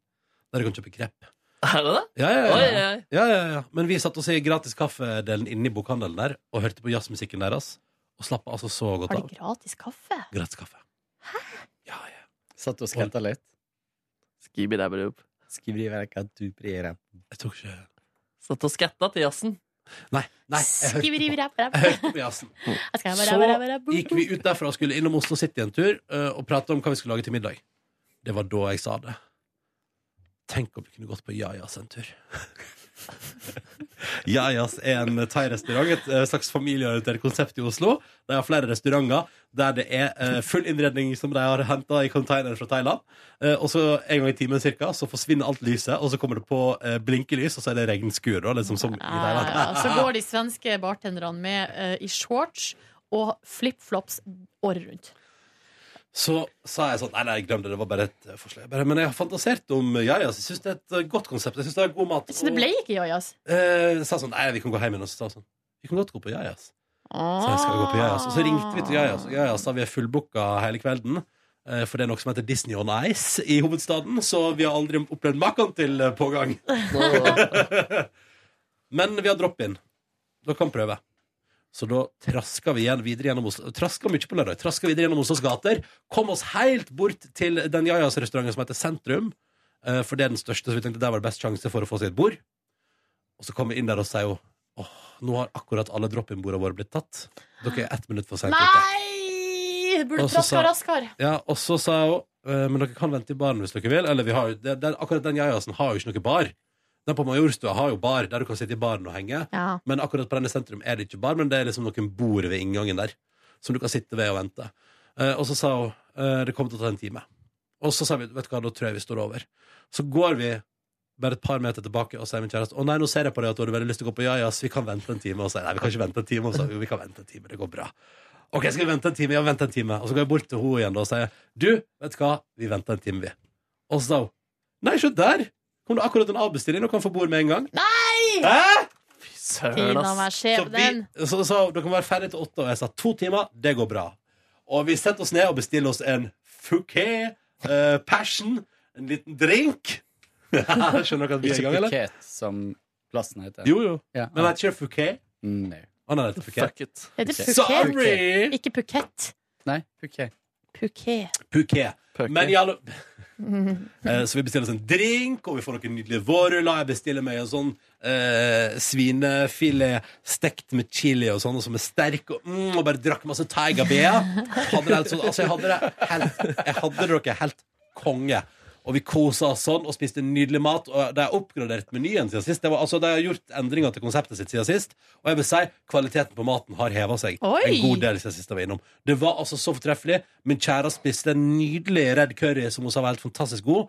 [SPEAKER 2] Der du kan kjøpe krepp.
[SPEAKER 1] Er det det?
[SPEAKER 2] Ja, ja,
[SPEAKER 1] Oi,
[SPEAKER 2] ja.
[SPEAKER 1] oi, oi.
[SPEAKER 2] ja, ja, ja. Men vi satt oss i gratis kaffedelen inne i bokhandelen der og hørte på jazzmusikken deres. Og slappa altså så godt
[SPEAKER 3] Har
[SPEAKER 2] av.
[SPEAKER 3] de gratis kaffe?
[SPEAKER 2] Gratis kaffe. Ja, ja.
[SPEAKER 8] Satt og skvetta litt.
[SPEAKER 1] Skibidabidub.
[SPEAKER 2] Jeg tok ikke
[SPEAKER 1] Satt og skatta til jazzen.
[SPEAKER 2] Nei, nei jeg hørte på, jeg
[SPEAKER 3] Skibidi-bidi-bidi.
[SPEAKER 2] hørte på jazzen.
[SPEAKER 3] Jeg skal
[SPEAKER 2] Så
[SPEAKER 3] bare- bare- bare- bare-
[SPEAKER 2] gikk vi ut derfra og skulle innom Oslo City en tur eh, og prate om hva vi skulle lage til middag. Det var da jeg sa det. Tenk om vi kunne gått på Jajas en tur. Jajas er en thai-restaurant, et eh, slags familieorientert konsept i Oslo. De har flere restauranter der det er eh, full innredning som de har henta i containere fra Thailand. Eh, Og så en gang i timen cirka, så forsvinner alt lyset, og så kommer det på eh, blinkelys, og så er det regnskur. da, Liksom, som i
[SPEAKER 3] Ja,
[SPEAKER 2] Thailand.
[SPEAKER 3] ja. Ah, Så går de svenske bartenderne med eh, i shorts og flipflops året rundt.
[SPEAKER 2] Så sa jeg sånn Nei, nei, glem det. Det var bare et eh, forslag. Jeg Bare, men jeg har fantasert om Jajas. Jeg syns det er et eh, godt konsept. Jeg synes det er god mat.
[SPEAKER 3] Så det ble ikke jajas.
[SPEAKER 2] Og, eh, sa sånn Nei, vi kan gå hjem igjen. Og så sa hun sånn Vi kan godt gå på Jajas. Så jeg skal gå på Jajas. Og så ringte vi til Jajas, og Jajas sa vi er fullbooka hele kvelden. eh, For det er noe som heter Disney on Ice i hovedstaden, så vi har aldri opplevd maken til eh, pågang.
[SPEAKER 1] Nå-
[SPEAKER 2] Men vi har drop-in. Da kan vi prøve. Så da traska vi igjen videre gjennom Oslo Traska mye på lørdag. Traska videre gjennom Oslos gater. Kom oss helt bort til den Jajas-restauranten som heter Sentrum. eh, For det er den største, så vi tenkte der var det best sjanse for å få seg et bord. Og så kommer vi inn der og sier jo Åh, nå har akkurat alle drop-in-bordene våre blitt tatt. Dere er ett minutt for seint ute.
[SPEAKER 3] Nei! Du burde
[SPEAKER 2] Og så sa-
[SPEAKER 3] traska raskere.
[SPEAKER 2] Ja, og så sa jeg jo eh, Men dere kan vente i baren hvis dere vil Eller vi har jo det- den, Akkurat den jajasen har jo ikke noe bar Den på Majorstua har jo bar Der du kan sitte i baren og henge
[SPEAKER 3] Ja.
[SPEAKER 2] Men akkurat på denne sentrum er det ikke bar Men det er liksom noen bord ved inngangen der Som du kan sitte ved og vente Eh, Og så sa hun eh, Det kommer til å ta en time Og så sa vi Vet du hva, da tror jeg vi står over Så går vi bare et par meter tilbake og sier min kjæreste Å nei, nå ser jeg på deg at du hadde veldig lyst til å gå på Jajas Vi kan vente en time Og så sier jeg, Nei, vi kan ikke vente en time Og så sa vi, jo, vi kan vente en time, det går bra Ok, skal vi vente en time? Ja, vente en time Og så går jeg bort til henne igjen da og sier Du, vet du hva? Vi venter en time vi Og så sa hun Nei, se der Kom det akkurat en avbestilling Og kan få bord med en gang Nei Hæ?
[SPEAKER 1] Fy søren,
[SPEAKER 3] Tina meg
[SPEAKER 1] ass.
[SPEAKER 2] Så vi,
[SPEAKER 3] skjebnen.
[SPEAKER 2] så, så du kan være ferdig til åtte Og jeg sa to timer, det går bra Og vi setter oss ned og bestiller oss en Fouquet, eh, passion En liten drink Skjønner dere at vi er i
[SPEAKER 8] Ikke
[SPEAKER 2] gang, eller?
[SPEAKER 8] piket, som plassen heter.
[SPEAKER 2] Jo, jo.
[SPEAKER 8] Ja. Mm,
[SPEAKER 2] Men jeg kjører Fouquet.
[SPEAKER 8] Nei.
[SPEAKER 2] Å, nei, det er Fouquet.
[SPEAKER 1] Fuck it.
[SPEAKER 3] Heter det Phuket?
[SPEAKER 2] Sorry!
[SPEAKER 3] Ikke Phuket.
[SPEAKER 8] Nei, piket.
[SPEAKER 2] Eh,
[SPEAKER 3] Phuket.
[SPEAKER 2] Fouquet.
[SPEAKER 1] Fuck it.
[SPEAKER 2] Men i alle Eh, Så vi bestiller oss en drink, og vi får noen nydelige vårruller. Jeg bestiller meg en sånn eh, svinefilet stekt med chili og sånn, og som er sterk, og, mm, og bare drakk masse Tiger Beer. Hadde det helt sånn- Altså, jeg hadde det helt Jeg hadde dere helt konge. Og vi kosa oss sånn og spiste nydelig mat. Og de har oppgradert menyen siden sist. Det var, altså, de har gjort endringer til konseptet sitt siden sist. Og jeg vil si kvaliteten på maten har heva seg
[SPEAKER 3] Oi!
[SPEAKER 2] en god del siden sist jeg var innom. Det var altså så fortreffelig. Min kjære spiste en nydelig red curry som hun sa var helt fantastisk god.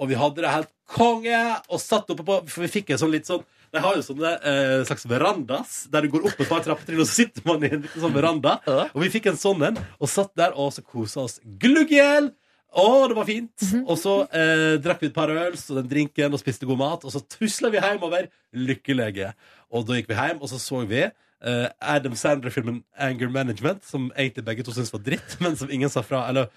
[SPEAKER 2] Og vi hadde det helt konge! Og satt oppe på For vi fikk en sånn litt sånn De har jo sånne eh, slags verandas der du går opp et par trappetrinn, og så sitter man i en liten sånn veranda.
[SPEAKER 1] Ja.
[SPEAKER 2] Og vi fikk en sånn en, og satt der og så kosa oss glugg i hjel! Å, det var fint!
[SPEAKER 3] Mhm.
[SPEAKER 2] Og så eh, drakk vi et par øl og den drinken og spiste god mat, og så tusla vi hjemover lykkelige. Og da gikk vi hjem, og så så vi eh, Adam Sandler-filmen Anger Management, som egentlig begge to syntes var dritt, men som ingen sa fra. Eller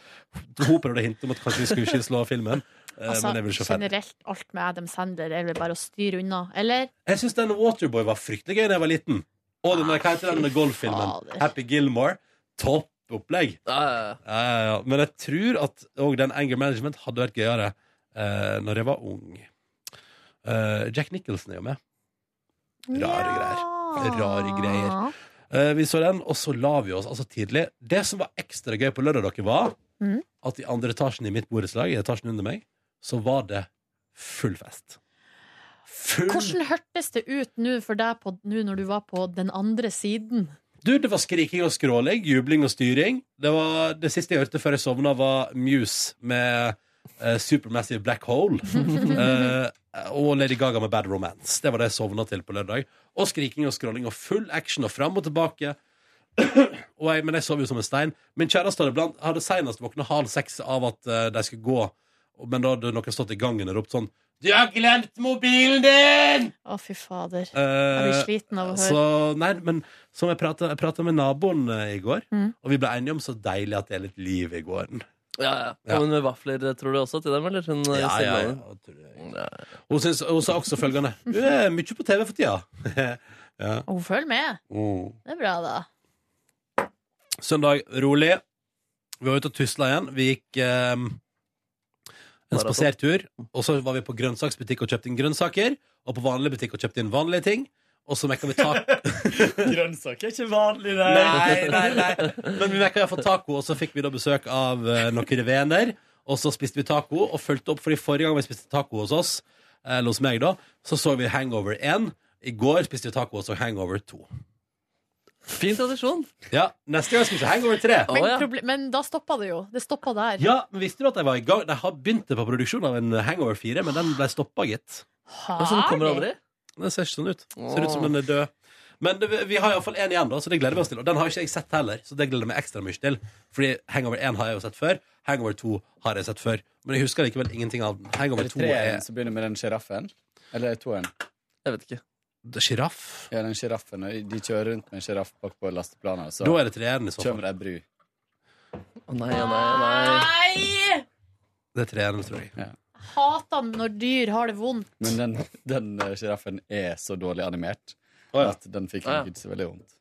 [SPEAKER 2] hun prøvde å hinte om at kanskje vi skulle ikke slå av filmen. eh,
[SPEAKER 3] Altså,
[SPEAKER 2] men jeg ville ikke ferdig.
[SPEAKER 3] generelt alt med Adam Sandler er vel bare å styre unna, eller?
[SPEAKER 2] Jeg syns den Waterboy var fryktelig gøy da jeg var liten. Og den der, hva heter den golffilmen?
[SPEAKER 3] fader.
[SPEAKER 2] Happy Gilmore. Topp opplegg.
[SPEAKER 1] Ja, ja, ja.
[SPEAKER 2] Ja, ja, ja. Men jeg tror at òg den anger management hadde vært gøyere eh, når jeg var ung. Eh, Jack Nicholson er jo med. Rare greier. Rare greier. Eh, vi så den, og så la vi oss altså tidlig. Det som var ekstra gøy på lørdag, dere, var
[SPEAKER 3] Mhm.
[SPEAKER 2] at i andre etasjen i mitt borettslag, i etasjen under meg, så var det full fest. Full
[SPEAKER 3] Hvordan hørtes det ut nå for deg på, nå når du var på den andre siden?
[SPEAKER 2] Du, det var skriking og skråling, jubling og styring. Det, var, det siste jeg hørte før jeg sovna, var Muse med eh, Supermassive Black Hole. Eh, og Lady Gaga med Bad Romance. Det var det jeg sovna til på lørdag. Og skriking og skråling og full action og fram og tilbake. og jeg, men jeg sov jo som en stein. Min kjæreste hadde, blant, hadde senest våkna halv seks av at eh, de skulle gå men da hadde noen stått i gangen og ropt sånn Du har glemt mobilen din!
[SPEAKER 3] Å, fy fader. Jeg blir
[SPEAKER 2] Eh,
[SPEAKER 3] sliten av å høre.
[SPEAKER 2] så nei, men som jeg prata jeg pratet med naboen eh, i går,
[SPEAKER 3] Mm.
[SPEAKER 2] og vi ble enige om så deilig at det er litt liv i gården.
[SPEAKER 1] Ja, ja.
[SPEAKER 2] Ja.
[SPEAKER 1] Men vafler tror du også til dem, eller? Hun, eh, Selma?
[SPEAKER 2] jeg tror det.
[SPEAKER 1] Nei.
[SPEAKER 2] Hun, syns- hun sa også følgende Du er mye på TV for tida. ja.
[SPEAKER 3] Hun følger med.
[SPEAKER 2] mm.
[SPEAKER 3] Det er bra, da.
[SPEAKER 2] Søndag rolig. Vi var ute og tusla igjen. Vi gikk eh, en
[SPEAKER 1] Maraton.
[SPEAKER 2] spasertur. Og så var vi på grønnsaksbutikk og kjøpte inn grønnsaker. Og på vanlig butikk og kjøpte inn vanlige ting. Og så mekka vi taco.
[SPEAKER 8] Grønnsaker er ikke vanlig, det.
[SPEAKER 2] nei, nei, nei. Men vi mekka iallfall taco, og så fikk vi da besøk av eh, noen venner. Og så spiste vi taco, og fulgte opp, fordi forrige gang vi spiste taco hos oss, eh, eller hos meg, da, så så vi Hangover 1. I går spiste vi taco og så Hangover 2.
[SPEAKER 1] Fin tradisjon.
[SPEAKER 2] Ja, Neste gang skal vi se Hangover 3.
[SPEAKER 1] Å,
[SPEAKER 3] Men,
[SPEAKER 1] ja.
[SPEAKER 3] proble- men da stoppa det jo. Det stoppa der.
[SPEAKER 2] Ja, men Visste du at de var i gang? De har begynt på produksjon av en Hangover 4, men den ble stoppa, gitt.
[SPEAKER 1] Men så den kommer
[SPEAKER 3] Herlig.
[SPEAKER 1] aldri.
[SPEAKER 2] Den ser ikke sånn ut. Ser ut som den er død. Men det, vi har iallfall én igjen, da, så det gleder vi oss til. Og den har ikke jeg sett heller, så det gleder jeg meg ekstra mye til. Fordi Hangover 1 har jeg jo sett før. Hangover 2 har jeg sett før. Men jeg husker likevel ingenting av den.
[SPEAKER 8] Er
[SPEAKER 2] Hangover
[SPEAKER 8] det
[SPEAKER 2] 2
[SPEAKER 8] treeren
[SPEAKER 2] er E.
[SPEAKER 8] som begynner med den sjiraffen? Eller er det toeren?
[SPEAKER 1] Jeg vet ikke.
[SPEAKER 2] sjiraff.
[SPEAKER 8] Ja, den sjiraffen. og De kjører rundt med en sjiraff bak på lasteplanet, og
[SPEAKER 2] Da
[SPEAKER 8] så
[SPEAKER 2] er det treeren i så fall.
[SPEAKER 8] kommer det ei bru.
[SPEAKER 1] Å nei, å nei, å nei.
[SPEAKER 3] Nei!
[SPEAKER 2] Det er treeren, tror jeg.
[SPEAKER 3] Hater når dyr har det vondt.
[SPEAKER 8] Men den, den eh, sjiraffen er så dårlig animert
[SPEAKER 2] Å, ja.
[SPEAKER 8] at den fikk
[SPEAKER 1] Å, ja.
[SPEAKER 8] Gud så veldig vondt.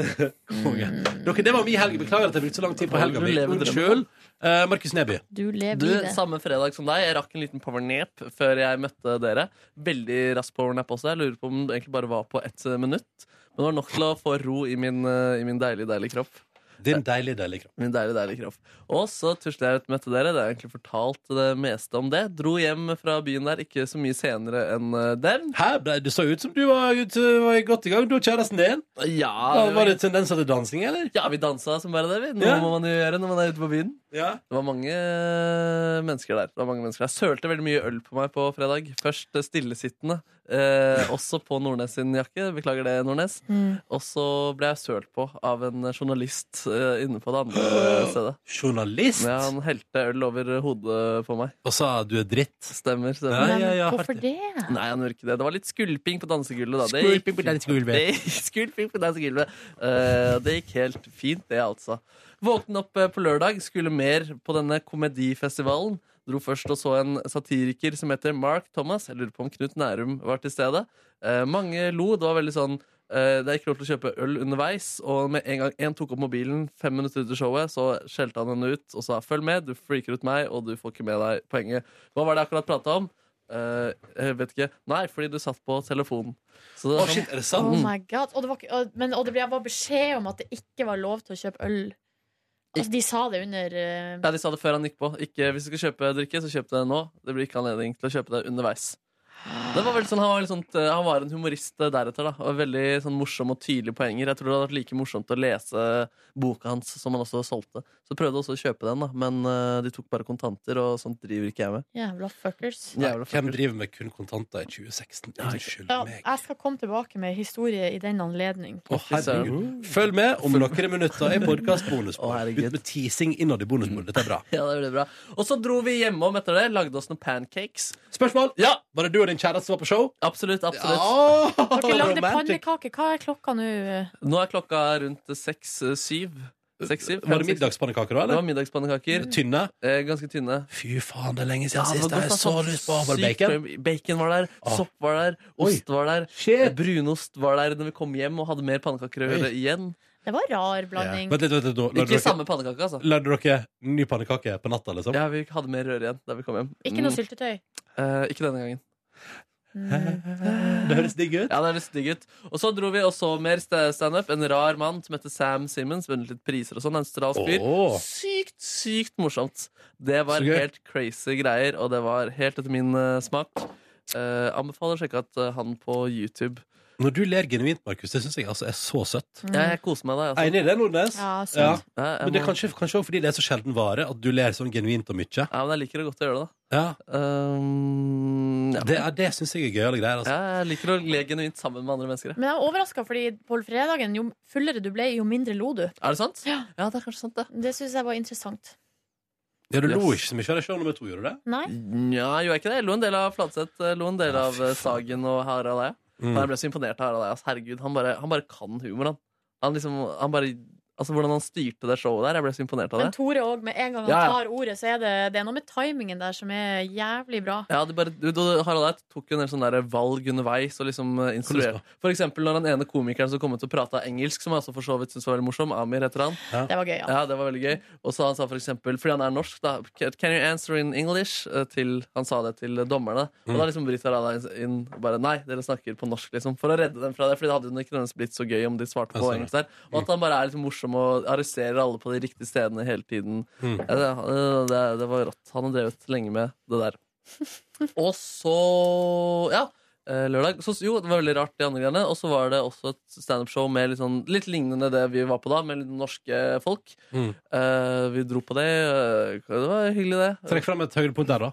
[SPEAKER 8] Mm.
[SPEAKER 2] Konge. Dere, det var min helg. Beklager at jeg brukte så lang tid på helga
[SPEAKER 1] Du
[SPEAKER 2] mi.
[SPEAKER 1] lever drømmen.
[SPEAKER 2] Unnskyld. Eh, Markus Neby.
[SPEAKER 3] Du lever
[SPEAKER 1] Du,
[SPEAKER 3] i det.
[SPEAKER 1] Samme fredag som deg. Jeg rakk en liten powernap før jeg møtte dere. Veldig rask powernap også. Jeg lurer på om det egentlig bare var på ett eh, minutt. Men det var nok til å få ro i min, eh, i min deilige, deilige kropp.
[SPEAKER 2] Din deilige, deilige kropp.
[SPEAKER 1] Min deilige, deilige kropp. Og så tusla jeg ut med til dere. Det er egentlig fortalt det meste om det. Dro hjem fra byen der ikke så mye senere enn eh, den.
[SPEAKER 2] Hæ? Ble- Det så ut som du var, du var godt i gang, du og kjæresten din.
[SPEAKER 1] Ja,
[SPEAKER 2] Da var det tendenser til dansing, eller?
[SPEAKER 1] ja, vi dansa som bare det, vi. Noe
[SPEAKER 2] Ja.
[SPEAKER 1] må man jo gjøre når man er ute på byen.
[SPEAKER 2] Ja.
[SPEAKER 1] Det var mange eh, mennesker der. Det var mange mennesker der. Sølte veldig mye øl på meg på fredag. Først eh, stillesittende, eh, også på Nordnes sin jakke. Beklager det, Nordnes.
[SPEAKER 3] Mm.
[SPEAKER 1] Og så ble jeg sølt på av en journalist eh, inne på det andre eh, stedet.
[SPEAKER 2] Journalist?
[SPEAKER 1] Ja, han helte øl over hodet på meg.
[SPEAKER 2] Og sa du er dritt.
[SPEAKER 1] Stemmer. stemmer.
[SPEAKER 2] Ja,
[SPEAKER 3] Men
[SPEAKER 2] ja, ja,
[SPEAKER 3] hvorfor
[SPEAKER 2] hardt.
[SPEAKER 3] det?
[SPEAKER 1] Nei, han gjorde ikke det. Det var litt skulping på dansegulvet. da. Det gikk-
[SPEAKER 2] Skulping på dansegulvet.
[SPEAKER 1] Det gikk- Skulping på dansegulvet. Eh, det gikk helt fint, det, altså. Våkne opp eh, på lørdag, skulle mer på denne komedifestivalen. Dro først og så en satiriker som heter Mark Thomas. Jeg lurer på om Knut Nærum var til stede. Eh, mange lo. Det var veldig sånn eh, det er ikke lov til å kjøpe øl underveis, og med en gang en tok opp mobilen fem minutter ut i showet, så skjelte han henne ut og sa 'følg med, du freaker ut meg, og du får ikke med deg poenget'. Hva var det jeg akkurat prata om? Eh, jeg vet ikke. Nei, fordi du satt på telefonen. Så det
[SPEAKER 2] Å,
[SPEAKER 1] var sånn,
[SPEAKER 2] shit, er det
[SPEAKER 3] Oh
[SPEAKER 2] sant?
[SPEAKER 3] my god. Og det, var, ikke- og, men, og det ble bare beskjed om at det ikke var lov til å kjøpe øl. Altså, de sa det under eh,
[SPEAKER 1] ja, de sa det før han gikk på. Ikke, hvis du skal kjøpe drikke, så kjøp det nå. Det blir ikke anledning til å kjøpe det underveis. Det var veldig sånn, han, var veldig sånn, eh, han var en humorist eh, deretter, da. Og veldig sånn morsom og tydelige poenger. Jeg tror det hadde vært like morsomt å lese boka hans, som han også solgte. Så prøvde jeg også å kjøpe den, da, men eh, de tok bare kontanter, og sånt driver ikke jeg med.
[SPEAKER 3] Jævla fuckers.
[SPEAKER 2] Nei,
[SPEAKER 1] Jævla
[SPEAKER 2] Hvem
[SPEAKER 1] fucker.
[SPEAKER 2] driver med kun kontanter i 2016? Unnskyld
[SPEAKER 3] Ja,
[SPEAKER 2] meg.
[SPEAKER 3] jeg skal komme tilbake med historie i den anledning.
[SPEAKER 2] Å, herregud. Følg med om noen minutter i
[SPEAKER 1] Mm. Å,
[SPEAKER 2] podkast-bonusbord.
[SPEAKER 1] herregud.
[SPEAKER 2] Ut med teasing innad i bonusbordet. Dette er bra.
[SPEAKER 1] Ja, det ble bra. Og så dro vi hjemom etter det. Lagde oss noen pancakes.
[SPEAKER 2] Spørsmål?
[SPEAKER 1] Ja,
[SPEAKER 2] Var det du og din kjæreste som var på show?
[SPEAKER 1] absolutt. absolutt.
[SPEAKER 2] Ja,
[SPEAKER 3] Dere lagde
[SPEAKER 2] romantic.
[SPEAKER 3] pannekaker. Hva er klokka nå?
[SPEAKER 1] Nå er klokka rundt eh, seks-syv. Seks-syv.
[SPEAKER 2] Var det middagspannekaker
[SPEAKER 1] Det
[SPEAKER 2] da,
[SPEAKER 1] var middagspannekaker.
[SPEAKER 2] eller? Tynne?
[SPEAKER 1] Eh, ganske tynne.
[SPEAKER 2] Fy faen, det er lenge siden sist.
[SPEAKER 1] det var
[SPEAKER 2] Jeg
[SPEAKER 1] godt,
[SPEAKER 2] har så
[SPEAKER 1] altså.
[SPEAKER 2] lyst på Harvard
[SPEAKER 1] Sykt
[SPEAKER 2] Bacon.
[SPEAKER 1] bra. Bacon var der,
[SPEAKER 2] Ah.
[SPEAKER 1] sopp var der, ost var der. eh,
[SPEAKER 2] Shit.
[SPEAKER 1] Brunost var der når vi kom hjem og hadde mer pannekaker å
[SPEAKER 2] Oi.
[SPEAKER 1] gjøre igjen.
[SPEAKER 3] Det var rar blanding.
[SPEAKER 2] Vent litt, vent litt. nå. Lagde
[SPEAKER 1] Ikke
[SPEAKER 2] dere-
[SPEAKER 1] samme pannekake, altså.
[SPEAKER 2] Lagde dere ny pannekake på natta, liksom?
[SPEAKER 1] Ja, Vi hadde mer røre igjen da vi kom hjem.
[SPEAKER 3] Ikke noe
[SPEAKER 1] Mm.
[SPEAKER 3] syltetøy.
[SPEAKER 1] Eh, ikke denne gangen.
[SPEAKER 3] Mm.
[SPEAKER 2] Det høres digg ut.
[SPEAKER 1] Ja, det er litt digg ut. Og så dro vi og så mer st- standup. En rar mann som heter Sam Simmons. Vunnet litt priser og sånn. En australsk fyr.
[SPEAKER 2] Åh.
[SPEAKER 1] Sykt, sykt morsomt. Det var
[SPEAKER 2] Så gøy.
[SPEAKER 1] helt crazy greier, og det var helt etter min eh, smak. Eh, anbefaler å sjekke at eh, han på YouTube.
[SPEAKER 2] Når du ler genuint, Markus, det syns jeg altså er så søtt.
[SPEAKER 1] Ja, jeg koser meg da. Altså.
[SPEAKER 2] Enig i det, Nordnes?
[SPEAKER 3] Ja, sant.
[SPEAKER 2] Ja.
[SPEAKER 1] Ja, jeg
[SPEAKER 2] Men det er
[SPEAKER 1] må-
[SPEAKER 2] kanskje, kanskje også fordi det er så sjelden vare at du ler sånn genuint og mye.
[SPEAKER 1] ja, men jeg liker det godt å gjøre det, da.
[SPEAKER 2] Ja.
[SPEAKER 1] Um, ja.
[SPEAKER 2] Det, er- det syns jeg er gøyale greier. Altså.
[SPEAKER 1] ja, jeg liker å le genuint sammen med andre mennesker. jeg.
[SPEAKER 3] Men jeg er overraska, fordi på fredagen, jo fullere du ble, jo mindre lo du.
[SPEAKER 1] Er det sant?
[SPEAKER 3] Ja.
[SPEAKER 1] det er kanskje sant, det.
[SPEAKER 3] Det syns jeg var interessant.
[SPEAKER 2] Ja, du lo
[SPEAKER 1] Yes.
[SPEAKER 2] ikke så mye av det show nummer to, gjorde du det?
[SPEAKER 3] Nei?
[SPEAKER 1] Nja, gjorde jeg ikke det? Jeg lo en del av Fladseth, jeg lo en del av eh, Sagen og Harald Eia.
[SPEAKER 2] Mm.
[SPEAKER 1] Men Jeg ble så imponert av Harald Eia. ass. Herregud, han bare, han bare kan humor, han. han, liksom, han bare, altså, hvordan han styrte det showet der, jeg ble så imponert av det.
[SPEAKER 3] Men Tore òg, med en gang han
[SPEAKER 1] Ja, ja.
[SPEAKER 3] tar ordet, så er det, det er noe med timingen der som er jævlig bra.
[SPEAKER 1] Ja, de bare, du, du, Harald Eia tok jo en del sånne der valg underveis og liksom eh,
[SPEAKER 2] Hvordan
[SPEAKER 1] instruerte. For eksempel når den ene komikeren som kom ut og prata engelsk, som jeg også for så vidt syntes var veldig morsom, Amir heter han.
[SPEAKER 3] Det var gøy, ja.
[SPEAKER 1] Ja, det var veldig gøy. Og så han sa for eksempel, fordi han er norsk, da Can you answer in English? Eh, Til, han sa det til dommerne. Og da liksom bryter Rada inn og bare nei, dere snakker på norsk, liksom. For å redde dem fra det. Fordi det hadde jo ikke nødvendigvis blitt så gøy om de svarte
[SPEAKER 2] Jeg
[SPEAKER 1] på
[SPEAKER 2] ser det.
[SPEAKER 1] engelsk der. Og at han bare er litt morsom og arresterer alle på de riktige stedene hele tiden.
[SPEAKER 2] Mm.
[SPEAKER 1] Ja, det, det, det var rått. Han har drevet lenge med det der. Og så Ja. eh, Lørdag. Så, jo, det var veldig rart, de andre greiene. Og så var det også et standup-show med litt, sånn, litt lignende det vi var på da, med litt norske folk.
[SPEAKER 2] Mm.
[SPEAKER 1] Eh, vi dro på det. eh, det var hyggelig, det.
[SPEAKER 2] Trekk fram et høydepunkt der, da.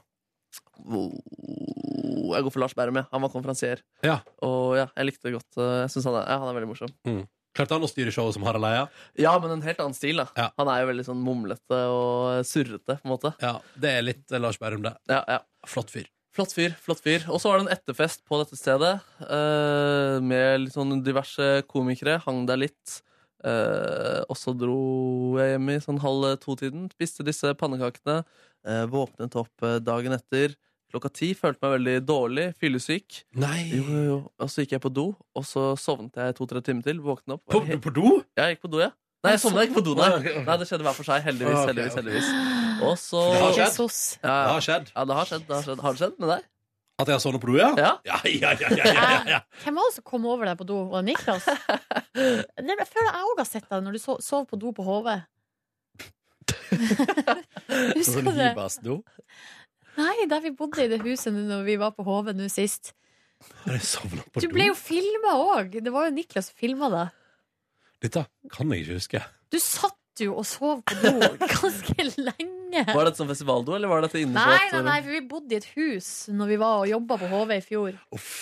[SPEAKER 1] Oh, Jeg går for Lars Berrum, jeg. Han var konferansier.
[SPEAKER 2] Ja.
[SPEAKER 1] Og ja, jeg likte det godt. eh, Jeg synes han, er, ja, han er veldig morsom.
[SPEAKER 2] Klarte han å styre showet som Harald Eia?
[SPEAKER 1] Ja, men en helt annen stil, da.
[SPEAKER 2] Ja.
[SPEAKER 1] Han er jo veldig sånn mumlete og surrete, på en måte.
[SPEAKER 2] Ja, det er litt eh, Lars Berrum, det.
[SPEAKER 1] Ja, ja.
[SPEAKER 2] Flott fyr.
[SPEAKER 1] Flott fyr. flott fyr Og så var det en etterfest på dette stedet eh, med litt sånn diverse komikere. Hang der litt. Eh, og så dro jeg hjem i sånn halv to-tiden. Spiste disse pannekakene. eh, våknet opp eh, dagen etter klokka ti. Følte meg veldig dårlig. Fyllesyk.
[SPEAKER 2] Nei
[SPEAKER 1] Jo, jo, jo. Og så gikk jeg på do, og så sovnet jeg to-tre timer til. Våknet opp.
[SPEAKER 2] På,
[SPEAKER 1] Var he-
[SPEAKER 2] på do?
[SPEAKER 1] Ja, jeg gikk på do, ja. Nei, jeg sovna ikke på do,
[SPEAKER 2] Nei,
[SPEAKER 1] nei.
[SPEAKER 2] ok, ok.
[SPEAKER 1] nei. Det skjedde hver for seg. Heldigvis,
[SPEAKER 2] Ah, ok,
[SPEAKER 1] heldigvis,
[SPEAKER 2] ok.
[SPEAKER 1] heldigvis. Og så
[SPEAKER 2] Det har skjedd.
[SPEAKER 3] Jesus.
[SPEAKER 1] ja,
[SPEAKER 2] Det
[SPEAKER 1] ja.
[SPEAKER 2] har skjedd.
[SPEAKER 1] ja, det har skjedd. Det har skjedd, har det skjedd med deg?
[SPEAKER 2] At jeg har sovnet på do, ja?
[SPEAKER 1] Ja.
[SPEAKER 2] Ja, ja, ja, ja, ja, ja.
[SPEAKER 3] Hvem var det som kom over deg på do? Var det Niklas? Det, jeg føler jeg òg har sett deg når du sov, sov på do på HV. Husker du det?
[SPEAKER 8] Libas-do.
[SPEAKER 3] Nei, der vi bodde i det huset nå når vi var på HV nå sist.
[SPEAKER 2] Har jeg sovnet på
[SPEAKER 3] Du
[SPEAKER 2] do?
[SPEAKER 3] ble jo filma òg! Det var jo Niklas som filma deg.
[SPEAKER 2] Dette kan jeg ikke huske.
[SPEAKER 3] Du satt jo og sov på do ganske lenge.
[SPEAKER 1] Var dette som festivaldo, eller var dette
[SPEAKER 3] Nei, nei,
[SPEAKER 1] inneslått?
[SPEAKER 3] nei, for vi bodde i et hus når vi var og jobba på HV i fjor.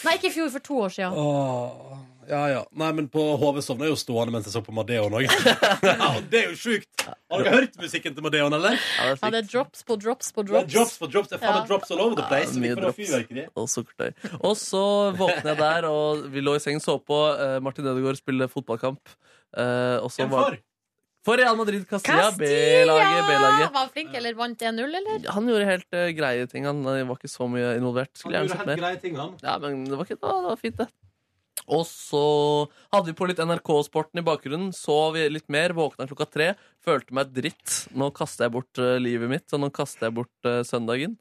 [SPEAKER 3] Nei, ikke i fjor, for to år siden.
[SPEAKER 2] Åh, ja, ja. Nei, men på HV sovna jeg jo stående mens jeg så på Madeon òg. ja, og det er jo sjukt! Har dere hørt musikken til Madeon,
[SPEAKER 1] Ja,
[SPEAKER 2] eller?
[SPEAKER 1] det er
[SPEAKER 3] Ja,
[SPEAKER 1] slik.
[SPEAKER 3] det er drops på drops på
[SPEAKER 2] Det er
[SPEAKER 3] drops.
[SPEAKER 2] drops for drops. Det er faen meg
[SPEAKER 3] Ja.
[SPEAKER 2] drops all over the place.
[SPEAKER 1] Ja, mye
[SPEAKER 2] Mye
[SPEAKER 1] drops.
[SPEAKER 2] drops.
[SPEAKER 1] og sukkertøy. Og så våkner jeg der, og vi lå i sengen, så på eh, Martin Ødegaard spille fotballkamp. Eh, og så
[SPEAKER 2] Hvem
[SPEAKER 1] var
[SPEAKER 2] for?
[SPEAKER 1] For Real Madrid Castilla! B-laget,
[SPEAKER 3] Castilla!
[SPEAKER 1] B-laget.
[SPEAKER 3] Var han flink, eller vant 1-0, eller?
[SPEAKER 1] Han gjorde helt eh, greie ting. Han eh, var ikke så mye involvert.
[SPEAKER 2] Han
[SPEAKER 1] Skulle
[SPEAKER 2] gjorde
[SPEAKER 1] gjerne sett
[SPEAKER 2] helt
[SPEAKER 1] mer.
[SPEAKER 2] greie ting, han.
[SPEAKER 1] Ja, men det var ikke noe. Det var fint, det. Og så hadde vi på litt NRK-sporten i bakgrunnen. Sov vi litt mer, våkna klokka tre. Følte meg dritt. Nå kaster jeg bort eh, livet mitt, og nå kaster jeg bort eh, søndagen.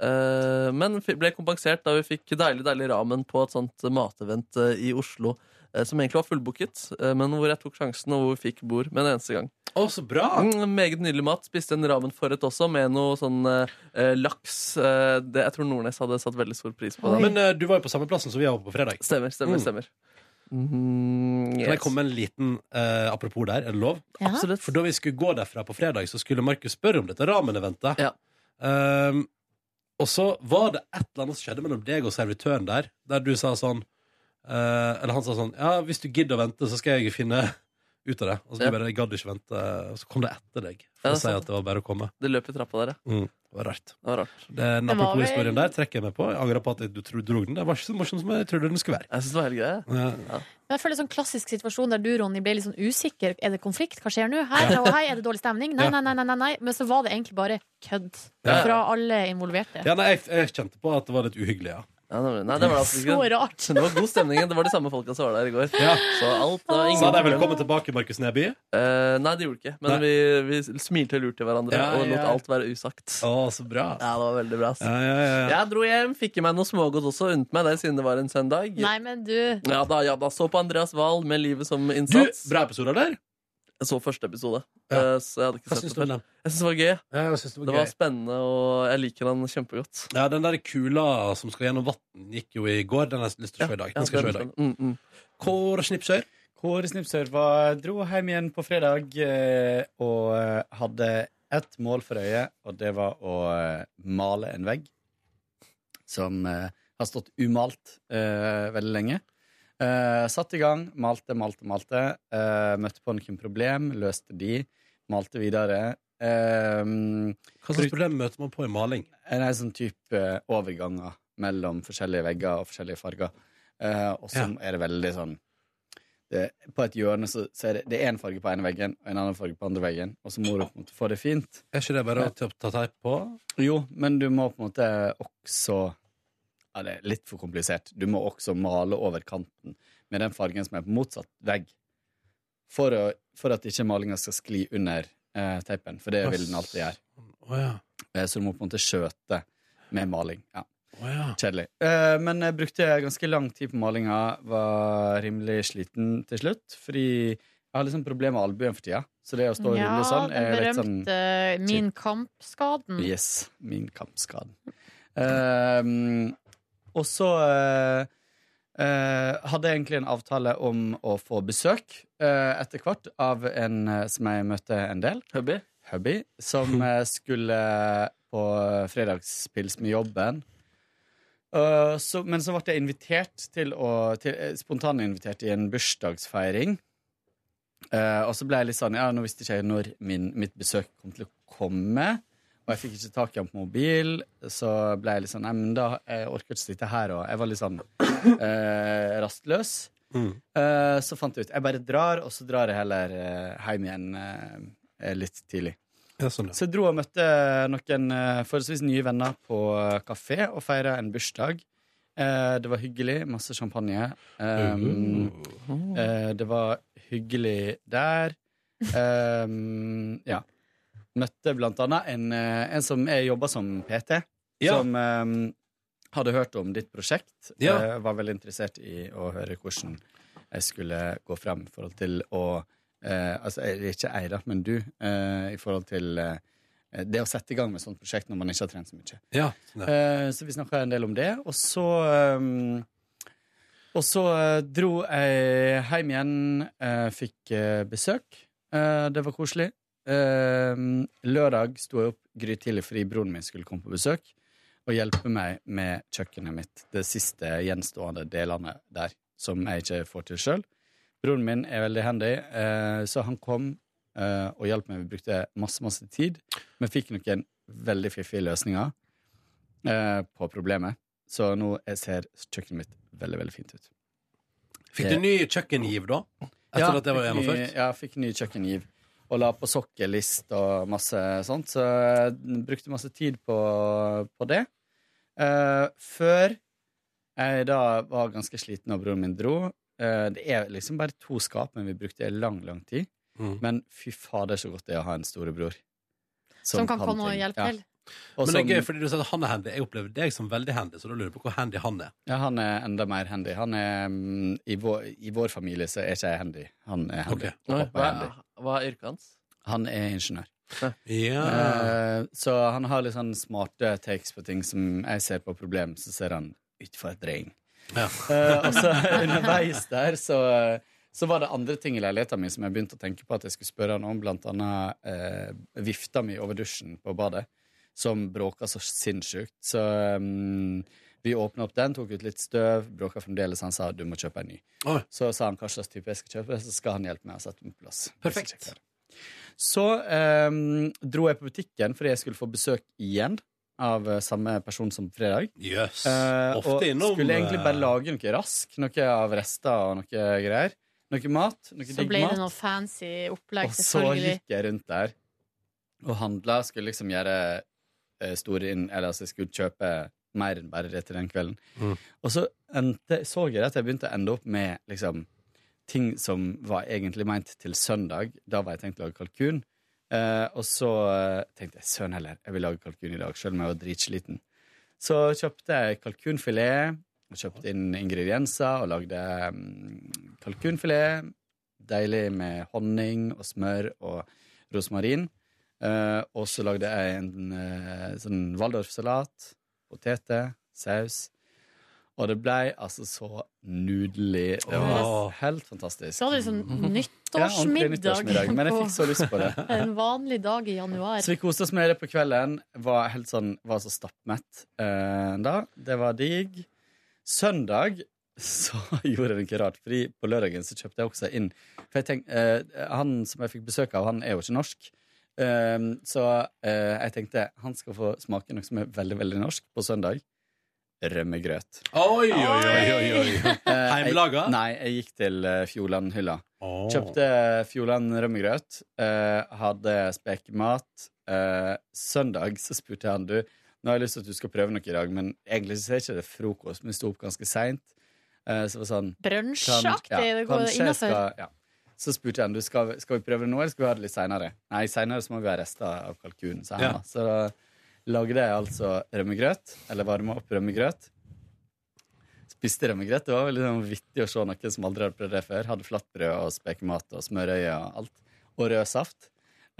[SPEAKER 1] Eh, men f- ble kompensert da vi fikk deilig deilig ramen på et sånt matevent eh, i Oslo. eh, Som egentlig var fullbooket, eh, men hvor jeg tok sjansen og hvor vi fikk bord med en eneste gang.
[SPEAKER 2] Å, så bra!
[SPEAKER 1] Mm, meget nydelig mat. Spiste en ramenforrett også, med noe sånn eh, laks. Eh, det, jeg tror Nordnes hadde satt veldig stor pris på. det
[SPEAKER 2] Men eh, du var jo på samme plassen som vi var på på fredag.
[SPEAKER 1] Stemmer, stemmer,
[SPEAKER 2] Mm.
[SPEAKER 1] stemmer. Mm,
[SPEAKER 2] Kan
[SPEAKER 1] yes.
[SPEAKER 2] jeg komme med en liten eh, apropos der? Er det lov?
[SPEAKER 3] Ja.
[SPEAKER 1] Absolutt.
[SPEAKER 2] For da vi skulle gå derfra på fredag, så skulle Markus spørre om dette ramen-eventet.
[SPEAKER 1] Ja.
[SPEAKER 2] Ehm, og så var det et eller annet som skjedde mellom deg og servitøren der, der du sa sånn eh, Eller han sa sånn Ja, hvis du gidder å vente, så skal jeg finne ut av det. Og så du
[SPEAKER 1] Ja.
[SPEAKER 2] bare «Jeg gadd ikke vente, og så kom det etter deg.
[SPEAKER 1] Ja,
[SPEAKER 2] For
[SPEAKER 1] det er
[SPEAKER 2] å si
[SPEAKER 1] sant.
[SPEAKER 2] at det var bare å komme.
[SPEAKER 1] Det løp i trappa der, ja.
[SPEAKER 2] Det var rart.
[SPEAKER 1] Det var rart.
[SPEAKER 2] Den
[SPEAKER 3] Det var vel-
[SPEAKER 2] apropos-historien der trekker jeg meg på. Jeg angrer på at jeg- du tro- dro den. Det var ikke så morsom som jeg trodde den skulle være.
[SPEAKER 1] Jeg synes det var helt greit.
[SPEAKER 2] Eh,
[SPEAKER 3] Men jeg føler sånn klassisk situasjon der du, Ronny, ble litt sånn usikker. Er det konflikt? Hva skjer nå? Hei, og hei, er det dårlig stemning? Nei,
[SPEAKER 2] Ja.
[SPEAKER 3] nei, nei, nei, nei, nei. Men så var det egentlig bare kødd
[SPEAKER 1] Ja.
[SPEAKER 3] fra alle involverte.
[SPEAKER 2] ja, nei, jeg, jeg kjente på at det var litt uhyggelig, ja.
[SPEAKER 1] Ja, nemlig. Nei, det var det absolutt
[SPEAKER 3] Så
[SPEAKER 1] ikke.
[SPEAKER 3] rart.
[SPEAKER 8] sånn-
[SPEAKER 1] Men Det var god stemning. ja. Det var de samme folka som var der i går.
[SPEAKER 2] Ja.
[SPEAKER 1] Så alt det var ingen
[SPEAKER 2] Sa de
[SPEAKER 1] problem.
[SPEAKER 2] velkommen tilbake, Markus Neby?
[SPEAKER 1] Eh, nei, det gjorde ikke. Men
[SPEAKER 2] Nei.
[SPEAKER 1] vi, vi smilte og lurte hverandre
[SPEAKER 2] Ja,
[SPEAKER 1] og lot
[SPEAKER 2] ja.
[SPEAKER 1] alt være usagt.
[SPEAKER 2] Å, så bra.
[SPEAKER 1] Ja, det var veldig bra. ass.
[SPEAKER 2] Ja, ja, ja, ja.
[SPEAKER 1] Jeg dro hjem, fikk i meg noe smågodt også, unnte meg det siden det var en søndag.
[SPEAKER 3] Nei, men du
[SPEAKER 1] Ja da, ja da. Så på Andreas Wahl med livet som
[SPEAKER 2] Du,
[SPEAKER 1] innsats.
[SPEAKER 2] bra episode, eller?
[SPEAKER 1] Jeg så første episode,
[SPEAKER 2] Ja.
[SPEAKER 1] eh, så jeg hadde ikke
[SPEAKER 2] Hva
[SPEAKER 1] sett
[SPEAKER 2] syns
[SPEAKER 1] det
[SPEAKER 2] du
[SPEAKER 1] før.
[SPEAKER 2] om den?
[SPEAKER 1] Jeg syns det var gøy.
[SPEAKER 2] Ja, jeg syns det
[SPEAKER 1] Det var spennende, og jeg liker han kjempegodt.
[SPEAKER 2] Ja, den der kula som skal gjennom vann, gikk jo i går. Den har jeg lyst til å se i dag. Den skal jeg se i dag.
[SPEAKER 1] Mm, mm.
[SPEAKER 2] Kåre Snipsøyr.
[SPEAKER 8] Kåre Snipsør var, dro hjem igjen på fredag eh, og eh, hadde ett mål for øye, og det var å eh, male en vegg som eh, har stått umalt eh, veldig lenge. Eh, satt i gang, malte, malte, malte. Eh, møtte på noen problem, løste de, malte videre. eh,
[SPEAKER 2] Hva slags problem møter man på i maling?
[SPEAKER 8] En er sånn type overganger mellom forskjellige vegger og forskjellige farger. Eh, og så er det veldig sånn det, På et hjørne så, så er det, det er en farge på ene veggen og en annen farge på andre veggen. Og så må du på en måte få det fint.
[SPEAKER 2] Er ikke det bare å ta ta teip på?
[SPEAKER 8] Jo, men du må på en måte også Ja, det er litt for komplisert. Du må også male over kanten med den fargen som er på motsatt vegg. For, å, for at ikke malinga skal skli under eh, teipen, for det vil den alltid gjøre.
[SPEAKER 2] Å ja.
[SPEAKER 8] Eh, Så du må på en måte skjøte med maling. Ja,
[SPEAKER 2] Å ja.
[SPEAKER 8] Kjedelig. Eh, Men jeg brukte ganske lang tid på malinga. Var rimelig sliten til slutt. Fordi jeg har liksom problemer med albuen for tida. Så det å stå og
[SPEAKER 3] Ja,
[SPEAKER 8] rulle sånn
[SPEAKER 3] den
[SPEAKER 8] er litt sånn
[SPEAKER 3] berømte Min kampskaden.
[SPEAKER 8] Yes, min kampskade. Eh, og så eh, eh, hadde jeg egentlig en avtale om å få besøk eh, etter hvert av en eh, som jeg møtte en del
[SPEAKER 1] Hubby?
[SPEAKER 8] hubby, som eh, skulle på fredagspils med jobben. Eh, så, men så ble jeg invitert til å til, eh, Spontaninvitert i en bursdagsfeiring. Eh, og så ble jeg litt sånn Ja, nå visste ikke jeg når min, mitt besøk kom til å komme. Og jeg fikk ikke tak i han på mobil, så ble jeg litt sånn Nei, men da jeg orker ikke sitte her, og jeg var litt sånn eh, rastløs.
[SPEAKER 2] Mm.
[SPEAKER 8] Eh, så fant jeg ut Jeg bare drar, og så drar jeg heller eh, hjem igjen eh, eh, litt tidlig.
[SPEAKER 2] Ja, sånn, ja.
[SPEAKER 8] Så jeg dro og møtte noen eh, forholdsvis nye venner på eh, kafé og feira en bursdag. Eh, Det var hyggelig. Masse champagne. Um,
[SPEAKER 2] Uh.
[SPEAKER 8] eh, Det var hyggelig der. Um, Ja. Møtte blant annet en, eh, en som jeg jobba som PT,
[SPEAKER 2] Ja.
[SPEAKER 8] som eh, hadde hørt om ditt prosjekt.
[SPEAKER 2] Ja.
[SPEAKER 8] Eh, Var veldig interessert i å høre hvordan jeg skulle gå fram i forhold til å eh, Altså jeg- ikke jeg, da, men du. eh, I forhold til eh, det å sette i gang med et sånt prosjekt når man ikke har trent så mye.
[SPEAKER 2] Ja, sånn, ja.
[SPEAKER 8] Eh, så vi snakka en del om det. Og så ehm, Og så eh, dro jeg hjem igjen, eh, fikk eh, besøk. Eh, det var koselig. Ehm, lørdag sto jeg opp grytidlig fordi broren min skulle komme på besøk og hjelpe meg med kjøkkenet mitt. Det siste gjenstående delene der, som jeg ikke får til sjøl. Broren min er veldig handy, eh, så han kom eh, og hjalp meg. Vi brukte masse, masse tid, men fikk noen veldig fiffige løsninger eh, på problemet. Så nå jeg ser kjøkkenet mitt veldig veldig fint ut.
[SPEAKER 2] Fikk du ny kjøkkengiv da? Etter at det var
[SPEAKER 8] fikk ny-
[SPEAKER 2] gjennomført?
[SPEAKER 8] Ja, fikk ny kjøkkengiv. Og la på sokkelist og masse sånt. Så jeg brukte masse tid på, på det. Eh, før jeg da var ganske sliten og broren min dro. eh, det er liksom bare to skap, men vi brukte lang, lang tid.
[SPEAKER 2] Mm.
[SPEAKER 8] Men fy fader, så godt det er å ha en storebror.
[SPEAKER 3] Som kan komme og
[SPEAKER 8] ting.
[SPEAKER 3] hjelpe
[SPEAKER 8] sånn Ja.
[SPEAKER 3] til.
[SPEAKER 2] Men
[SPEAKER 8] Og
[SPEAKER 2] det
[SPEAKER 8] som-
[SPEAKER 2] er gøy, fordi du sa at han er handy. Jeg opplever deg som veldig handy, så da lurer jeg på hvor handy han er.
[SPEAKER 8] Ja, han er enda mer handy. Han er, mm, i, vår, I vår familie så er ikke jeg handy. Han er handy.
[SPEAKER 2] Ok.
[SPEAKER 8] Og pappa
[SPEAKER 1] Hva,
[SPEAKER 8] er handy.
[SPEAKER 1] hva er yrket hans?
[SPEAKER 8] Han er ingeniør.
[SPEAKER 2] Ja.
[SPEAKER 8] Eh, så han har litt sånn smarte takes på ting som jeg ser på problem, så ser han utfordring.
[SPEAKER 2] Ja.
[SPEAKER 8] Eh, og så underveis der så, så var det andre ting i leiligheten min som jeg begynte å tenke på at jeg skulle spørre han om, blant annet eh, vifta mi over dusjen på badet, som bråka så sinnssykt. Så mm, vi åpna opp den, tok ut litt støv, bråka fremdeles. Han sa du må kjøpe en ny.
[SPEAKER 2] Oi.
[SPEAKER 8] Så sa han hva slags type jeg skal kjøpe, så skal han hjelpe meg å sette den på plass.
[SPEAKER 2] Perfekt.
[SPEAKER 8] Så, ehm, dro jeg på butikken fordi jeg skulle få besøk igjen av eh, samme person som på fredag.
[SPEAKER 2] Jøss.
[SPEAKER 8] Eh, og
[SPEAKER 2] Ofte innom
[SPEAKER 8] skulle egentlig bare
[SPEAKER 2] eh,
[SPEAKER 8] lage noe rask, noe av rester og noe greier. Noe mat. Noe
[SPEAKER 3] Så
[SPEAKER 8] digg
[SPEAKER 3] ble det
[SPEAKER 8] mat.
[SPEAKER 3] noe fancy opplegg,
[SPEAKER 8] Og så
[SPEAKER 3] selvfølgelig.
[SPEAKER 8] gikk jeg rundt der og handla. Skulle liksom gjøre eh, store inn... Eller altså, jeg skulle kjøpe mer enn bare det til den kvelden.
[SPEAKER 2] Mm.
[SPEAKER 8] Og så endte, så jeg at jeg begynte å ende opp med liksom ting som var egentlig meint til søndag. Da var jeg tenkt å lage kalkun. Eh, og så eh, tenkte jeg søren heller, jeg vil lage kalkun i dag, selv om jeg var dritsliten. Så kjøpte jeg kalkunfilet, og kjøpte inn ingredienser og lagde mm, kalkunfilet. Deilig med honning og smør og rosmarin. Eh, og så lagde jeg en eh, sånn waldorfsalat, poteter, saus. Og det blei altså så nudelig. Det var
[SPEAKER 2] Åh.
[SPEAKER 8] helt fantastisk.
[SPEAKER 3] Så hadde vi sånn
[SPEAKER 8] Ja, ordentlig
[SPEAKER 3] nyttårsmiddag
[SPEAKER 8] nyttårsmiddag, Men jeg
[SPEAKER 3] på
[SPEAKER 8] fikk så lyst på det.
[SPEAKER 3] en vanlig dag i januar.
[SPEAKER 8] Så vi koste oss med det på kvelden. Var helt sånn, var så stappmett eh, da. Det var digg. Søndag så gjorde jeg noe rart, fordi på lørdagen så kjøpte jeg også inn For jeg tenkte, eh, han som jeg fikk besøk av, han er jo ikke norsk. Ehm, så eh, jeg tenkte han skal få smake noe som er veldig, veldig norsk på søndag. Rømmegrøt.
[SPEAKER 2] Oi, oi, oi, oi, oi.
[SPEAKER 8] Eh, jeg-
[SPEAKER 2] Heimelaga?
[SPEAKER 8] Nei, jeg gikk til eh, Fjordlandhylla.
[SPEAKER 2] Åh.
[SPEAKER 8] Kjøpte Fjordland rømmegrøt. eh, hadde spekemat. Eh, søndag så spurte jeg han du, nå har jeg lyst til at du skal prøve noe i dag, men egentlig så er ikke det frokost, men vi sto opp ganske seint. Eh, så var det sånn kan-
[SPEAKER 3] Brunsjaktig,
[SPEAKER 8] ja,
[SPEAKER 3] det går
[SPEAKER 8] kanskje jeg
[SPEAKER 3] innafor.
[SPEAKER 8] skal- ja. Så spurte jeg han, du, skal, vi- skal vi prøve det nå, eller skal vi ha det litt seinere? Nei, seinere så må vi ha rester av kalkunen, sa han.
[SPEAKER 2] Ja.
[SPEAKER 8] da. Så da lagde jeg altså rømmegrøt, eller varma opp rømmegrøt. Spiste rømmegrøt. Det var veldig sånn vittig å se noen som aldri hadde prøvd det før. Hadde flatbrød og spekemat og smørøye og alt. Og rød saft.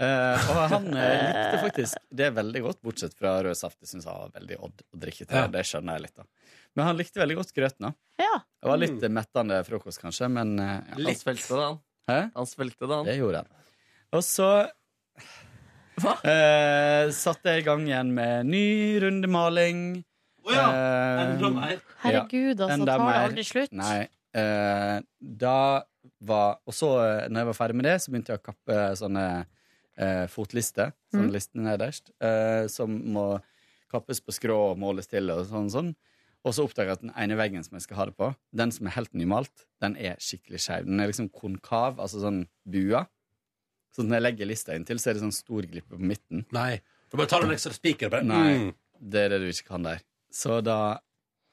[SPEAKER 8] Eh, og han eh, likte faktisk det veldig godt, bortsett fra rød saft. Det syns han var veldig odd å drikke til.
[SPEAKER 2] Ja.
[SPEAKER 8] Det skjønner jeg litt, da. Men han likte veldig godt grøten, da.
[SPEAKER 3] Ja.
[SPEAKER 8] Det var litt
[SPEAKER 2] Mm.
[SPEAKER 8] mettende frokost, kanskje, men eh, ja.
[SPEAKER 1] Han svelgte det, han.
[SPEAKER 8] Hæ?
[SPEAKER 1] Han svelgte det, han.
[SPEAKER 8] Det gjorde han. Og så
[SPEAKER 1] Hva?
[SPEAKER 8] eh, satte jeg i gang igjen med ny runde maling.
[SPEAKER 2] Å ja, sånn
[SPEAKER 8] Eh,
[SPEAKER 2] enda mer.
[SPEAKER 3] Herregud, altså.
[SPEAKER 8] Enda
[SPEAKER 3] Tar det
[SPEAKER 8] mer.
[SPEAKER 3] aldri slutt?
[SPEAKER 8] Nei. Eh, da var Og så, eh, når jeg var ferdig med det, så begynte jeg å kappe sånne eh, fotlister. Sånne
[SPEAKER 3] Mm.
[SPEAKER 8] listene nederst. Eh, som må kappes på skrå og måles til og sånn. sånn. Og så oppdager jeg at den ene veggen som jeg skal ha det på, den som er helt nymalt, den er skikkelig skeiv. Den er liksom konkav, altså sånn bua. Så når jeg legger lista inntil, så er det sånn stor glippe på midten.
[SPEAKER 2] Nei. Du bare tar en ekstra spiker på den.
[SPEAKER 8] Nei.
[SPEAKER 2] Mm.
[SPEAKER 8] Det er det du ikke kan der. Så da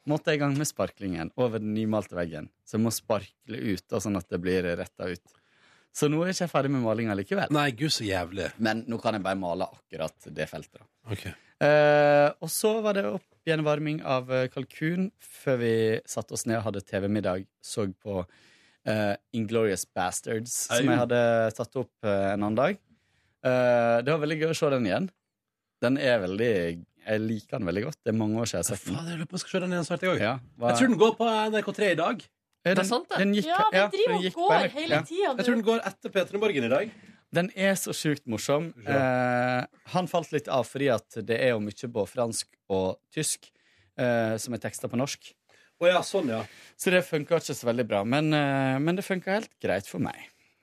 [SPEAKER 8] måtte jeg i gang med sparklingen over den nymalte veggen. Så jeg må sparkle ut, da, sånn at det blir retta ut. Så nå er ikke jeg ferdig med malinga likevel.
[SPEAKER 2] Nei, gud, så jævlig.
[SPEAKER 8] Men nå kan jeg bare male akkurat det feltet. da.
[SPEAKER 2] Ok.
[SPEAKER 8] Eh, og så var det opp igjen varming av eh, kalkun før vi satte oss ned og hadde TV-middag. Så på eh, Inglorious Bastards,
[SPEAKER 2] Au.
[SPEAKER 8] som jeg hadde tatt opp eh, en annen dag. Eh, det var veldig gøy å se den igjen. Den er veldig Jeg liker den veldig godt. Det er mange år siden jeg har sett den.
[SPEAKER 2] Faen, jeg lurer på om jeg skal se den igjen snart, jeg òg.
[SPEAKER 8] Ja, hva-
[SPEAKER 2] Jeg tror den går på NRK3 i dag.
[SPEAKER 8] Er
[SPEAKER 1] Det er sant, det.
[SPEAKER 8] Den gikk,
[SPEAKER 3] Ja, den driver
[SPEAKER 8] den
[SPEAKER 3] og
[SPEAKER 8] gikk på
[SPEAKER 3] går
[SPEAKER 8] NRK,
[SPEAKER 3] hele
[SPEAKER 8] ja.
[SPEAKER 3] tida.
[SPEAKER 2] Jeg tror den går etter P3 Morgen i dag.
[SPEAKER 8] Den er så sjukt morsom. Eh, han falt litt av fordi at det er jo mye på fransk og tysk eh, som er tekster på norsk.
[SPEAKER 2] Å ja, sånn, ja.
[SPEAKER 8] Så det funka ikke så veldig bra, men, eh, men det funka helt greit for meg.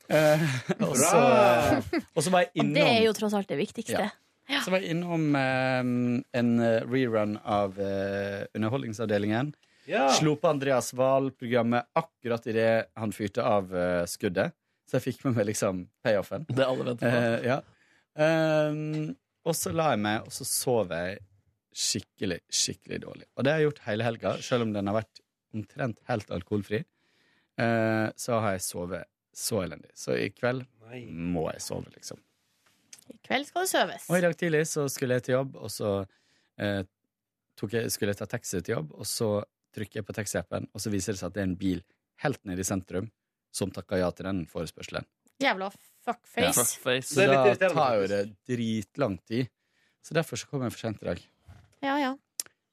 [SPEAKER 8] Eh, og, så,
[SPEAKER 2] Bra!
[SPEAKER 8] og så var jeg
[SPEAKER 3] Og det er
[SPEAKER 8] innom,
[SPEAKER 3] jo tross alt det viktigste.
[SPEAKER 8] Ja. så var jeg innom eh, en eh, rerun av eh, Underholdningsavdelingen.
[SPEAKER 2] ja.
[SPEAKER 8] Slo på Andreas Wahl-programmet akkurat idet han fyrte av eh, skuddet. Så jeg fikk med meg liksom payoffen.
[SPEAKER 1] Det alle venter på.
[SPEAKER 8] Eh, ja. Ehm, og så la jeg meg, og så sov jeg skikkelig, skikkelig dårlig. Og det har jeg gjort hele helga, selv om den har vært omtrent helt alkoholfri. Eh, så har jeg sovet så elendig. Så i kveld
[SPEAKER 2] Nei.
[SPEAKER 8] må jeg sove, liksom.
[SPEAKER 3] I kveld skal det søves.
[SPEAKER 8] Og i dag tidlig så skulle jeg til jobb, og så eh, tok jeg, skulle jeg ta taxi til jobb, og så trykker jeg på taxiappen, og så viser det seg at det er en bil helt nede i sentrum som takker ja til den forespørselen.
[SPEAKER 3] Jævla fuckface.
[SPEAKER 1] Fuckface.
[SPEAKER 8] Så
[SPEAKER 2] Det er litt
[SPEAKER 8] da
[SPEAKER 2] irriterende,
[SPEAKER 8] tar jo det
[SPEAKER 2] faktisk.
[SPEAKER 8] dritlang tid. Så derfor så kom jeg for sent i dag.
[SPEAKER 3] Ja ja.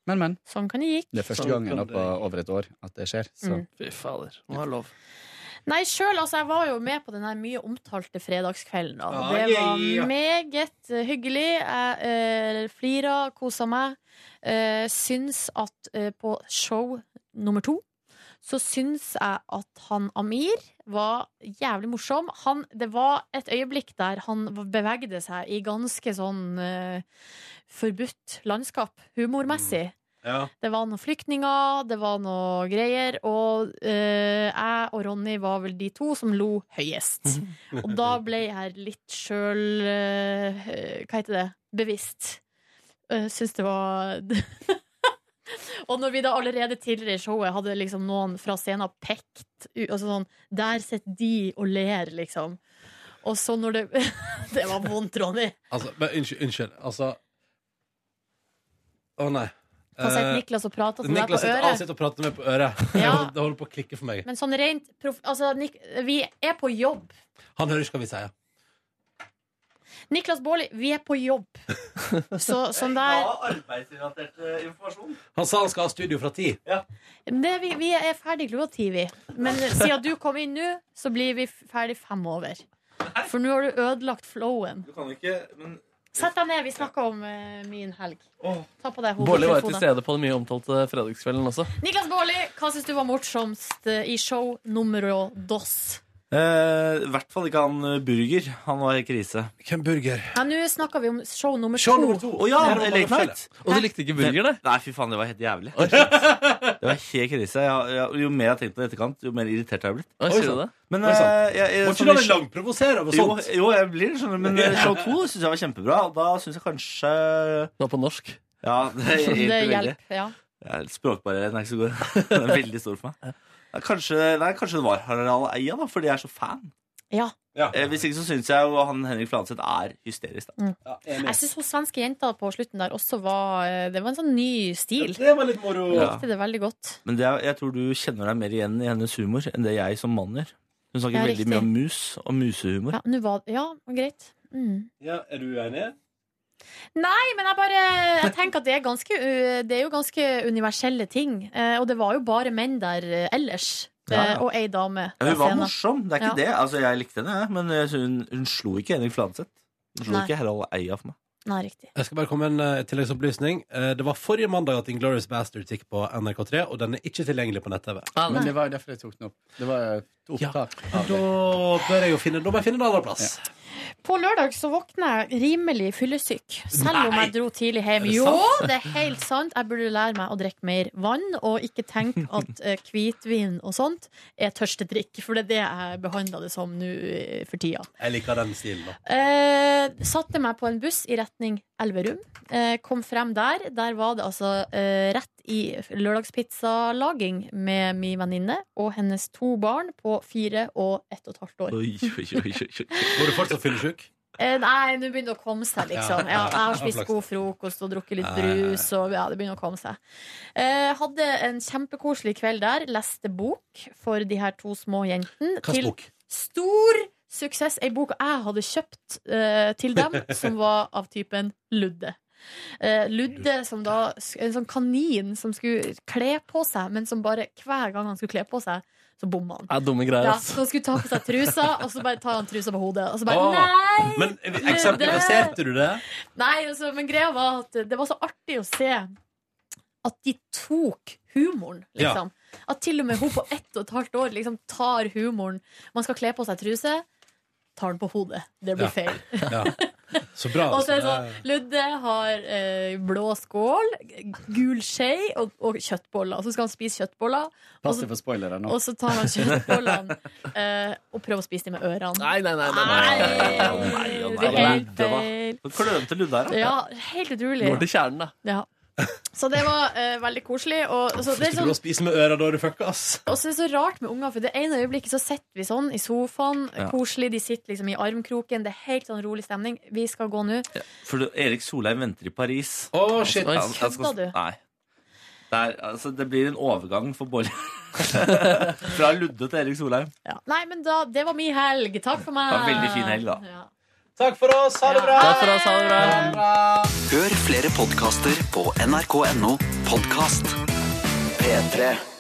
[SPEAKER 8] Men, men.
[SPEAKER 3] Sånn kan det gi.
[SPEAKER 8] Det er første
[SPEAKER 2] Sånn
[SPEAKER 8] gangen
[SPEAKER 2] kan
[SPEAKER 8] da
[SPEAKER 2] det
[SPEAKER 8] på
[SPEAKER 2] gå.
[SPEAKER 8] over et år at det skjer. Så.
[SPEAKER 3] Mm.
[SPEAKER 1] Fy fader. Må ha lov.
[SPEAKER 3] Nei, sjøl, altså. Jeg var jo med på den her mye omtalte fredagskvelden. Da. og Det
[SPEAKER 2] Ah, yeah, yeah.
[SPEAKER 3] var meget eh, hyggelig. Jeg eh, flira, kosa meg. Eh, syns at eh, på show nummer to så syns jeg at han Amir var jævlig morsom. Han, det var et øyeblikk der han bevegde seg i ganske sånn eh, forbudt landskap, humormessig.
[SPEAKER 2] Ja.
[SPEAKER 3] Det var noen flyktninger, det var noe greier, og eh, jeg og Ronny var vel de to som lo høyest.
[SPEAKER 2] Mhm.
[SPEAKER 3] Og da ble jeg litt sjøl eh, Hva heter det? Bevisst. Uh, Syns det var Og når vi da allerede tidligere i showet hadde liksom noen fra scenen pekt u- altså sånn, Der sitter de og ler, liksom. Og så når det Det var vondt, Ronny.
[SPEAKER 2] Altså, men unnskyld, unnskyld. Altså Å, nei.
[SPEAKER 3] Da sitter
[SPEAKER 2] Eh,
[SPEAKER 3] Niklas og prater til deg på
[SPEAKER 2] Niklas sitter, han
[SPEAKER 3] øret.
[SPEAKER 2] sitter og prater med på øret.
[SPEAKER 3] Ja.
[SPEAKER 2] Det holder på å klikke for meg.
[SPEAKER 3] Men sånn rent prof altså, Nik Vi er på jobb.
[SPEAKER 2] Han hører ikke hva vi sier.
[SPEAKER 3] Niklas Baarli, vi er på jobb. Så, sånn der
[SPEAKER 9] arbeidsrelatert eh, informasjon.
[SPEAKER 2] Han sa han skal ha studio fra ti.
[SPEAKER 3] det, vi, vi er ferdig klokka ti, vi. Men siden du kom inn nå, så blir vi ferdig fem over. For nå har du ødelagt flowen.
[SPEAKER 9] Du kan ikke, men
[SPEAKER 3] Sett deg ned, vi snakker om eh, min helg.
[SPEAKER 9] Åh.
[SPEAKER 3] Ta på deg
[SPEAKER 1] Bårli var jo til
[SPEAKER 3] hodetelefonen.
[SPEAKER 1] stede på den mye omtalte fredagskvelden også.
[SPEAKER 3] Niklas Baarli, hva syns du var morsomst eh, i show numero dos?
[SPEAKER 10] Eh, I hvert fall ikke han eh, Burger. Han var i krise.
[SPEAKER 2] Hvem Burger?
[SPEAKER 3] Ja, Nå snakker vi om show nummer
[SPEAKER 10] Show
[SPEAKER 3] to.
[SPEAKER 10] nummer to. Å ja,
[SPEAKER 3] Der
[SPEAKER 10] det
[SPEAKER 3] var
[SPEAKER 10] er
[SPEAKER 3] det
[SPEAKER 10] Late
[SPEAKER 3] feil.
[SPEAKER 10] Night.
[SPEAKER 1] Og du likte ikke burger, det?
[SPEAKER 10] Nei, fy faen, det var helt jævlig. Det var helt krise. Jeg, jeg, jo mer jeg har tenkt på det i etterkant, jo mer irritert har jeg blitt.
[SPEAKER 1] Hva sier du det?
[SPEAKER 10] Men
[SPEAKER 2] Oi,
[SPEAKER 10] eh,
[SPEAKER 2] sant.
[SPEAKER 10] jeg, jeg,
[SPEAKER 2] Må ikke
[SPEAKER 10] sånn
[SPEAKER 2] la
[SPEAKER 10] i
[SPEAKER 2] deg
[SPEAKER 10] show-
[SPEAKER 2] langprovosere over
[SPEAKER 10] jo,
[SPEAKER 2] sånt.
[SPEAKER 10] jo, jeg blir det, skjønner du. Men eh, show to syns jeg var kjempebra. Og da syns jeg kanskje
[SPEAKER 1] Nå på norsk.
[SPEAKER 10] Ja, det
[SPEAKER 3] Det
[SPEAKER 10] hjelper veldig.
[SPEAKER 3] hjelper, ja.
[SPEAKER 10] Ja, Språkbarrieren er ikke så god. Den er veldig stor for meg. Ja, Kanskje, Eh, nei, kanskje det var Harald Eia, da, fordi jeg er så fan.
[SPEAKER 3] ja.
[SPEAKER 10] Eh, hvis ikke så syns jeg jo han Henrik Fladseth er hysterisk. Da.
[SPEAKER 2] Ja, enig.
[SPEAKER 3] Jeg syns hun svenske jenta på slutten der også var eh, Det var en sånn ny stil.
[SPEAKER 2] Det var litt moro.
[SPEAKER 3] Jeg
[SPEAKER 10] Ja.
[SPEAKER 3] likte det veldig godt.
[SPEAKER 10] Men det er, jeg tror du kjenner deg mer igjen i hennes humor enn det jeg som mann gjør. Hun snakker
[SPEAKER 3] Ja,
[SPEAKER 10] veldig
[SPEAKER 3] riktig.
[SPEAKER 10] mye om mus og musehumor.
[SPEAKER 3] Ja, nå var, ja greit. Mm.
[SPEAKER 2] Ja, er du uenig?
[SPEAKER 3] Nei, men jeg bare jeg tenker at det er, ganske, u- det er jo ganske universelle ting. Eh, og det var jo bare menn der eh, ellers. Eh,
[SPEAKER 10] Ja, ja.
[SPEAKER 3] Og ei dame.
[SPEAKER 10] Ja, hun
[SPEAKER 3] på
[SPEAKER 10] var
[SPEAKER 3] scenen.
[SPEAKER 10] morsom, det er ikke
[SPEAKER 3] Ja.
[SPEAKER 10] det. Altså, jeg likte henne, jeg, men jeg synes hun, hun slo ikke Henrik Fladseth. Hun slo
[SPEAKER 3] Nei.
[SPEAKER 10] ikke Harald Eia for meg.
[SPEAKER 3] Nei, riktig.
[SPEAKER 2] Jeg skal bare komme med en eh, tilleggsopplysning. Eh, Det var forrige mandag at Inglorious Bastards gikk på NRK3, og den er ikke tilgjengelig på nett-TV.
[SPEAKER 1] Ja,
[SPEAKER 8] Men det var jo derfor jeg tok den opp. Det var jo et opptak av
[SPEAKER 2] Da
[SPEAKER 8] det.
[SPEAKER 2] bør jeg jo finne Da må jeg finne en annen plass.
[SPEAKER 3] På lørdag så våkna jeg rimelig fyllesyk, selv om jeg dro tidlig hjem. Jo, det er helt sant. Jeg burde lære meg å drikke mer vann, og ikke tenke at eh, hvitvin og sånt er tørstedrikk, for det er det jeg behandler det som nå eh, for tida.
[SPEAKER 2] Jeg liker den stilen, da.
[SPEAKER 3] Eh, satte meg på en buss i retning Elverum. Eh, kom frem der. Der var det altså eh, rett i lørdagspizzalaging med min venninne og hennes to barn på fire og ett og et halvt år.
[SPEAKER 10] Oi, oi, oi, oi, oi.
[SPEAKER 2] Var du fortsatt fyllesyk?
[SPEAKER 3] Eh, nei, nå begynner det å komme seg, liksom. Ja, jeg har
[SPEAKER 2] Ja,
[SPEAKER 3] spist
[SPEAKER 2] flaks.
[SPEAKER 3] god frokost og drukket litt
[SPEAKER 2] Ja, ja, ja.
[SPEAKER 3] brus, og ja, det begynner å komme seg. Eh, hadde en kjempekoselig kveld der. Leste bok for de her to små jentene.
[SPEAKER 2] Hvilken
[SPEAKER 3] til
[SPEAKER 2] bok?
[SPEAKER 3] stor suksess. Ei bok jeg hadde kjøpt eh, til dem, som var av typen Ludde. Eh, Ludde, som da En sånn kanin som skulle kle på seg, men som bare hver gang han skulle kle på seg, så bomma han.
[SPEAKER 1] Ja, dumme greier, altså.
[SPEAKER 3] Ja,
[SPEAKER 1] ass.
[SPEAKER 3] så han skulle ta på seg trusa, og så bare tar han trusa på hodet. Og så bare
[SPEAKER 2] Åh.
[SPEAKER 3] Nei!
[SPEAKER 2] Men eh, eksemplifiserte du det?
[SPEAKER 3] Nei, altså, men greia var at det var så artig å se at de tok humoren, liksom. At til og med hun på ett og et halvt år liksom tar humoren. Man skal kle på seg truse, tar den på hodet. Det blir
[SPEAKER 2] Ja.
[SPEAKER 3] feil.
[SPEAKER 2] Ja. Så bra.
[SPEAKER 3] Og så er det
[SPEAKER 2] altså.
[SPEAKER 3] sånn, Ludde har eh, blå skål, gul skje og, og kjøttboller. Og så skal han spise kjøttboller,
[SPEAKER 8] Pass deg for spoilere nå.
[SPEAKER 3] og så tar han kjøttbollene eh, og prøver å spise dem med ørene.
[SPEAKER 1] Nei, nei, nei. nei, nei.
[SPEAKER 10] Å nei, å
[SPEAKER 3] Nei,
[SPEAKER 10] nei,
[SPEAKER 3] det er helt
[SPEAKER 10] Ludde, hva?
[SPEAKER 3] feil.
[SPEAKER 10] Klønete Ludde her, da.
[SPEAKER 3] Ja, helt utrolig.
[SPEAKER 1] Går til kjernen, da.
[SPEAKER 3] Ja. Så det var eh, veldig koselig. Og, så, det er
[SPEAKER 2] Skulle
[SPEAKER 3] sånn,
[SPEAKER 2] du spise med øra da du fucka, ass?
[SPEAKER 3] og så er det så rart med unger, for det ene øyeblikket så sitter vi sånn i sofaen,
[SPEAKER 10] Ja.
[SPEAKER 3] koselig, de sitter liksom i armkroken, det er helt sånn rolig stemning. Vi skal gå nå.
[SPEAKER 10] For du- Erik Solheim venter i Paris.
[SPEAKER 2] Å, shit.
[SPEAKER 1] Oi.
[SPEAKER 10] Han- han skal-
[SPEAKER 3] Kødda du?
[SPEAKER 10] Nei. Det, er, altså, det blir en overgang for Bolle. Fra Ludde til Erik Solheim.
[SPEAKER 3] Ja. Nei, men da, det var min helg. Takk for meg.
[SPEAKER 10] Det var veldig fin helg, da.
[SPEAKER 3] Ja.
[SPEAKER 2] Takk for oss. Ha det bra.
[SPEAKER 1] Takk for oss, ha det bra.
[SPEAKER 7] Hør flere podkaster på nrk.no podkast. P3.